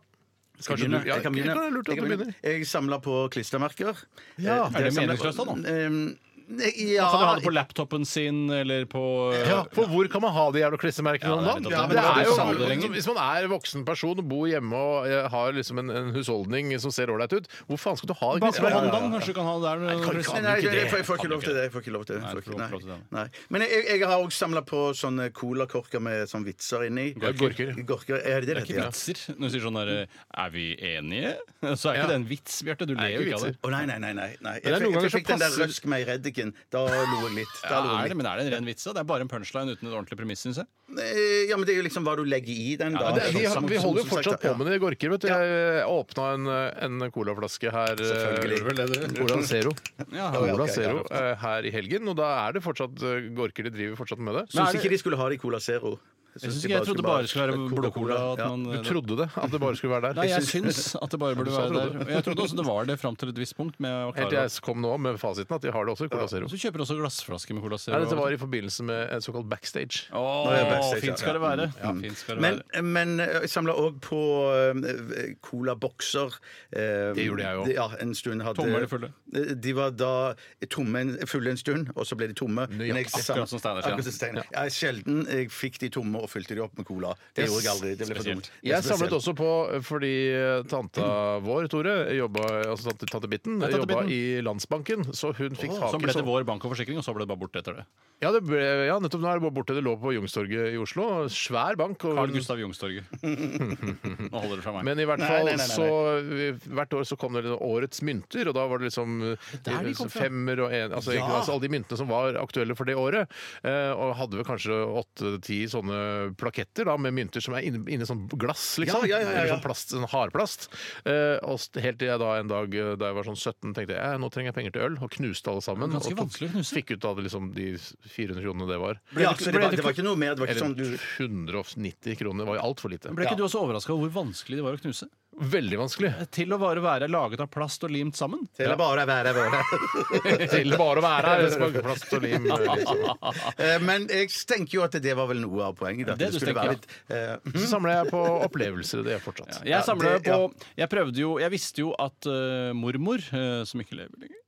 Speaker 2: Skal
Speaker 1: Kanskje
Speaker 2: jeg begynne?
Speaker 1: du- ja,
Speaker 2: jeg kan
Speaker 1: det
Speaker 2: begynne.
Speaker 1: kan være lurt at
Speaker 2: Jeg kan
Speaker 1: du
Speaker 2: begynne. Jeg samla på klistremerker.
Speaker 1: Ja,
Speaker 2: Eh,
Speaker 3: er det
Speaker 2: samlet-
Speaker 3: meningsløst da, da?
Speaker 2: Ehm, ja,
Speaker 3: Man kan ha det på laptopen sin eller på eh,
Speaker 1: Ja, for hvor kan man ha de jævla klistremerkene
Speaker 3: Ja,
Speaker 1: om dagen?
Speaker 3: det er litt opp til
Speaker 1: det
Speaker 3: deg.
Speaker 1: er
Speaker 3: Du sa det
Speaker 1: jo,
Speaker 3: lenger.
Speaker 1: hvis man er voksen person og bor hjemme og eh, har liksom en, en husholdning som ser ålreit ut, hvor faen skal du ha de
Speaker 3: Bak
Speaker 1: klistremerkene?
Speaker 3: verandaen, kanskje du kan ha det der. når-
Speaker 2: Nei,
Speaker 3: når-
Speaker 1: ikke
Speaker 2: nei,
Speaker 1: det.
Speaker 2: jeg, får, jeg får ikke
Speaker 1: Kan
Speaker 2: lov
Speaker 1: ikke
Speaker 2: til det. Jeg får ikke lov til det.
Speaker 3: Nei,
Speaker 2: Får
Speaker 3: du får
Speaker 2: ikke-
Speaker 3: ikke lov til det.
Speaker 2: nei. Men jeg, jeg har også samla på sånne colakorker med sånne vitser inni.
Speaker 1: Gorker.
Speaker 2: Gorker. Er det
Speaker 3: Det er
Speaker 2: det det
Speaker 3: ikke
Speaker 2: heter?
Speaker 3: vitser. Når du sier sånn der Er vi enige? (laughs) Så
Speaker 1: Ja.
Speaker 3: er ikke det en vits, Bjarte. Du ler
Speaker 1: ikke
Speaker 3: jo ikke av det.
Speaker 1: vitser.
Speaker 2: Å nei, nei, nei. nei, nei. Jeg,
Speaker 1: er noen ganger
Speaker 2: fikk- jeg
Speaker 1: så
Speaker 2: fikk den der
Speaker 1: passer-
Speaker 2: røsk meg i reddiken. Da lo jeg litt. Da
Speaker 3: Ja,
Speaker 2: lo
Speaker 3: er
Speaker 2: jeg
Speaker 3: det,
Speaker 2: litt.
Speaker 3: men er det en ren vits? da? Det er bare en punchline uten et ordentlig premiss, syns jeg.
Speaker 2: Eh, Ja, men det er jo liksom hva du legger i den, da. Sånn
Speaker 1: Ja, det, vi,
Speaker 2: Som-
Speaker 1: vi
Speaker 2: som-
Speaker 1: holder jo
Speaker 2: som sagt,
Speaker 1: fortsatt
Speaker 2: ja.
Speaker 1: på med det i Gorker. vet du. Jeg eh, åpna en, en colaflaske her eh,
Speaker 2: Selvfølgelig.
Speaker 1: vel det det- Cola Zero,
Speaker 3: Ja,
Speaker 1: Cola
Speaker 2: ok,
Speaker 1: Zero eh, her i helgen, og da er det fortsatt eh, Gorker de driver fortsatt med det.
Speaker 2: Syns ikke de skulle ha det i Cola Zero.
Speaker 3: Jeg syns
Speaker 2: de
Speaker 3: ikke jeg trodde bare det skulle være
Speaker 2: Coca-Cola.
Speaker 3: blodcola. at
Speaker 2: Ja.
Speaker 3: man-
Speaker 1: Du trodde det, at det bare skulle være
Speaker 3: Nei,
Speaker 1: (laughs) der?
Speaker 3: jeg syns at det bare burde være der. Og jeg trodde også det var det fram til et visst punkt. Med
Speaker 1: Helt
Speaker 3: å klare
Speaker 1: til
Speaker 3: det.
Speaker 1: jeg kom nå med fasiten at de har det også i Cola Zero.
Speaker 3: Så kjøper du også glassflasker med Cola Zero.
Speaker 1: Nei, dette var i forbindelse med en såkalt backstage.
Speaker 2: Nå er jeg
Speaker 3: Åh,
Speaker 2: backstage,
Speaker 3: fint skal det
Speaker 2: ja.
Speaker 3: være. Ja, fint skal det
Speaker 2: Men, eh,
Speaker 3: være. Sånn
Speaker 2: men jeg samla òg på eh, colabokser. Eh,
Speaker 3: Det gjorde jeg òg.
Speaker 2: de- Ja, en stund hadde-
Speaker 3: Tomme eller fulle?
Speaker 2: Eh, De var da tomme, en- fulle en stund, og så ble de tomme. Men jeg sam-
Speaker 3: Akkurat som Steinar sier.
Speaker 2: Akkurat som Steinar. Ja, sjelden jeg fikk de tomme og fylte de opp med cola. Det
Speaker 1: Yes.
Speaker 2: gjorde jeg aldri. Det ble for
Speaker 3: Spesielt.
Speaker 2: dumt. Det er
Speaker 1: Jeg samlet
Speaker 2: spesielt.
Speaker 1: også på eh, fordi eh, tanta
Speaker 3: (clears throat)
Speaker 1: vår, Tore, jobba, altså tante, tante Bitten,
Speaker 3: tante
Speaker 1: jobba
Speaker 3: Bitten.
Speaker 1: i Landsbanken, så hun fikk tak
Speaker 3: Som
Speaker 1: i
Speaker 3: ble til
Speaker 1: sånn.
Speaker 3: vår bank og forsikring, og så ble det bare borte etter det.
Speaker 1: Ja, det ble, ja, nettopp nå er det bare borte. Det lå på Youngstorget i Oslo. Svær bank. og-
Speaker 3: Carl Gustav Youngstorget. Nå holder det fra meg.
Speaker 1: Mm. men i hvert
Speaker 2: Nei,
Speaker 1: fall
Speaker 2: nei, nei, nei.
Speaker 1: så Hvert år så kom det liksom årets mynter, og da var det liksom
Speaker 3: der de
Speaker 1: eh,
Speaker 3: kom fra.
Speaker 1: femmer og en altså, egentlig, altså alle de myntene som var aktuelle for det året. Eh, og hadde vel kanskje åtte-ti sånne plaketter da, med mynter som er inni inni sånn glass, liksom.
Speaker 2: Ja, ja, ja, ja, ja.
Speaker 1: Eller sånn plast, sånn hardplast. Eh, og s- helt til jeg da en dag eh, da jeg var sånn 17 tenkte jeg "Eh, nå trenger jeg penger til øl, og knuste alle sammen.
Speaker 3: Ganske
Speaker 1: og
Speaker 3: vanskelig å knuse.
Speaker 1: fikk ut av det, liksom, de 400 kronene det var.
Speaker 2: ja, så det, var, det var ikke noe mer. Det var ikke sånn
Speaker 1: Eller
Speaker 2: du
Speaker 1: 190 kroner var jo altfor lite.
Speaker 3: Ble ikke du også overraska over hvor vanskelig det var å knuse?
Speaker 1: Veldig vanskelig.
Speaker 3: Til å bare være laget av plast og limt sammen.
Speaker 2: Eller bare være, være.
Speaker 1: (laughs) Til bare å være her. Smakeplast og lim. liksom.
Speaker 2: Eh, Men jeg tenker jo at det var vel noe av poenget. At
Speaker 3: Det
Speaker 2: det,
Speaker 3: du
Speaker 2: skulle
Speaker 3: tenker,
Speaker 2: være litt
Speaker 1: (laughs)
Speaker 2: eh,
Speaker 1: Så samler jeg på opplevelser. Det gjør jeg fortsatt.
Speaker 3: Jeg samla
Speaker 2: det-
Speaker 3: på Jeg prøvde jo Jeg visste jo at eh, mormor, eh, som ikke lever lenger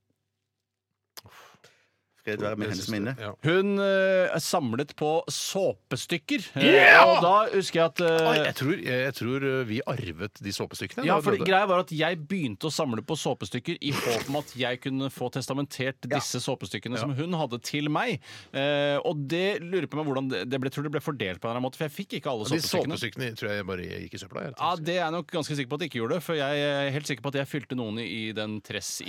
Speaker 2: Fred være med hennes minne.
Speaker 1: Ja.
Speaker 3: Hun eh, samlet på såpestykker. Eh,
Speaker 1: Yeah!
Speaker 3: Og da husker jeg at eh,
Speaker 1: Oi, jeg, tror, jeg tror vi arvet de såpestykkene.
Speaker 3: ja,
Speaker 1: da
Speaker 3: for
Speaker 1: døde.
Speaker 3: greia var at Jeg begynte å samle på såpestykker i håp om at jeg kunne få testamentert disse såpestykkene som hun hadde, til meg. Eh, og det lurer på meg hvordan det, det ble, tror det ble fordelt på en eller annen måte, for jeg fikk ikke alle
Speaker 1: de
Speaker 3: såpestykkene.
Speaker 1: såpestykkene tror jeg bare gikk i søpla. jeg.
Speaker 3: Ja, Det er jeg nok ganske sikker på at jeg ikke gjorde, for jeg er helt sikker på at jeg fylte noen i i den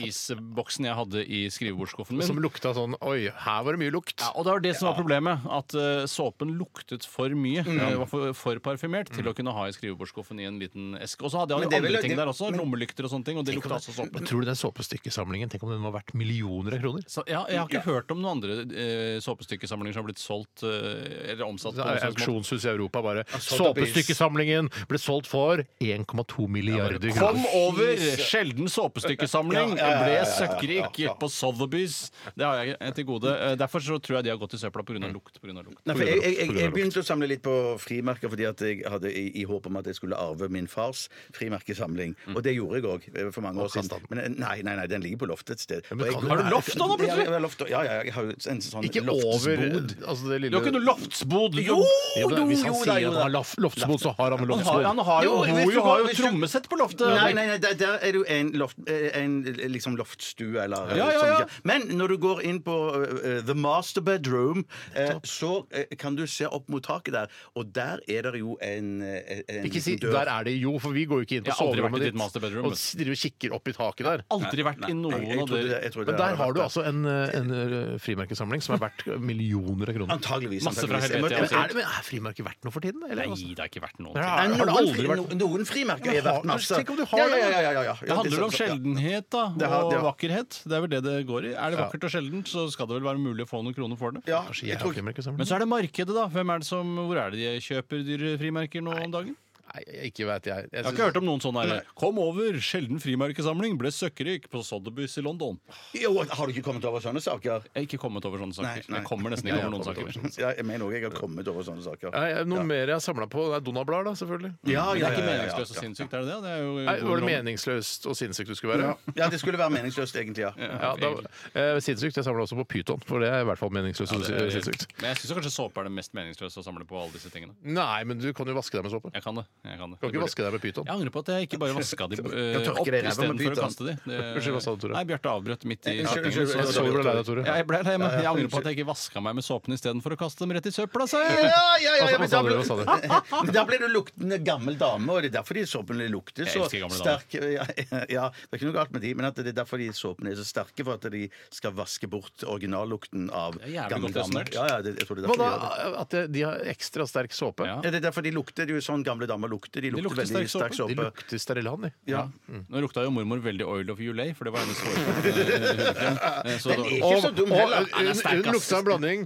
Speaker 3: tressisboksen jeg hadde i skrivebordsskuffen min.
Speaker 1: Som lukta sånn Oi, her var det mye lukt.
Speaker 3: Ja, og det var det som var problemet, at eh, såpen luktet for mye.
Speaker 2: Mm.
Speaker 3: eh, var for, for parfymert til å kunne ha i skrivebordsskuffen i en liten eske. Og så hadde jeg
Speaker 2: Men
Speaker 3: jo
Speaker 2: det vil
Speaker 3: andre
Speaker 2: jeg-
Speaker 3: ting
Speaker 2: det-
Speaker 3: der også, lommelykter og sånne ting, og det lukta også såpe.
Speaker 1: Men Tror du den såpestykkesamlingen Tenk om den var verdt millioner av kroner?
Speaker 3: Så, ja, jeg har ikke hørt om noen andre eh, såpestykkesamlinger som har blitt solgt eh, eller omsatt.
Speaker 1: Det
Speaker 3: på noe
Speaker 1: er
Speaker 3: sånt som-
Speaker 1: Auksjonshuset i Europa bare.
Speaker 2: solgt opp i-
Speaker 1: Såpestykkesamlingen ble solgt for 1,2 milliarder
Speaker 3: Kom
Speaker 1: kroner.
Speaker 3: over! Sjelden såpestykkesamling.
Speaker 2: (laughs) Ja, ja, ja, ja,
Speaker 3: Ble
Speaker 2: ja, ja,
Speaker 3: søkkrik eh,
Speaker 2: ja, ja.
Speaker 3: på Sotheby's. Det har jeg til gode. Eh, Derfor så tror jeg de har gått i søpla pga. lukt. På grunn av lukt.
Speaker 2: Nei, for
Speaker 1: På grunn av lukt, på
Speaker 2: jeg, jeg, jeg,
Speaker 1: grunn
Speaker 2: jeg
Speaker 1: av
Speaker 2: begynte å samle litt på frimerker fordi at jeg hadde i, i håp om at jeg skulle arve min fars frimerkesamling.
Speaker 1: Mm.
Speaker 2: Og det gjorde jeg òg for mange år
Speaker 1: kastet
Speaker 2: siden. Men eh, nei, nei, nei, den ligger på loftet et sted.
Speaker 1: men
Speaker 2: Og jeg-
Speaker 1: kan du- Har du
Speaker 3: loft nå, da, plutselig?
Speaker 2: Ja, jeg har loft, ja, ja, jeg har jo en sånn
Speaker 1: Ikke over
Speaker 2: loftsbod.
Speaker 1: altså det
Speaker 3: Du
Speaker 1: lille
Speaker 3: har ikke noe loftsbod!
Speaker 2: Mm. Jo,
Speaker 1: Ja, men
Speaker 2: jo,
Speaker 1: Hvis han
Speaker 2: jo, da,
Speaker 1: sier
Speaker 2: jo,
Speaker 1: at han har
Speaker 2: da.
Speaker 1: lof- loftsbod, så har han vel
Speaker 3: Han har,
Speaker 1: loftsbod.
Speaker 3: han har jo,
Speaker 2: Jo, hvis
Speaker 3: Rojo
Speaker 2: du går-
Speaker 3: har jo
Speaker 2: hvis du-
Speaker 3: trommesett på loftet!
Speaker 2: Nei, nei, nei, der, der er du en, loft, eh, en liksom loftstue eller eh,
Speaker 3: Ja, ja,
Speaker 2: sånn.
Speaker 3: ja.
Speaker 2: Men når du går inn på eh, eh, The Master Bedroom, eh, så eh, kan du se opp mot taket der, og der er det jo en, eh, en
Speaker 1: Ikke si
Speaker 2: liten dør.
Speaker 1: 'der er det jo', for vi går jo ikke inn på
Speaker 3: Jeg har aldri vært i
Speaker 1: soverommet
Speaker 3: ditt master bedroom,
Speaker 1: og
Speaker 3: vet du.
Speaker 1: s- driver og kikker opp i taket der.
Speaker 3: Aldri vært i noen
Speaker 2: Jeg- jeg
Speaker 3: av
Speaker 2: trodde
Speaker 3: dere.
Speaker 2: det- jeg trodde
Speaker 1: Men
Speaker 2: det
Speaker 1: der
Speaker 2: hadde
Speaker 1: har
Speaker 2: vært
Speaker 1: du
Speaker 2: det.
Speaker 1: altså en, eh, en eh, frimerkesamling som er verdt milliarder av kroner.
Speaker 2: Antageligvis.
Speaker 3: Masse fra
Speaker 2: antageligvis.
Speaker 3: helvete,
Speaker 2: Jeg må-
Speaker 3: ja.
Speaker 1: Men er, det, men er frimerket verdt noe for tiden? Eller?
Speaker 3: Nei,
Speaker 1: Altså,
Speaker 3: det har ikke vært noen
Speaker 1: Nei,
Speaker 3: ting.
Speaker 1: har-
Speaker 2: Nei,
Speaker 1: har det
Speaker 2: noen
Speaker 1: aldri
Speaker 2: fri-
Speaker 1: vært
Speaker 2: no- Noen frimerker
Speaker 1: Men
Speaker 2: er verdt
Speaker 1: har-
Speaker 2: masse.
Speaker 1: tenk om du har
Speaker 2: ja, ja,
Speaker 1: det, da.
Speaker 2: ja, ja, ja, ja.
Speaker 3: Det handler
Speaker 2: er
Speaker 3: om
Speaker 2: sant, ja.
Speaker 3: sjeldenhet da,
Speaker 2: Det har-
Speaker 3: og
Speaker 2: det har-
Speaker 3: vakkerhet. Det er vel det det går i. Er det vakkert og sjeldent, så skal det vel være mulig å få noen kroner for det.
Speaker 2: Ja,
Speaker 1: Kanskje jeg
Speaker 2: jeg tror
Speaker 1: har frimerkesamling?
Speaker 3: Men så er det markedet, da. Hvem er det som, hvor er det de kjøper dyre frimerker nå om dagen?
Speaker 1: Nei, ikke veit jeg.
Speaker 3: Jeg har ikke hørt om noen sånn herre. Kom over, sjelden frimerkesamling, ble søkkrik på Sotheby's i London.
Speaker 2: Jo, har du ikke kommet over sånne saker?
Speaker 3: Jeg er ikke kommet over sånne saker.
Speaker 2: Nei, nei.
Speaker 3: Jeg kommer nesten ikke over noen
Speaker 1: jeg har kommet
Speaker 3: saker.
Speaker 2: Ja, jeg mener òg jeg har kommet over sånne saker. Mm.
Speaker 1: Nei, Noe mer jeg har samla på? Det er Donald-blader, da, selvfølgelig.
Speaker 2: Ja,
Speaker 3: Men det
Speaker 2: ja,
Speaker 3: er ikke
Speaker 2: ja, ja, ja.
Speaker 3: meningsløst og sinnssykt, er det det? det er jo
Speaker 1: Nei,
Speaker 3: god
Speaker 1: var det
Speaker 3: underholdning.
Speaker 1: meningsløst og sinnssykt du skulle være?
Speaker 2: Ja, det skulle være meningsløst, egentlig. ja.
Speaker 1: Ja, da, eh, sinnssykt. Jeg samla også på pyton, for det er i hvert fall meningsløst og
Speaker 3: Det er-
Speaker 1: sinnssykt.
Speaker 3: Men jeg syns kanskje såpe er det mest meningsløse å samle på alle disse tingene.
Speaker 1: Nei, men du kan jo vaske deg med såpe.
Speaker 3: Jeg kan det. Jeg kan det.
Speaker 1: Kan ikke vaske deg med pyton.
Speaker 3: Jeg angrer på at jeg ikke bare vaska de eh,
Speaker 2: Jeg tørker
Speaker 3: opp
Speaker 2: det i ræva
Speaker 3: istedenfor
Speaker 2: med
Speaker 3: å
Speaker 2: pyton.
Speaker 3: kaste de. Det-
Speaker 1: Unnskyld, hva sa du, Tore?
Speaker 3: Nei, Bjarte avbrøt midt i
Speaker 2: Unnskyld,
Speaker 3: setningen,
Speaker 2: unnskyld,
Speaker 3: så-
Speaker 1: Jeg så du ble lei deg, Tore.
Speaker 3: Ja, jeg ble lei, men jeg angrer på at jeg ikke vaska meg med såpen istedenfor å kaste dem rett i søpla, sa jeg!
Speaker 2: ja,
Speaker 1: Hva sa- hva sa du? Hva sa du?
Speaker 2: (laughs) Men da blir du luktende gammel dame, og det er derfor de såpene lukter
Speaker 3: Jeg
Speaker 2: så
Speaker 3: elsker gamle damer.
Speaker 2: sterke. Ja, (laughs) ja, det er ikke noe galt med de, men at det er derfor de såpene er så sterke, for at de skal vaske bort originallukten av
Speaker 3: er jævlig
Speaker 2: gammel
Speaker 3: godt
Speaker 2: dame.
Speaker 3: resonert.
Speaker 2: Ja, ja, det, jeg tror det er
Speaker 1: Hva
Speaker 2: derfor
Speaker 1: da?
Speaker 2: de gjør det.
Speaker 1: At det- de har ekstra sterk såpe?
Speaker 3: Ja.
Speaker 2: Ja, det er derfor de lukter. Det er jo sånn gamle damer lukter. De lukter,
Speaker 3: lukter sterk
Speaker 2: veldig sterk
Speaker 3: såpe.
Speaker 1: De
Speaker 2: såpe.
Speaker 1: lukter Sterilan, de.
Speaker 2: Ja.
Speaker 3: Nå lukta jo mormor veldig Oil of Julay, for det var hennes
Speaker 1: (laughs)
Speaker 3: hårkrem.
Speaker 2: Ikke så dum heller.
Speaker 1: og
Speaker 3: Nei, den er
Speaker 1: hun,
Speaker 3: sterk,
Speaker 1: hun
Speaker 3: ass.
Speaker 1: lukta en blanding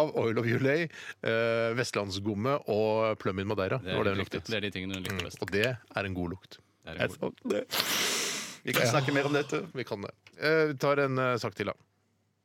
Speaker 1: av Oil of Julay, eh, vestlandsgomme og Plum in Madeira. Det var det hun luktet. Mm.
Speaker 3: Det er de tingene hun likte best.
Speaker 1: Og det er en god lukt.
Speaker 3: Det er en god-
Speaker 1: Jeg-
Speaker 2: Vi kan snakke mer om dette.
Speaker 1: Vi kan det. Eh, Vi tar en eh, sak til, da.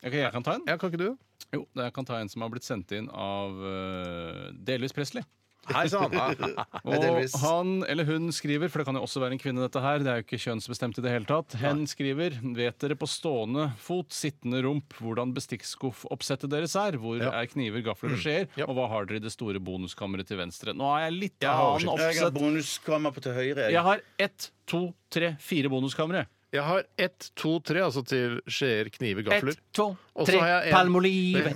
Speaker 3: Ok, jeg kan ta en.
Speaker 1: Ja, kan ikke du?
Speaker 3: Jo, jeg kan ta en som har blitt sendt inn av eh, delvis Presley.
Speaker 1: Hei (laughs) sann!
Speaker 3: Og han eller hun skriver, for det kan jo også være en kvinne dette her, det er jo ikke kjønnsbestemt i det hele tatt. Hen skriver, vet dere på stående fot, sittende rump, hvordan bestikkskuffoppsettet deres er? Hvor er kniver,
Speaker 1: (clears throat)
Speaker 3: gafler og skjeer?
Speaker 1: Ja.
Speaker 3: Og hva har dere i det store bonuskammeret til venstre? Nå har jeg litt
Speaker 1: har oversikt.
Speaker 3: annen
Speaker 2: Jeg har
Speaker 3: oppsett.
Speaker 2: bonuskammer på til høyre.
Speaker 3: Jeg har ett, to, tre, fire bonuskamre.
Speaker 1: Jeg har ett, to, tre, altså til skjeer, kniver, gafler.
Speaker 3: Ett, to,
Speaker 1: Og så
Speaker 3: tre,
Speaker 1: har jeg en-
Speaker 3: palmolive.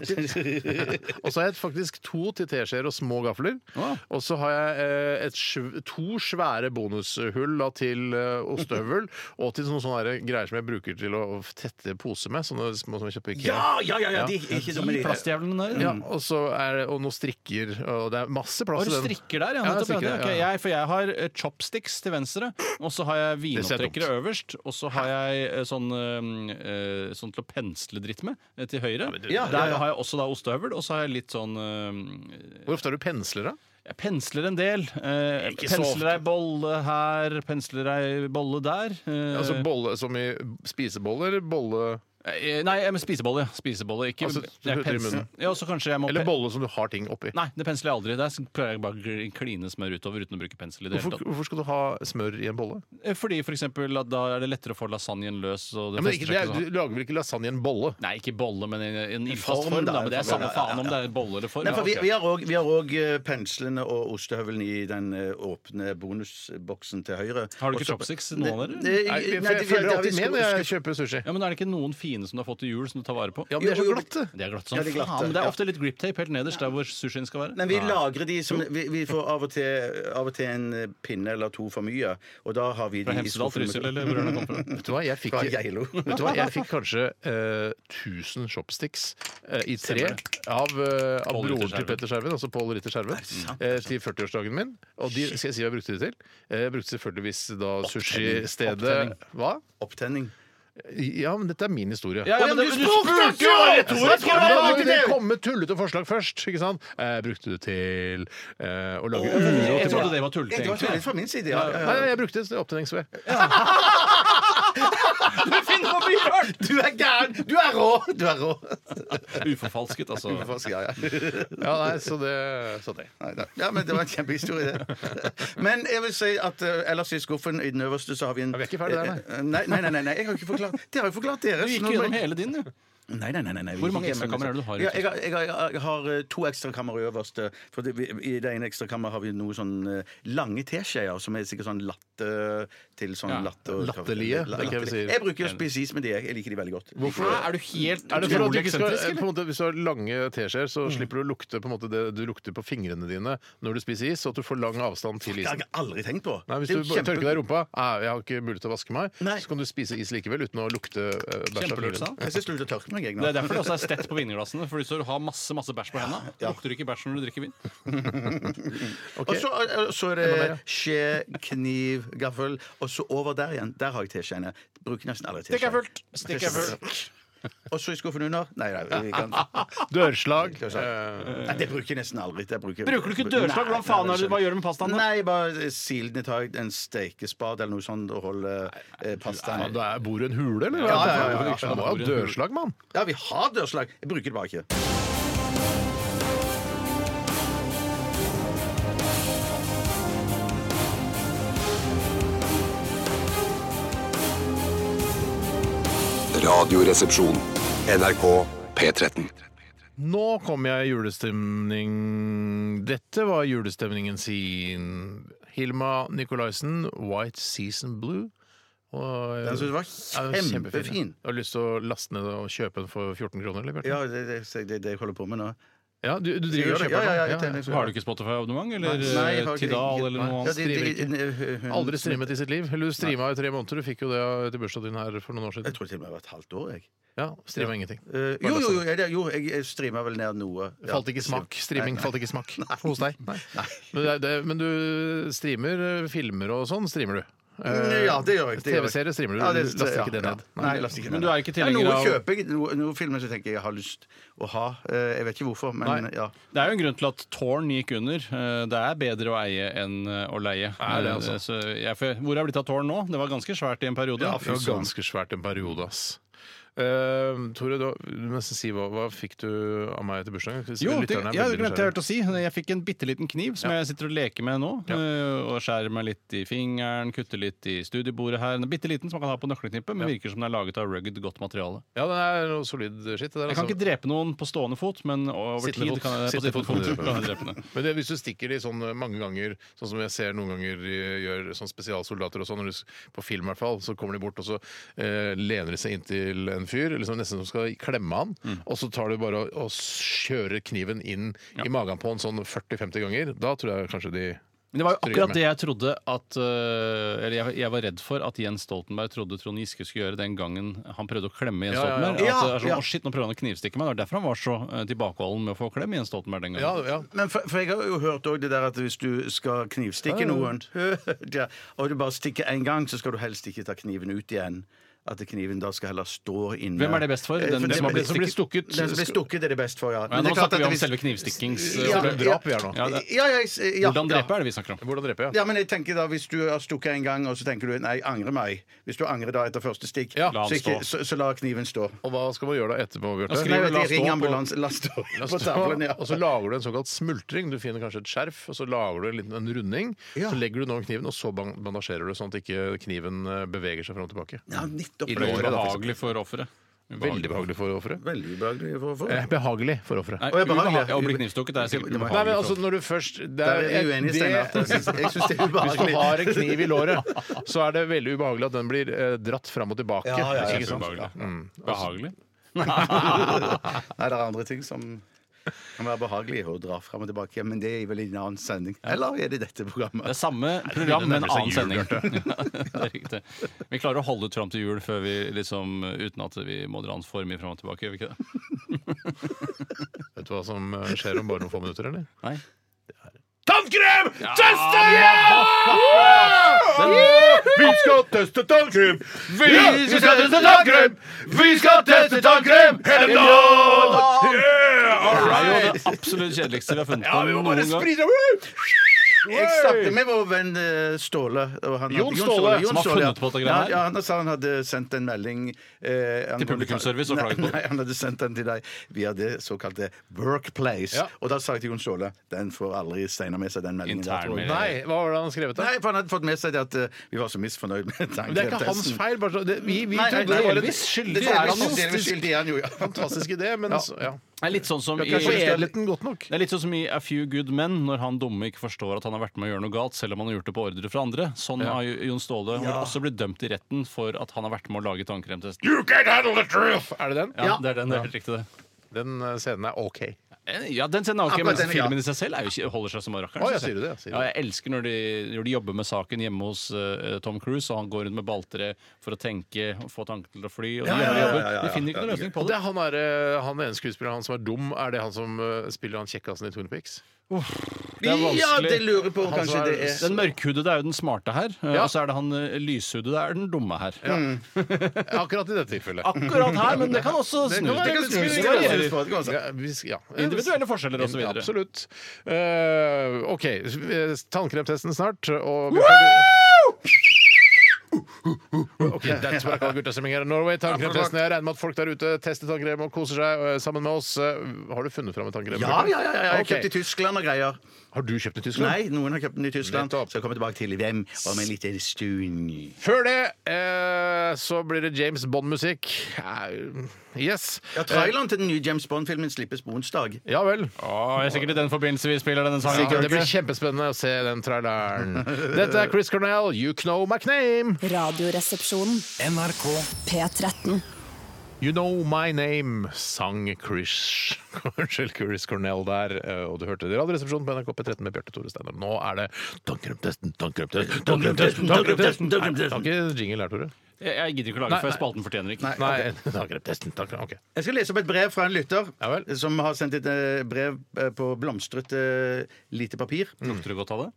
Speaker 1: og så har jeg et- faktisk to til teskjeer og små gafler.
Speaker 3: Å.
Speaker 1: Og så har jeg eh, et, sv- to svære bonushull da, til eh, ostehøvel, og til sånne, sånne der greier som jeg bruker til å å tette pose med. Sånne små som jeg kjøper i IKEA.
Speaker 2: Ja, ja, ja! ja, de er ikke dumme,
Speaker 3: De
Speaker 2: de.
Speaker 3: plastjævlene der.
Speaker 1: Ja, og, så er det, og noen strikker, og det er masse
Speaker 3: Og
Speaker 1: plass
Speaker 3: du
Speaker 1: i den.
Speaker 3: strikker
Speaker 1: Ja,
Speaker 3: der, ja. nettopp, ja,
Speaker 1: strikker,
Speaker 3: det- ok,
Speaker 1: ja.
Speaker 3: Jeg, for jeg har eh, chopsticks til venstre, og så har jeg
Speaker 1: Det ser dumt.
Speaker 3: vinopptrekkere øverst, og så har jeg eh, sånn, eh, eh, sånn til å pensle dritt med eh, til høyre.
Speaker 2: Ja, ja,
Speaker 3: Der
Speaker 2: ja.
Speaker 3: har jeg også da ostehøvel, og så har jeg litt sånn eh,
Speaker 1: Hvor ofte har du pensler, da?
Speaker 3: Jeg pensler en del. eh,
Speaker 1: Ikke så ofte.
Speaker 3: Pensler ei bolle her, pensler ei bolle der. eh,
Speaker 1: Altså bolle som i spisebolle, eller bolle
Speaker 3: eh, Nei, jeg- men spisebolle. ja. Spisebolle, ikke
Speaker 1: Altså, du
Speaker 3: jeg
Speaker 1: putter i
Speaker 3: pens-
Speaker 1: munnen.
Speaker 3: Ja, og så kanskje jeg må
Speaker 1: Eller
Speaker 3: pe-
Speaker 1: bolle som du har ting oppi.
Speaker 3: Nei, det pensler jeg aldri. Der pleier jeg bare å gl- kline smør utover uten å bruke pensel. i det hele
Speaker 1: Hvorfor,
Speaker 3: tatt
Speaker 1: hvorfor skal du ha smør i en bolle?
Speaker 3: Eh, Fordi for eksempel, at da er det lettere å få lasagnen løs. Og det
Speaker 1: Ja, men
Speaker 3: fester
Speaker 1: ikke, sånn.
Speaker 3: seg
Speaker 1: det er,
Speaker 3: ikke så hardt.
Speaker 1: du lager vel ikke lasagne i en bolle?
Speaker 3: Nei, ikke bolle, men en, en
Speaker 2: form,
Speaker 3: fast form.
Speaker 2: da,
Speaker 3: da, men Det er
Speaker 2: form,
Speaker 3: samme
Speaker 2: ja, ja,
Speaker 3: faen om det er bolle eller form.
Speaker 2: Nei, for
Speaker 3: Ja,
Speaker 2: vi,
Speaker 3: ok.
Speaker 2: vi har også- vi har òg penslene og ostehøvelen i den eh, åpne bonusboksen til høyre.
Speaker 3: Har du ikke
Speaker 2: Også-
Speaker 3: chopsticks, noen av dere?
Speaker 2: Nei,
Speaker 1: Nei,
Speaker 2: nei,
Speaker 1: for jeg følger
Speaker 2: det- det-
Speaker 1: alltid med
Speaker 2: vi skulle-
Speaker 1: når jeg kjøper sushi.
Speaker 3: ja, men Er det ikke noen fine som du har fått til jul, som du tar vare på?
Speaker 1: Ja, men de er
Speaker 2: Jo,
Speaker 1: så
Speaker 2: jo, jo.
Speaker 1: glatte!
Speaker 3: Det er glatt som
Speaker 2: Ja, de er glatte,
Speaker 3: faen, men det er
Speaker 2: ja.
Speaker 3: ofte litt grip tape helt nederst, der hvor sushien skal være.
Speaker 2: Men vi lagrer de som Vi, vi får av og, til, av og til en eh, pinne eller to for mye, og da har vi de
Speaker 3: Fra Hemsedal, Trysil eller hvor er det den kommer fra.
Speaker 1: Vet du hva, jeg fikk,
Speaker 2: Fra Geilo.
Speaker 1: (laughs) vet du hva? Jeg fikk kanskje eh, 1000 chopsticks eh, i tre av, eh, av
Speaker 3: Paul
Speaker 1: broren
Speaker 3: Ritter
Speaker 1: til
Speaker 3: Skjerven.
Speaker 1: Petter Skjerven, altså Pål Ritter Skjerven, eh, til 40-årsdagen min. Og de skal jeg si hva jeg brukte de til. Eh, Jeg brukte selvfølgeligvis da sushistedet
Speaker 3: Opptenning.
Speaker 1: Hva?
Speaker 2: Opptenning.
Speaker 1: Ja, men dette er min historie.
Speaker 3: Ja, ja, men det- du spurte
Speaker 1: jo!
Speaker 3: jo!
Speaker 1: Jeg tror jeg skulle ha brukt det! Kom med tullete forslag først, ikke sant? Eh, brukte det til eh, å lage uro
Speaker 3: Jeg
Speaker 1: til
Speaker 3: trodde det var tullete,
Speaker 2: Det var
Speaker 3: egentlig.
Speaker 2: tydelig fra min side, ja. ja,
Speaker 1: Nei,
Speaker 2: ja.
Speaker 1: jeg brukte det til (laughs) opptenningsved.
Speaker 3: Finn på Bjørn!
Speaker 2: Du er gæren! Du er rå! Du er rå.
Speaker 3: Uforfalsket, altså.
Speaker 2: Ja, ja.
Speaker 1: Ja, nei, så det, så det.
Speaker 2: Nei, da. ja, men det var en
Speaker 3: (laughs)
Speaker 2: kjempehistorie, det. Men jeg vil si at eh, ellers i skuffen, i den øverste, så har vi en
Speaker 1: Ja, vi er ikke ferdig der, nei.
Speaker 2: Eh, nei. Nei, nei, nei, nei, jeg har ikke forklart Dere har jo forklart deres.
Speaker 3: Du gikk
Speaker 2: Nå
Speaker 3: jo
Speaker 2: må jeg-
Speaker 3: gjennom hele din, du.
Speaker 2: Nei, nei, nei, nei, nei.
Speaker 3: Hvor
Speaker 2: vi
Speaker 3: mange
Speaker 2: gikk hjem,
Speaker 3: ekstrakammer
Speaker 2: men-
Speaker 3: er det du har i
Speaker 2: Ja, jeg, har- jeg, har- jeg har eh, to ekstrakammer i øverste. For det, vi, I det ene ekstrakammeret har vi noe sånn eh, lange teskjeer, som er sikkert sånn latte til sånn
Speaker 3: Ja,
Speaker 2: latte og-
Speaker 1: latterlige, det er ikke det vi sier.
Speaker 2: Jeg bruker jo å spise is med de. Jeg jeg liker de veldig godt.
Speaker 3: Hæ, Er du helt
Speaker 1: Er det for at du
Speaker 3: utrolig
Speaker 1: ikke skal, eh,
Speaker 3: eksentrisk,
Speaker 1: på
Speaker 3: eller?
Speaker 1: en måte, Hvis du har lange teskjeer,
Speaker 2: Mm.
Speaker 1: så slipper du å lukte på en måte det du lukter på fingrene dine når du spiser is, og at du får lang avstand til
Speaker 2: Det har
Speaker 1: isen.
Speaker 2: jeg aldri tenkt på.
Speaker 1: Nei, Hvis
Speaker 2: Det
Speaker 1: du
Speaker 2: er jo
Speaker 1: bare
Speaker 2: kjempe-
Speaker 1: tørker deg i rumpa «Ah, Jeg har ikke mulighet til å vaske meg.
Speaker 2: Nei.
Speaker 1: Så kan du spise is likevel uten å lukte eh, bæsj. av
Speaker 3: Kjempelurt, sa
Speaker 1: fingrene.
Speaker 3: han.
Speaker 2: Jeg skal slutte å tørke meg, jeg nå.
Speaker 3: Det er derfor det også er stett på vinglassene. For hvis du har masse masse bæsj på hendene, lukter du ikke bæsj når du drikker vin.
Speaker 1: Ok.
Speaker 2: Og så, og så er
Speaker 1: Enda mer, ja.
Speaker 2: det skje, kniv, gaffel. Og så over der igjen. Der har jeg teskjeene. Bruker nesten aldri teskje.
Speaker 3: Stikk er fullt! Stikk er fullt.
Speaker 2: Og så i skuffen under. Nei, nei, vi kan...
Speaker 1: (laughs) Dørslag.
Speaker 2: nei det bruker jeg nesten aldri. Det bruker,
Speaker 3: Bruker du ikke dørslag? Hvordan faen er det du- hva gjør du med pastaen da?
Speaker 2: Nei, bare sil den i tak, en stekespade eller noe sånt, og holde eh,
Speaker 1: Ja,
Speaker 2: pastaen
Speaker 1: det er, bor du i en hule, eller?
Speaker 2: Ja, ja, ja, ja, ja.
Speaker 1: Du må ha dørslag, mann.
Speaker 2: Ja, vi har dørslag. Jeg bruker det bare ikke.
Speaker 6: Radioresepsjon. NRK P13.
Speaker 1: Nå kom jeg i julestemning Dette var julestemningen sin. Hilma Nicolaisen, 'White Season Blue'. Og, eh,
Speaker 2: Den synes jeg
Speaker 1: Ja, den
Speaker 2: var
Speaker 1: var kjempefin, ja.
Speaker 2: kjempefin.
Speaker 1: Har du lyst til å laste ned og kjøpe den for 14 kroner, eller? Bjarte?
Speaker 2: Ja, det er det, det, det jeg holder på med nå.
Speaker 1: Ja, du, du driver og
Speaker 2: Ja,
Speaker 1: kjøper
Speaker 2: ja, ja, jeg liksom
Speaker 1: den?
Speaker 2: tenker så.
Speaker 3: Har du ikke Spotify-abonnement? Eller
Speaker 2: Nei,
Speaker 3: eh,
Speaker 2: jeg har ikke-
Speaker 3: Tidal, eller noe
Speaker 2: Ja,
Speaker 3: annet?
Speaker 2: de- de- hun- hun-
Speaker 1: Aldri streamet i sitt liv? Eller du streama i tre måneder, du fikk jo det til bursdagen din her for noen år
Speaker 2: Jeg
Speaker 1: siden.
Speaker 2: tror til og med det var et halvt år, jeg.
Speaker 1: Ja, Streama ingenting.
Speaker 2: Eh, jo, jo, jo, jeg, det- jo, jeg streamer vel ned noe. Ja.
Speaker 1: Falt ikke i smak. Streaming falt ikke i smak hos deg. Men, det, er- det, men du streamer eh, filmer og sånn, streamer du? Eh,
Speaker 2: Mm, Ja, det gjør jeg. det gjør jeg.
Speaker 1: TV-serier streamer du?
Speaker 2: Ja, det-
Speaker 1: du laster ikke det
Speaker 2: ja,
Speaker 1: ned?
Speaker 2: ja. Nei, jeg laster ikke det
Speaker 3: Men
Speaker 2: ned.
Speaker 3: du er ikke
Speaker 2: Ja,
Speaker 3: tilhenger
Speaker 2: Noe
Speaker 3: av-
Speaker 2: kjøper jeg, noe- noen filmer så tenker jeg jeg har lyst å ha. Eh, Jeg vet ikke hvorfor, men
Speaker 3: Nei.
Speaker 2: ja.
Speaker 3: Det er jo en grunn til at Tårn gikk under. Eh, Det er bedre å eie enn eh, å leie.
Speaker 1: Er det altså?
Speaker 3: Eh, Så jeg, får- hvor er det blitt av Tårn nå? Det var ganske svært i en periode.
Speaker 1: Ja, det var ganske svært en periode, ass. Eh, Tore, du du må nesten si hva, hva fikk du av meg til bursdagen? Hvis
Speaker 3: Jo, det,
Speaker 1: lytterne er
Speaker 3: ja, det
Speaker 1: veldig
Speaker 3: glemte jeg
Speaker 1: nysgjerrige.
Speaker 3: helt å si. Jeg fikk en bitte liten kniv som jeg sitter og leker med nå.
Speaker 1: Ja.
Speaker 3: eh, Og skjærer meg litt i fingeren, kutter litt i studiebordet her. En bitte liten som man kan ha på nøkkelknippet, men virker som den er laget av rugged, godt materiale.
Speaker 1: Ja, det er noe solid shit. Det der,
Speaker 3: Jeg
Speaker 1: altså.
Speaker 3: kan ikke drepe noen på stående fot, men over
Speaker 1: Sittende
Speaker 3: tid
Speaker 1: fot.
Speaker 3: kan jeg, på
Speaker 1: Sittende
Speaker 3: sittende
Speaker 1: fot kan du
Speaker 3: fot
Speaker 1: drepe.
Speaker 3: kan jeg drepe den.
Speaker 1: Men det, hvis du stikker de sånn eh, mange ganger, sånn som jeg ser noen ganger eh, gjør sånn spesialsoldater og sånn, når du s- på film i hvert fall, så kommer de bort og så eh, lener de seg inntil en fyr, liksom nesten som skal klemme han,
Speaker 2: Mm.
Speaker 1: og så tar du bare og, og kjører kniven inn i magen på han sånn 40-50 ganger. Da tror jeg kanskje de
Speaker 3: Men det var jo
Speaker 1: Stryker
Speaker 3: akkurat
Speaker 1: med.
Speaker 3: det jeg trodde at øh, Eller jeg, jeg var redd for at Jens Stoltenberg trodde Trond Giske skulle gjøre den gangen han prøvde å klemme Jens
Speaker 1: Ja, ja, ja.
Speaker 3: Stoltenberg. At det
Speaker 2: Ja,
Speaker 3: er sånn,
Speaker 2: ja.
Speaker 3: «Å, shit, nå prøver han å knivstikke meg. Det var derfor han var så øh, tilbakeholden med å få klem Jens Stoltenberg den
Speaker 1: Ja,
Speaker 3: gangen.
Speaker 1: ja.
Speaker 2: Men for, for jeg har jo hørt også det der at hvis du skal knivstikke noen, (laughs) ja, og du bare stikker én gang, så skal du helst ikke ta kniven ut igjen. At kniven da skal heller stå inne.
Speaker 3: Hvem er det best for?
Speaker 2: Eh,
Speaker 3: Den som har
Speaker 2: blir
Speaker 3: blitt stukket?
Speaker 2: Den som blir stukket, er det best for, ja.
Speaker 3: Ja,
Speaker 2: Men det
Speaker 3: nå
Speaker 2: er klart
Speaker 3: snakker
Speaker 2: at
Speaker 3: vi om
Speaker 2: hvis-
Speaker 3: selve knivstikkings... øh,
Speaker 2: Ja,
Speaker 3: opplegget.
Speaker 1: Drap vi er nå.
Speaker 3: Ja, det-
Speaker 2: Ja, ja, jeg- ja,
Speaker 3: Hvordan
Speaker 2: ja.
Speaker 3: drepe er det vi snakker om.
Speaker 1: Hvordan dreper jeg?
Speaker 2: Ja, men jeg tenker da, Hvis du har stukket en gang, og så tenker du nei, angre meg. Hvis du angrer da etter første stikk,
Speaker 1: Ja,
Speaker 3: la
Speaker 2: så,
Speaker 3: han
Speaker 2: ikke,
Speaker 3: stå.
Speaker 2: så, så la kniven stå.
Speaker 1: Og hva skal man gjøre da etterpå, Bjarte?
Speaker 3: Da skriver
Speaker 2: Nei,
Speaker 3: la
Speaker 2: vet,
Speaker 3: stå
Speaker 2: jeg, ring
Speaker 3: på-
Speaker 2: ambulanse. La stå
Speaker 1: La
Speaker 2: på
Speaker 1: stå,
Speaker 2: tavlen, ja.
Speaker 1: (laughs) Og så lager du en såkalt smultring. Du finner kanskje et skjerf, og så lager du en liten en runding. Så
Speaker 2: Ja.
Speaker 1: legger du den over kniven, og så ban- bandasjerer du, sånn at ikke kniven eh, beveger seg fram og tilbake.
Speaker 2: Ja, nettopp.
Speaker 1: I
Speaker 3: Det er
Speaker 1: låret, da. for eksempel.
Speaker 3: ubehagelig for offeret.
Speaker 1: Veldig behagelig for offeret.
Speaker 2: Veldig ubehagelig for å få.
Speaker 1: Eh, Behagelig for offeret.
Speaker 3: Nei,
Speaker 2: Å, jeg behager-
Speaker 3: ubehagelig. Å bli knivstukket er sikkert
Speaker 2: Nei,
Speaker 1: Nei,
Speaker 2: men
Speaker 1: men
Speaker 3: ubehagelig.
Speaker 1: altså, når du først det
Speaker 2: Der er vi
Speaker 1: eh,
Speaker 2: uenige,
Speaker 1: det-
Speaker 2: Steinar. Jeg syns jeg syns det er
Speaker 1: Hvis du
Speaker 2: ubehagelig.
Speaker 1: har en kniv i låret, så er det veldig ubehagelig at den blir eh, dratt fram og tilbake.
Speaker 2: Ja, ja, ja.
Speaker 1: Ikke sant?
Speaker 3: Mm. Ubehagelig. Behagelig?
Speaker 2: Nei, det er andre ting som kan være behagelige å dra fram og tilbake, men det er vel i en annen sending. Eller er det i dette
Speaker 3: Det er
Speaker 2: programmet?
Speaker 3: samme program, men
Speaker 1: nærmer seg
Speaker 3: annen
Speaker 1: jul,
Speaker 3: sending. (laughs) Ja, det er riktig. Vi klarer å holde ut fram til jul før vi liksom, uten at vi må dra den for mye fram og tilbake. Gjør vi ikke det?
Speaker 1: Vet du hva som eh, skjer om bare noen få minutter, eller?
Speaker 3: Nei.
Speaker 1: Tannkrem! Teste! Vi skal teste tannkrem! Vi skal teste tannkrem! Vi skal teste tannkrem hele dagen! Yeah, all
Speaker 3: Det er jo
Speaker 1: right!
Speaker 3: det absolutt kjedeligste vi har funnet på
Speaker 1: Ja, vi må bare
Speaker 3: noen gang.
Speaker 1: sprite over!
Speaker 2: Jeg snakket med vår venn eh, Ståle. og han hadde-
Speaker 1: Jon Ståle,
Speaker 3: som har funnet på dette
Speaker 2: ja.
Speaker 3: greiene her.
Speaker 2: Ja, han sa han hadde sendt en melding eh, angående-
Speaker 3: publikumsservice og
Speaker 2: Nei,
Speaker 3: klaget på det.
Speaker 2: Nei, han hadde sendt den til deg via det såkalte Workplace.
Speaker 1: Ja.
Speaker 2: Og da sa jeg til Jon Ståle den får aldri Steinar med seg, den meldingen. der, tror jeg.
Speaker 3: Internmelding.
Speaker 1: Nei, hva var det han skrev ut da?
Speaker 2: Nei, for han hadde fått med seg det at eh, vi var så misfornøyd med
Speaker 1: Men Det er ikke hans
Speaker 2: tanketesten.
Speaker 1: feil. Bare så, det, vi vi
Speaker 2: Nei,
Speaker 1: trodde
Speaker 2: nei,
Speaker 1: det var en
Speaker 3: delvis skyldig
Speaker 2: Det
Speaker 3: er han jo.
Speaker 2: delvis skyldig er han jo, ja.
Speaker 1: fantastisk idé, men så, ja.
Speaker 3: Det er litt sånn som
Speaker 1: Vi
Speaker 3: i
Speaker 1: har ikke foredlet den godt nok.
Speaker 3: det er litt sånn som i A Few Good Men, når han dumme ikke forstår at han har vært med å gjøre noe galt, selv om han har gjort det på ordre fra andre. Sånn har jo Jon Ståle Han har også blitt dømt i retten for at han har vært med å lage tannkremtesten.
Speaker 1: You can't handle the truth! Er det den?
Speaker 3: Ja, det er den, det er helt riktig det.
Speaker 1: Den eh, scenen er OK.
Speaker 3: Eh, Ja, den scenen er ok,
Speaker 2: Akkurat
Speaker 3: men
Speaker 2: den, ja.
Speaker 3: filmen i seg selv er jo ikke, holder seg som rakkeren.
Speaker 1: Å, ja,
Speaker 3: synes jeg.
Speaker 1: sier du det, ja, sier du
Speaker 3: ja, jeg elsker når de, når de jobber med saken hjemme hos eh, Tom Cruise, og han går rundt med balltre for å tenke og få tankene til å fly. Og de, jobber, og jobber.
Speaker 2: ja, ja,
Speaker 3: de finner ikke noen løsning på
Speaker 1: Og det
Speaker 3: det.
Speaker 1: er han, er, eh, han ene skuespilleren han som er dum, er det han som eh, spiller han kjekkasen i Twin Pics?
Speaker 3: Det er vanskelig.
Speaker 2: Ja, det lurer på om
Speaker 1: Han som
Speaker 2: kanskje
Speaker 1: er-
Speaker 2: det er
Speaker 3: Den mørkhudede er jo den smarte her,
Speaker 1: Ja.
Speaker 3: og så er det han eh, lyshudede er den dumme her.
Speaker 1: Akkurat i dette tilfellet.
Speaker 3: Akkurat her, men det kan også
Speaker 1: Det
Speaker 3: snu.
Speaker 1: kan være litt snu.
Speaker 3: snu.
Speaker 1: Det
Speaker 2: Det
Speaker 1: varierer.
Speaker 2: er litt for- det kan også-
Speaker 1: Ja, vi- ja.
Speaker 3: Individuelle forskjeller og så videre.
Speaker 1: Absolutt. Eh, OK, eh, tannkremtesten snart. Og vi har... Ok, that's what I call guttastemning her i Norway. Tannkremtesten. Jeg regner med at folk der ute tester tannkrem og koser seg eh, sammen med oss. Eh, Har du funnet fram en tannkrem?
Speaker 2: Ja, ja, ja, ja, jeg har
Speaker 1: Ok.
Speaker 2: kjøpt i Tyskland og greier.
Speaker 1: Har du kjøpt i Tyskland?
Speaker 2: Nei, noen har kjøpt den i Tyskland.
Speaker 1: Nettopp.
Speaker 2: Skal komme tilbake til hvem om en liten stund.
Speaker 1: Før det eh, så blir det James Bond-musikk. Eh, Yes. Eh,
Speaker 2: Ja, Traileren til den nye James Bond-filmen slippes på onsdag.
Speaker 1: Ja vel.
Speaker 3: Å, jeg er sikkert i den forbindelse vi spiller denne sangen.
Speaker 1: det blir kjempespennende å se den traileren. (laughs) Dette er Chris Cornell, You Know My Name.
Speaker 4: Radioresepsjonen.
Speaker 5: NRK
Speaker 4: P13.
Speaker 1: You Know My Name sang Chris, (laughs) unnskyld, Chris Cornell der, eh, og du hørte det i Radioresepsjonen på NRK P13 med Bjarte Tore Steinar. Nå er det tannkremtesten, tannkremtesten, tannkremtesten, tannkremtesten! Nei, det er ikke jingle her, Tore.
Speaker 3: Jeg, jeg gidder ikke å lage, for spalten fortjener ikke.
Speaker 1: Nei, (laughs) tannkremtesten, tannkrem... Ok.
Speaker 2: Jeg skal lese opp et brev fra en lytter
Speaker 1: Ja vel.
Speaker 2: som har sendt et eh, brev eh, på blomstrete eh, lite papir.
Speaker 3: Lukter det godt av det?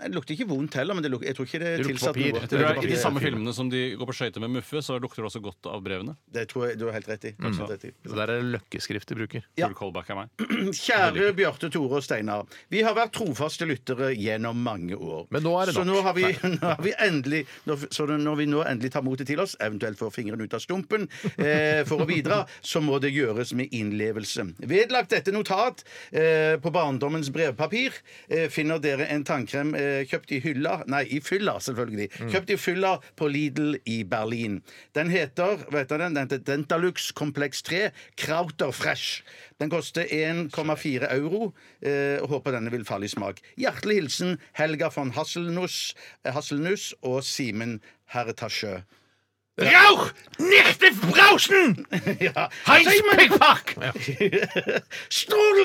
Speaker 2: Det lukter ikke vondt heller, men det luk jeg tror ikke det er
Speaker 1: Det lukter
Speaker 2: tilsatt
Speaker 1: papir.
Speaker 2: noe.
Speaker 1: Det
Speaker 3: Det
Speaker 1: lukter
Speaker 3: er I de
Speaker 1: papir.
Speaker 3: samme filmene som de går på skøyter med Muffe, så lukter det også godt av brevene.
Speaker 2: Det tror jeg du har helt rett i. Absolutt rett i.
Speaker 1: Mm. Så der er det løkkeskrift de bruker.
Speaker 2: Ja.
Speaker 3: Full callback av meg.
Speaker 2: Kjære Bjarte, Tore og Steinar. Vi har vært trofaste lyttere gjennom mange år.
Speaker 1: Men nå er det
Speaker 2: så
Speaker 1: nok.
Speaker 2: nå har vi, (laughs) nå har vi endelig når, Så når vi nå endelig tar motet til oss, eventuelt får fingeren ut av stumpen eh, for
Speaker 1: (laughs)
Speaker 2: å bidra, så må det gjøres med innlevelse. Vedlagt dette notat eh, på barndommens brevpapir eh, finner dere en tannkrem eh, kjøpt i hylla Nei, i fylla, selvfølgelig.
Speaker 1: Mm.
Speaker 2: Kjøpt i fylla på Lidl i Berlin. Den heter, vet du den, den heter Dentalux Kompleks 3 Krauter Fresh. Den koster 1,4 euro. Eh, og håper denne vil falle i smak. Hjertelig hilsen Helga von Hasselnuss, eh, Hasselnuss og Simen Herretasjø. (laughs)
Speaker 1: Rauch! Nichte brausen!
Speaker 2: Ja. (laughs)
Speaker 1: Pickpack!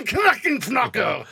Speaker 2: Strudelknakkenfnakker!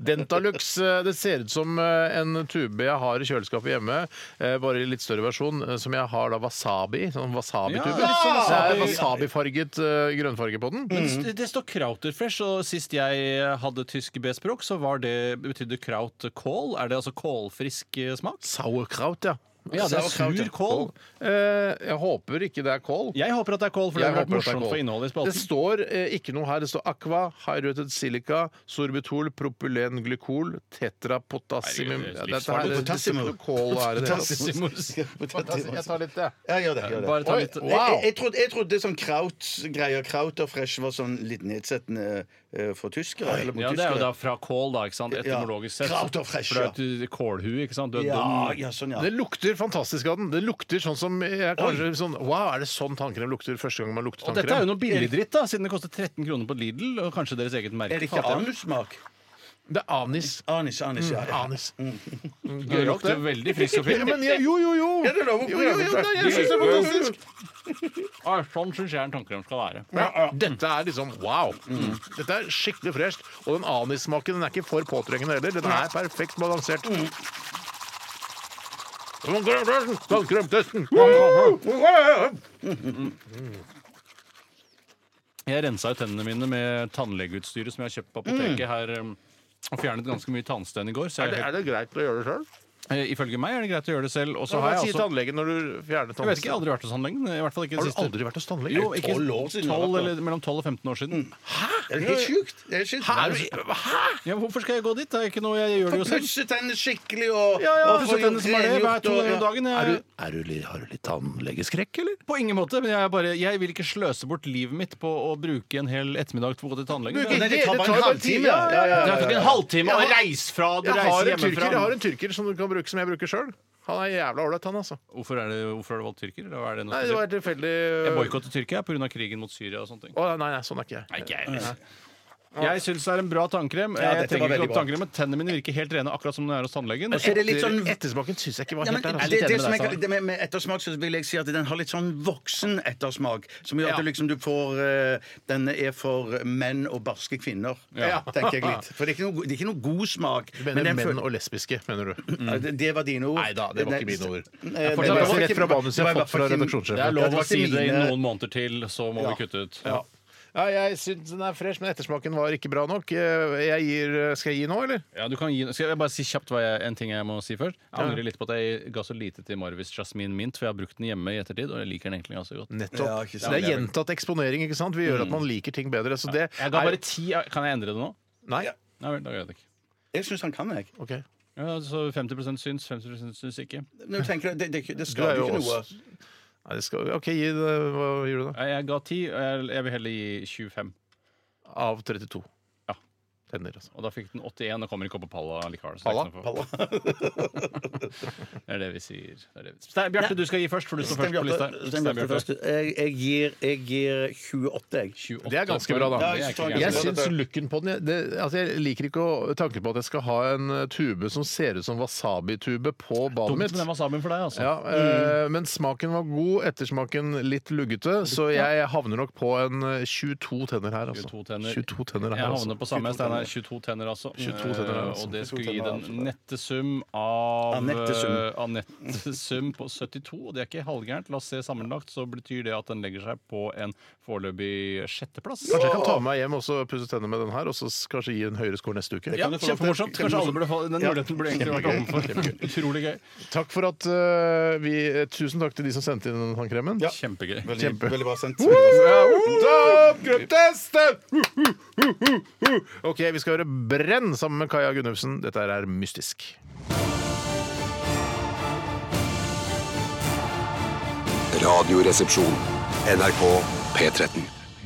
Speaker 1: Dentalux. eh, Det ser ut som eh, en tube jeg har i kjøleskapet hjemme, eh, bare i litt større versjon, eh, som jeg har da wasabi. Sånn wasabi-tube.
Speaker 3: Ja, litt sånn
Speaker 1: Det er
Speaker 3: wasabi. Mm.
Speaker 1: wasabifarget eh, grønnfarge på den.
Speaker 3: Det, det står krauterfresh, og sist jeg hadde tysk B-språk, så var det, betydde kraut kål. Er det altså kålfrisk eh, smak?
Speaker 1: Sauerkraut, ja.
Speaker 3: Ja, det er
Speaker 2: Sauerkraut, ja.
Speaker 3: sur kål.
Speaker 1: Eh, jeg håper ikke det er kål.
Speaker 3: Jeg håper at det er kål, for det
Speaker 1: Jeg
Speaker 3: hadde vært
Speaker 1: håper at det er
Speaker 3: morsomt
Speaker 1: kål.
Speaker 3: for innholdet i
Speaker 1: Det
Speaker 3: spalten.
Speaker 1: står eh, ikke noe her. Det står aqua, high-rooted silica, sorbitol, propylenglykol, tetrapotassium
Speaker 3: Herregud, det er
Speaker 1: Ja,
Speaker 3: livsfarlig.
Speaker 1: Dette her, det, det står ikke noe kål her. i det hele tatt. Jeg tar litt, jeg.
Speaker 2: Ja, gjør det. Gjør det.
Speaker 3: Bare ta
Speaker 1: Oi,
Speaker 3: litt
Speaker 1: wow.
Speaker 2: Jeg, jeg, trodde, jeg trodde sånn kraut-greier, kraut og fresh, var sånn litt nedsettende eh, for tyskere. Eller mot
Speaker 3: Ja, det er jo da
Speaker 2: tyskere.
Speaker 3: fra kål, da, ikke sant? Etymologisk sett.
Speaker 2: Kraut og fresh,
Speaker 3: For det er jo et kålhue, ikke sant? Du er
Speaker 2: ja,
Speaker 3: dum.
Speaker 2: ja, sånn, ja.
Speaker 1: Det lukter fantastisk av den. Det lukter sånn som jeg kanskje sånn, Wow, er det sånn tannkrem lukter første gang man lukter
Speaker 3: Og dette er jo
Speaker 1: tannkrem?
Speaker 3: noe billigdritt, da, siden det koster 13 kroner på Lidl, og kanskje deres eget merke.
Speaker 2: Er det ikke anussmak?
Speaker 1: Det er anis.
Speaker 2: Anis, anis, ja. ja.
Speaker 1: Anis.
Speaker 3: Mm.
Speaker 1: Mm,
Speaker 3: Det lukter veldig frisk og (laughs)
Speaker 1: Ja,
Speaker 3: fin.
Speaker 1: men jeg- jo, jo, jo!
Speaker 2: Er det lov å
Speaker 1: Jo, jo, jo,
Speaker 2: prøve?
Speaker 1: nei, jeg synes det er fantastisk.
Speaker 3: Ah, Sånn syns jeg en tannkrem skal være.
Speaker 1: Dette er liksom wow!
Speaker 3: Mm.
Speaker 1: Dette er skikkelig fresht. Og den anissmaken den er ikke for påtrengende heller. Den er perfekt balansert.
Speaker 3: Mm.
Speaker 1: Tannkremtesten! Tannkremtesten!
Speaker 3: Jeg rensa ut tennene mine med tannlegeutstyret som jeg har kjøpt på apoteket her. um, Og fjernet ganske mye tannsten i går. Så
Speaker 1: Er det,
Speaker 3: jeg,
Speaker 1: er det greit å gjøre det sjøl?
Speaker 3: eh, ifølge meg er det greit å gjøre det selv. Og så
Speaker 1: Hva
Speaker 3: har jeg
Speaker 1: sier
Speaker 3: altså
Speaker 1: tannlegen når du fjerner
Speaker 3: Jeg vet ikke, jeg har
Speaker 1: tannsten?
Speaker 3: aldri vært hos tannlegen. I hvert fall ikke det
Speaker 1: Har du
Speaker 3: siste.
Speaker 1: aldri vært hos tannlegen?
Speaker 3: Jo, ikke,
Speaker 2: 12 år siden du har
Speaker 3: 12
Speaker 2: vært
Speaker 3: eller, mellom 12 og 15 år siden.
Speaker 2: Er det helt sjukt? Det er helt sjukt.
Speaker 1: Er du- Hæ?!
Speaker 3: Ja, hvorfor skal jeg gå dit? Det er ikke noe jeg gjør det jo selv.
Speaker 2: Pusse tennene skikkelig og
Speaker 3: Ja, ja,
Speaker 2: og få
Speaker 3: så tennene som er det, hver
Speaker 2: rengjort
Speaker 3: to
Speaker 2: og-
Speaker 3: ganger om dagen. Jeg,
Speaker 1: Er du litt- har du litt tannlegeskrekk, eller?
Speaker 3: på ingen måte. Men jeg, bare, jeg vil ikke sløse bort livet mitt på å bruke en hel ettermiddag til å gå til tannlegen.
Speaker 2: Nei,
Speaker 3: Det
Speaker 2: det tar bare en halvtime. Ja, ja, ja,
Speaker 3: er
Speaker 2: ja,
Speaker 3: ikke en halvtime å reise fra du
Speaker 1: Jeg har,
Speaker 3: reiser
Speaker 1: en tyrker, jeg
Speaker 3: hjemmefra.
Speaker 1: har en tyrker som du kan bruke som jeg bruker sjøl. Han er jævla ålreit, han, altså.
Speaker 3: Hvorfor, er det, hvorfor har du valgt tyrker? Eller er det noe
Speaker 1: Nei, det var
Speaker 3: spesielt?
Speaker 1: tilfeldig
Speaker 2: eh,
Speaker 3: Jeg boikotter Tyrkia pga. krigen mot Syria og sånne ting.
Speaker 1: Å, nei, nei, sånn er ikke jeg.
Speaker 3: Nei, ikke jeg heller. Jeg syns det er en bra tannkrem. jeg
Speaker 2: Ja, dette
Speaker 3: trenger
Speaker 2: var
Speaker 3: ikke
Speaker 2: veldig
Speaker 3: opp
Speaker 2: bra.
Speaker 3: tannkrem, men Tennene mine virker helt rene, akkurat som når jeg er hos tannlegen.
Speaker 2: Er det litt sånn
Speaker 1: Mm, Ettersmaken syns jeg ikke var
Speaker 2: ja, men,
Speaker 1: helt der.
Speaker 2: det,
Speaker 1: Altså.
Speaker 2: det,
Speaker 3: enig
Speaker 2: som
Speaker 3: med
Speaker 2: jeg,
Speaker 3: deg,
Speaker 2: det med, med ettersmak så vil jeg si at den har litt sånn voksen ettersmak. Som gjør
Speaker 1: Ja.
Speaker 2: at du liksom du får eh, Den er for menn og barske kvinner,
Speaker 1: Ja.
Speaker 2: tenker jeg litt. For det er ikke noe, go- det er ikke noe god smak.
Speaker 1: Du mener
Speaker 2: den
Speaker 1: menn
Speaker 2: føl-
Speaker 1: og lesbiske, mener du?
Speaker 2: Ja, det, Mm. det var dine ord.
Speaker 1: Nei da, det var ikke
Speaker 2: Nei,
Speaker 1: mine ord.
Speaker 2: eh,
Speaker 1: Jeg
Speaker 2: det
Speaker 1: fortsatte
Speaker 2: var
Speaker 1: rett
Speaker 2: ikke-
Speaker 1: fra manuset
Speaker 2: det
Speaker 1: jeg
Speaker 2: var
Speaker 1: har fått fra
Speaker 2: ikke min-
Speaker 3: Det er
Speaker 1: redaksjonssjefen.
Speaker 2: Ja,
Speaker 3: lov
Speaker 2: det
Speaker 3: å
Speaker 2: var
Speaker 3: si
Speaker 2: ikke
Speaker 3: det i
Speaker 2: mine-
Speaker 3: noen måneder til, så må vi kutte ut.
Speaker 2: Ja.
Speaker 1: Ja, jeg syns den er fresh, men ettersmaken var ikke bra nok. Eh, Jeg gir, skal jeg gi nå, eller?
Speaker 3: Ja, du kan gi, skal jeg bare si kjapt hva jeg, en ting jeg må si først? Jeg angrer litt på at jeg ga så lite til Marvis Jasmine Mint, for jeg har brukt den hjemme i ettertid, og jeg liker den egentlig ganske godt.
Speaker 1: Nettopp.
Speaker 2: Ja, ikke sant.
Speaker 1: det er gjentatt eksponering, ikke sant? Vi gjør at man liker ting bedre. Så det
Speaker 3: Mm. Jeg ga
Speaker 1: er-
Speaker 3: bare ti. Kan jeg endre det nå?
Speaker 1: Nei?
Speaker 3: Nei vel, da gjør jeg det ikke.
Speaker 2: Jeg syns han sånn kan, jeg.
Speaker 1: OK.
Speaker 3: Ja, så 50 syns, 50 syns ikke.
Speaker 2: Nå tenker du, det, det, det
Speaker 1: Du er
Speaker 2: skal jo
Speaker 1: jo
Speaker 2: ikke noe.
Speaker 1: oss. Nei, det skal, OK, gi det. Hva gir du, da?
Speaker 3: Nei, Jeg ga 10, og jeg, jeg vil heller gi 25.
Speaker 1: Av 32.
Speaker 3: Ja.
Speaker 1: Tenner, altså.
Speaker 3: Og da fikk den 81 og kommer ikke opp på palla likevel. så det er
Speaker 1: Palla?
Speaker 3: ikke noe for- Det er det vi sier. Det er det vi... Stein, Bjarte, du skal gi først, for du står først på lista.
Speaker 2: Stein Bjarte først. Jeg, jeg, gir, jeg gir 28, jeg.
Speaker 3: 28.
Speaker 1: Det er ganske bra, da.
Speaker 3: Det er ikke
Speaker 1: Jeg
Speaker 3: gærent.
Speaker 1: syns looken på den det, altså Jeg liker ikke å, tanken på at jeg skal ha en eh, tube som ser ut som wasabi-tube på badet
Speaker 3: Dumt med
Speaker 1: mitt.
Speaker 3: den wasabien for deg, altså.
Speaker 1: Ja, eh, Men smaken var god, ettersmaken litt luggete, så jeg havner nok på en eh, 22 tenner her, altså.
Speaker 3: 22 tenner.
Speaker 1: 22 tenner her,
Speaker 3: Jeg
Speaker 1: altså.
Speaker 3: havner på samme Steinar. 22 tenner, altså.
Speaker 1: 22 tenner,
Speaker 3: Eh,
Speaker 1: altså.
Speaker 3: Og det
Speaker 2: 22
Speaker 3: skulle gi
Speaker 2: tenner,
Speaker 3: den
Speaker 2: altså.
Speaker 3: nette sum av
Speaker 2: Anette sum.
Speaker 3: eh, Anette (laughs) sum på 72, og det er ikke halvgærent. La oss se sammenlagt, så betyr det at den legger seg på en foreløpig sjetteplass.
Speaker 1: Kanskje jeg kan ta med meg hjem og så pusse tennene med den her, og så s- kanskje gi en høyere score neste uke.
Speaker 3: Ja,
Speaker 2: Kan du få lov til-
Speaker 3: Kjempemorsomt.
Speaker 2: kan du
Speaker 3: Kanskje
Speaker 2: få-
Speaker 3: alle burde få den
Speaker 2: Ja.
Speaker 3: muligheten. burde egentlig vært overfor. Utrolig gøy.
Speaker 1: Takk for at eh, vi eh, Tusen takk til de som sendte inn den tannkremen.
Speaker 3: Kjempegøy.
Speaker 2: Veldig,
Speaker 1: Kjempe.
Speaker 2: veldig bra sendt. Veldig bra sendt.
Speaker 1: Toppgruppteste! OK, vi skal høre Brenn sammen med Kaja Gunnufsen. Dette her er mystisk.
Speaker 6: Radioresepsjon. NRK P13.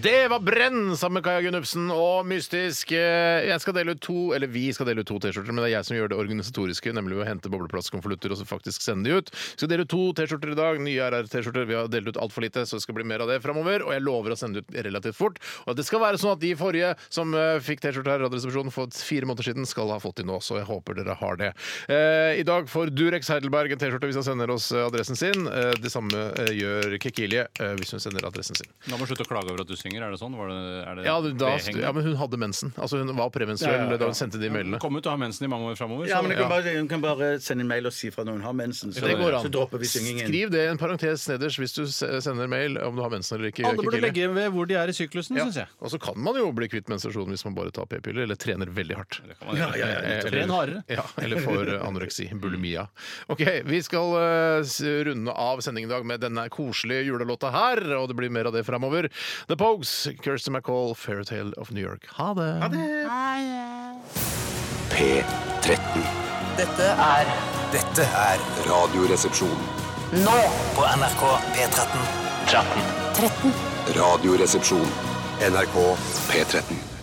Speaker 1: Det var Brenn sammen med Kaja Gunnufsen og Mystisk. Eh, Jeg skal dele ut to, eller Vi skal dele ut to T-skjorter, men det er jeg som gjør det organisatoriske, nemlig ved å hente bobleplastkonvolutter og så faktisk sende de ut. Vi skal dele ut to T-skjorter i dag. Nye RR-T-skjorter. Vi har delt ut altfor lite, så det skal bli mer av det framover. Og jeg lover å sende ut relativt fort. Og det skal være sånn at de forrige som eh, fikk T-skjorte her i Radioresepsjonen for fire måneder siden, skal ha fått de nå. Så jeg håper dere har det. Eh, I dag får Durex Heidelberg en T-skjorte hvis han sender oss eh, adressen sin. Eh, det samme eh, gjør Kekilje eh, hvis hun sender adressen sin.
Speaker 3: Da må du slutte å klage over at du synger. Er det sånn? Var det, er det
Speaker 1: Ja, det- da,
Speaker 3: beheng?
Speaker 1: ja, men hun hadde mensen. Altså Hun var premenstruell da hun sendte de mailene.
Speaker 3: Kom ut og ha mensen i mange år framover.
Speaker 2: Ja, men du kan, bare, du kan bare sende en mail og si fra når hun har mensen, så,
Speaker 1: Det går an.
Speaker 2: så dropper vi syngingen.
Speaker 1: Skriv det i en parentes nederst hvis du se- sender mail om du har mensen eller ikke.
Speaker 3: Alle burde
Speaker 1: Kikili.
Speaker 3: legge ved hvor de er i syklusen,
Speaker 1: ja.
Speaker 3: syns jeg.
Speaker 1: Og så kan man jo bli kvitt menstruasjonen hvis man bare tar p-piller eller trener veldig hardt.
Speaker 3: Ja, ja,
Speaker 1: Eh,
Speaker 3: Tren hardere.
Speaker 1: Ja, eller får eh, anoreksi,
Speaker 3: (laughs)
Speaker 1: bulimia. OK, vi skal eh, s- runde av sendingen i dag med denne koselige julelåta her, og det blir mer av det framover. The Pogues, Kirsty MacColl, 'Fairytale of New York'. Ha det! Ha det.
Speaker 6: P13.
Speaker 9: Dette er
Speaker 5: Dette er
Speaker 6: Radioresepsjon.
Speaker 9: nå
Speaker 5: på NRK P13.
Speaker 6: 13. Radioresepsjon. NRK P13.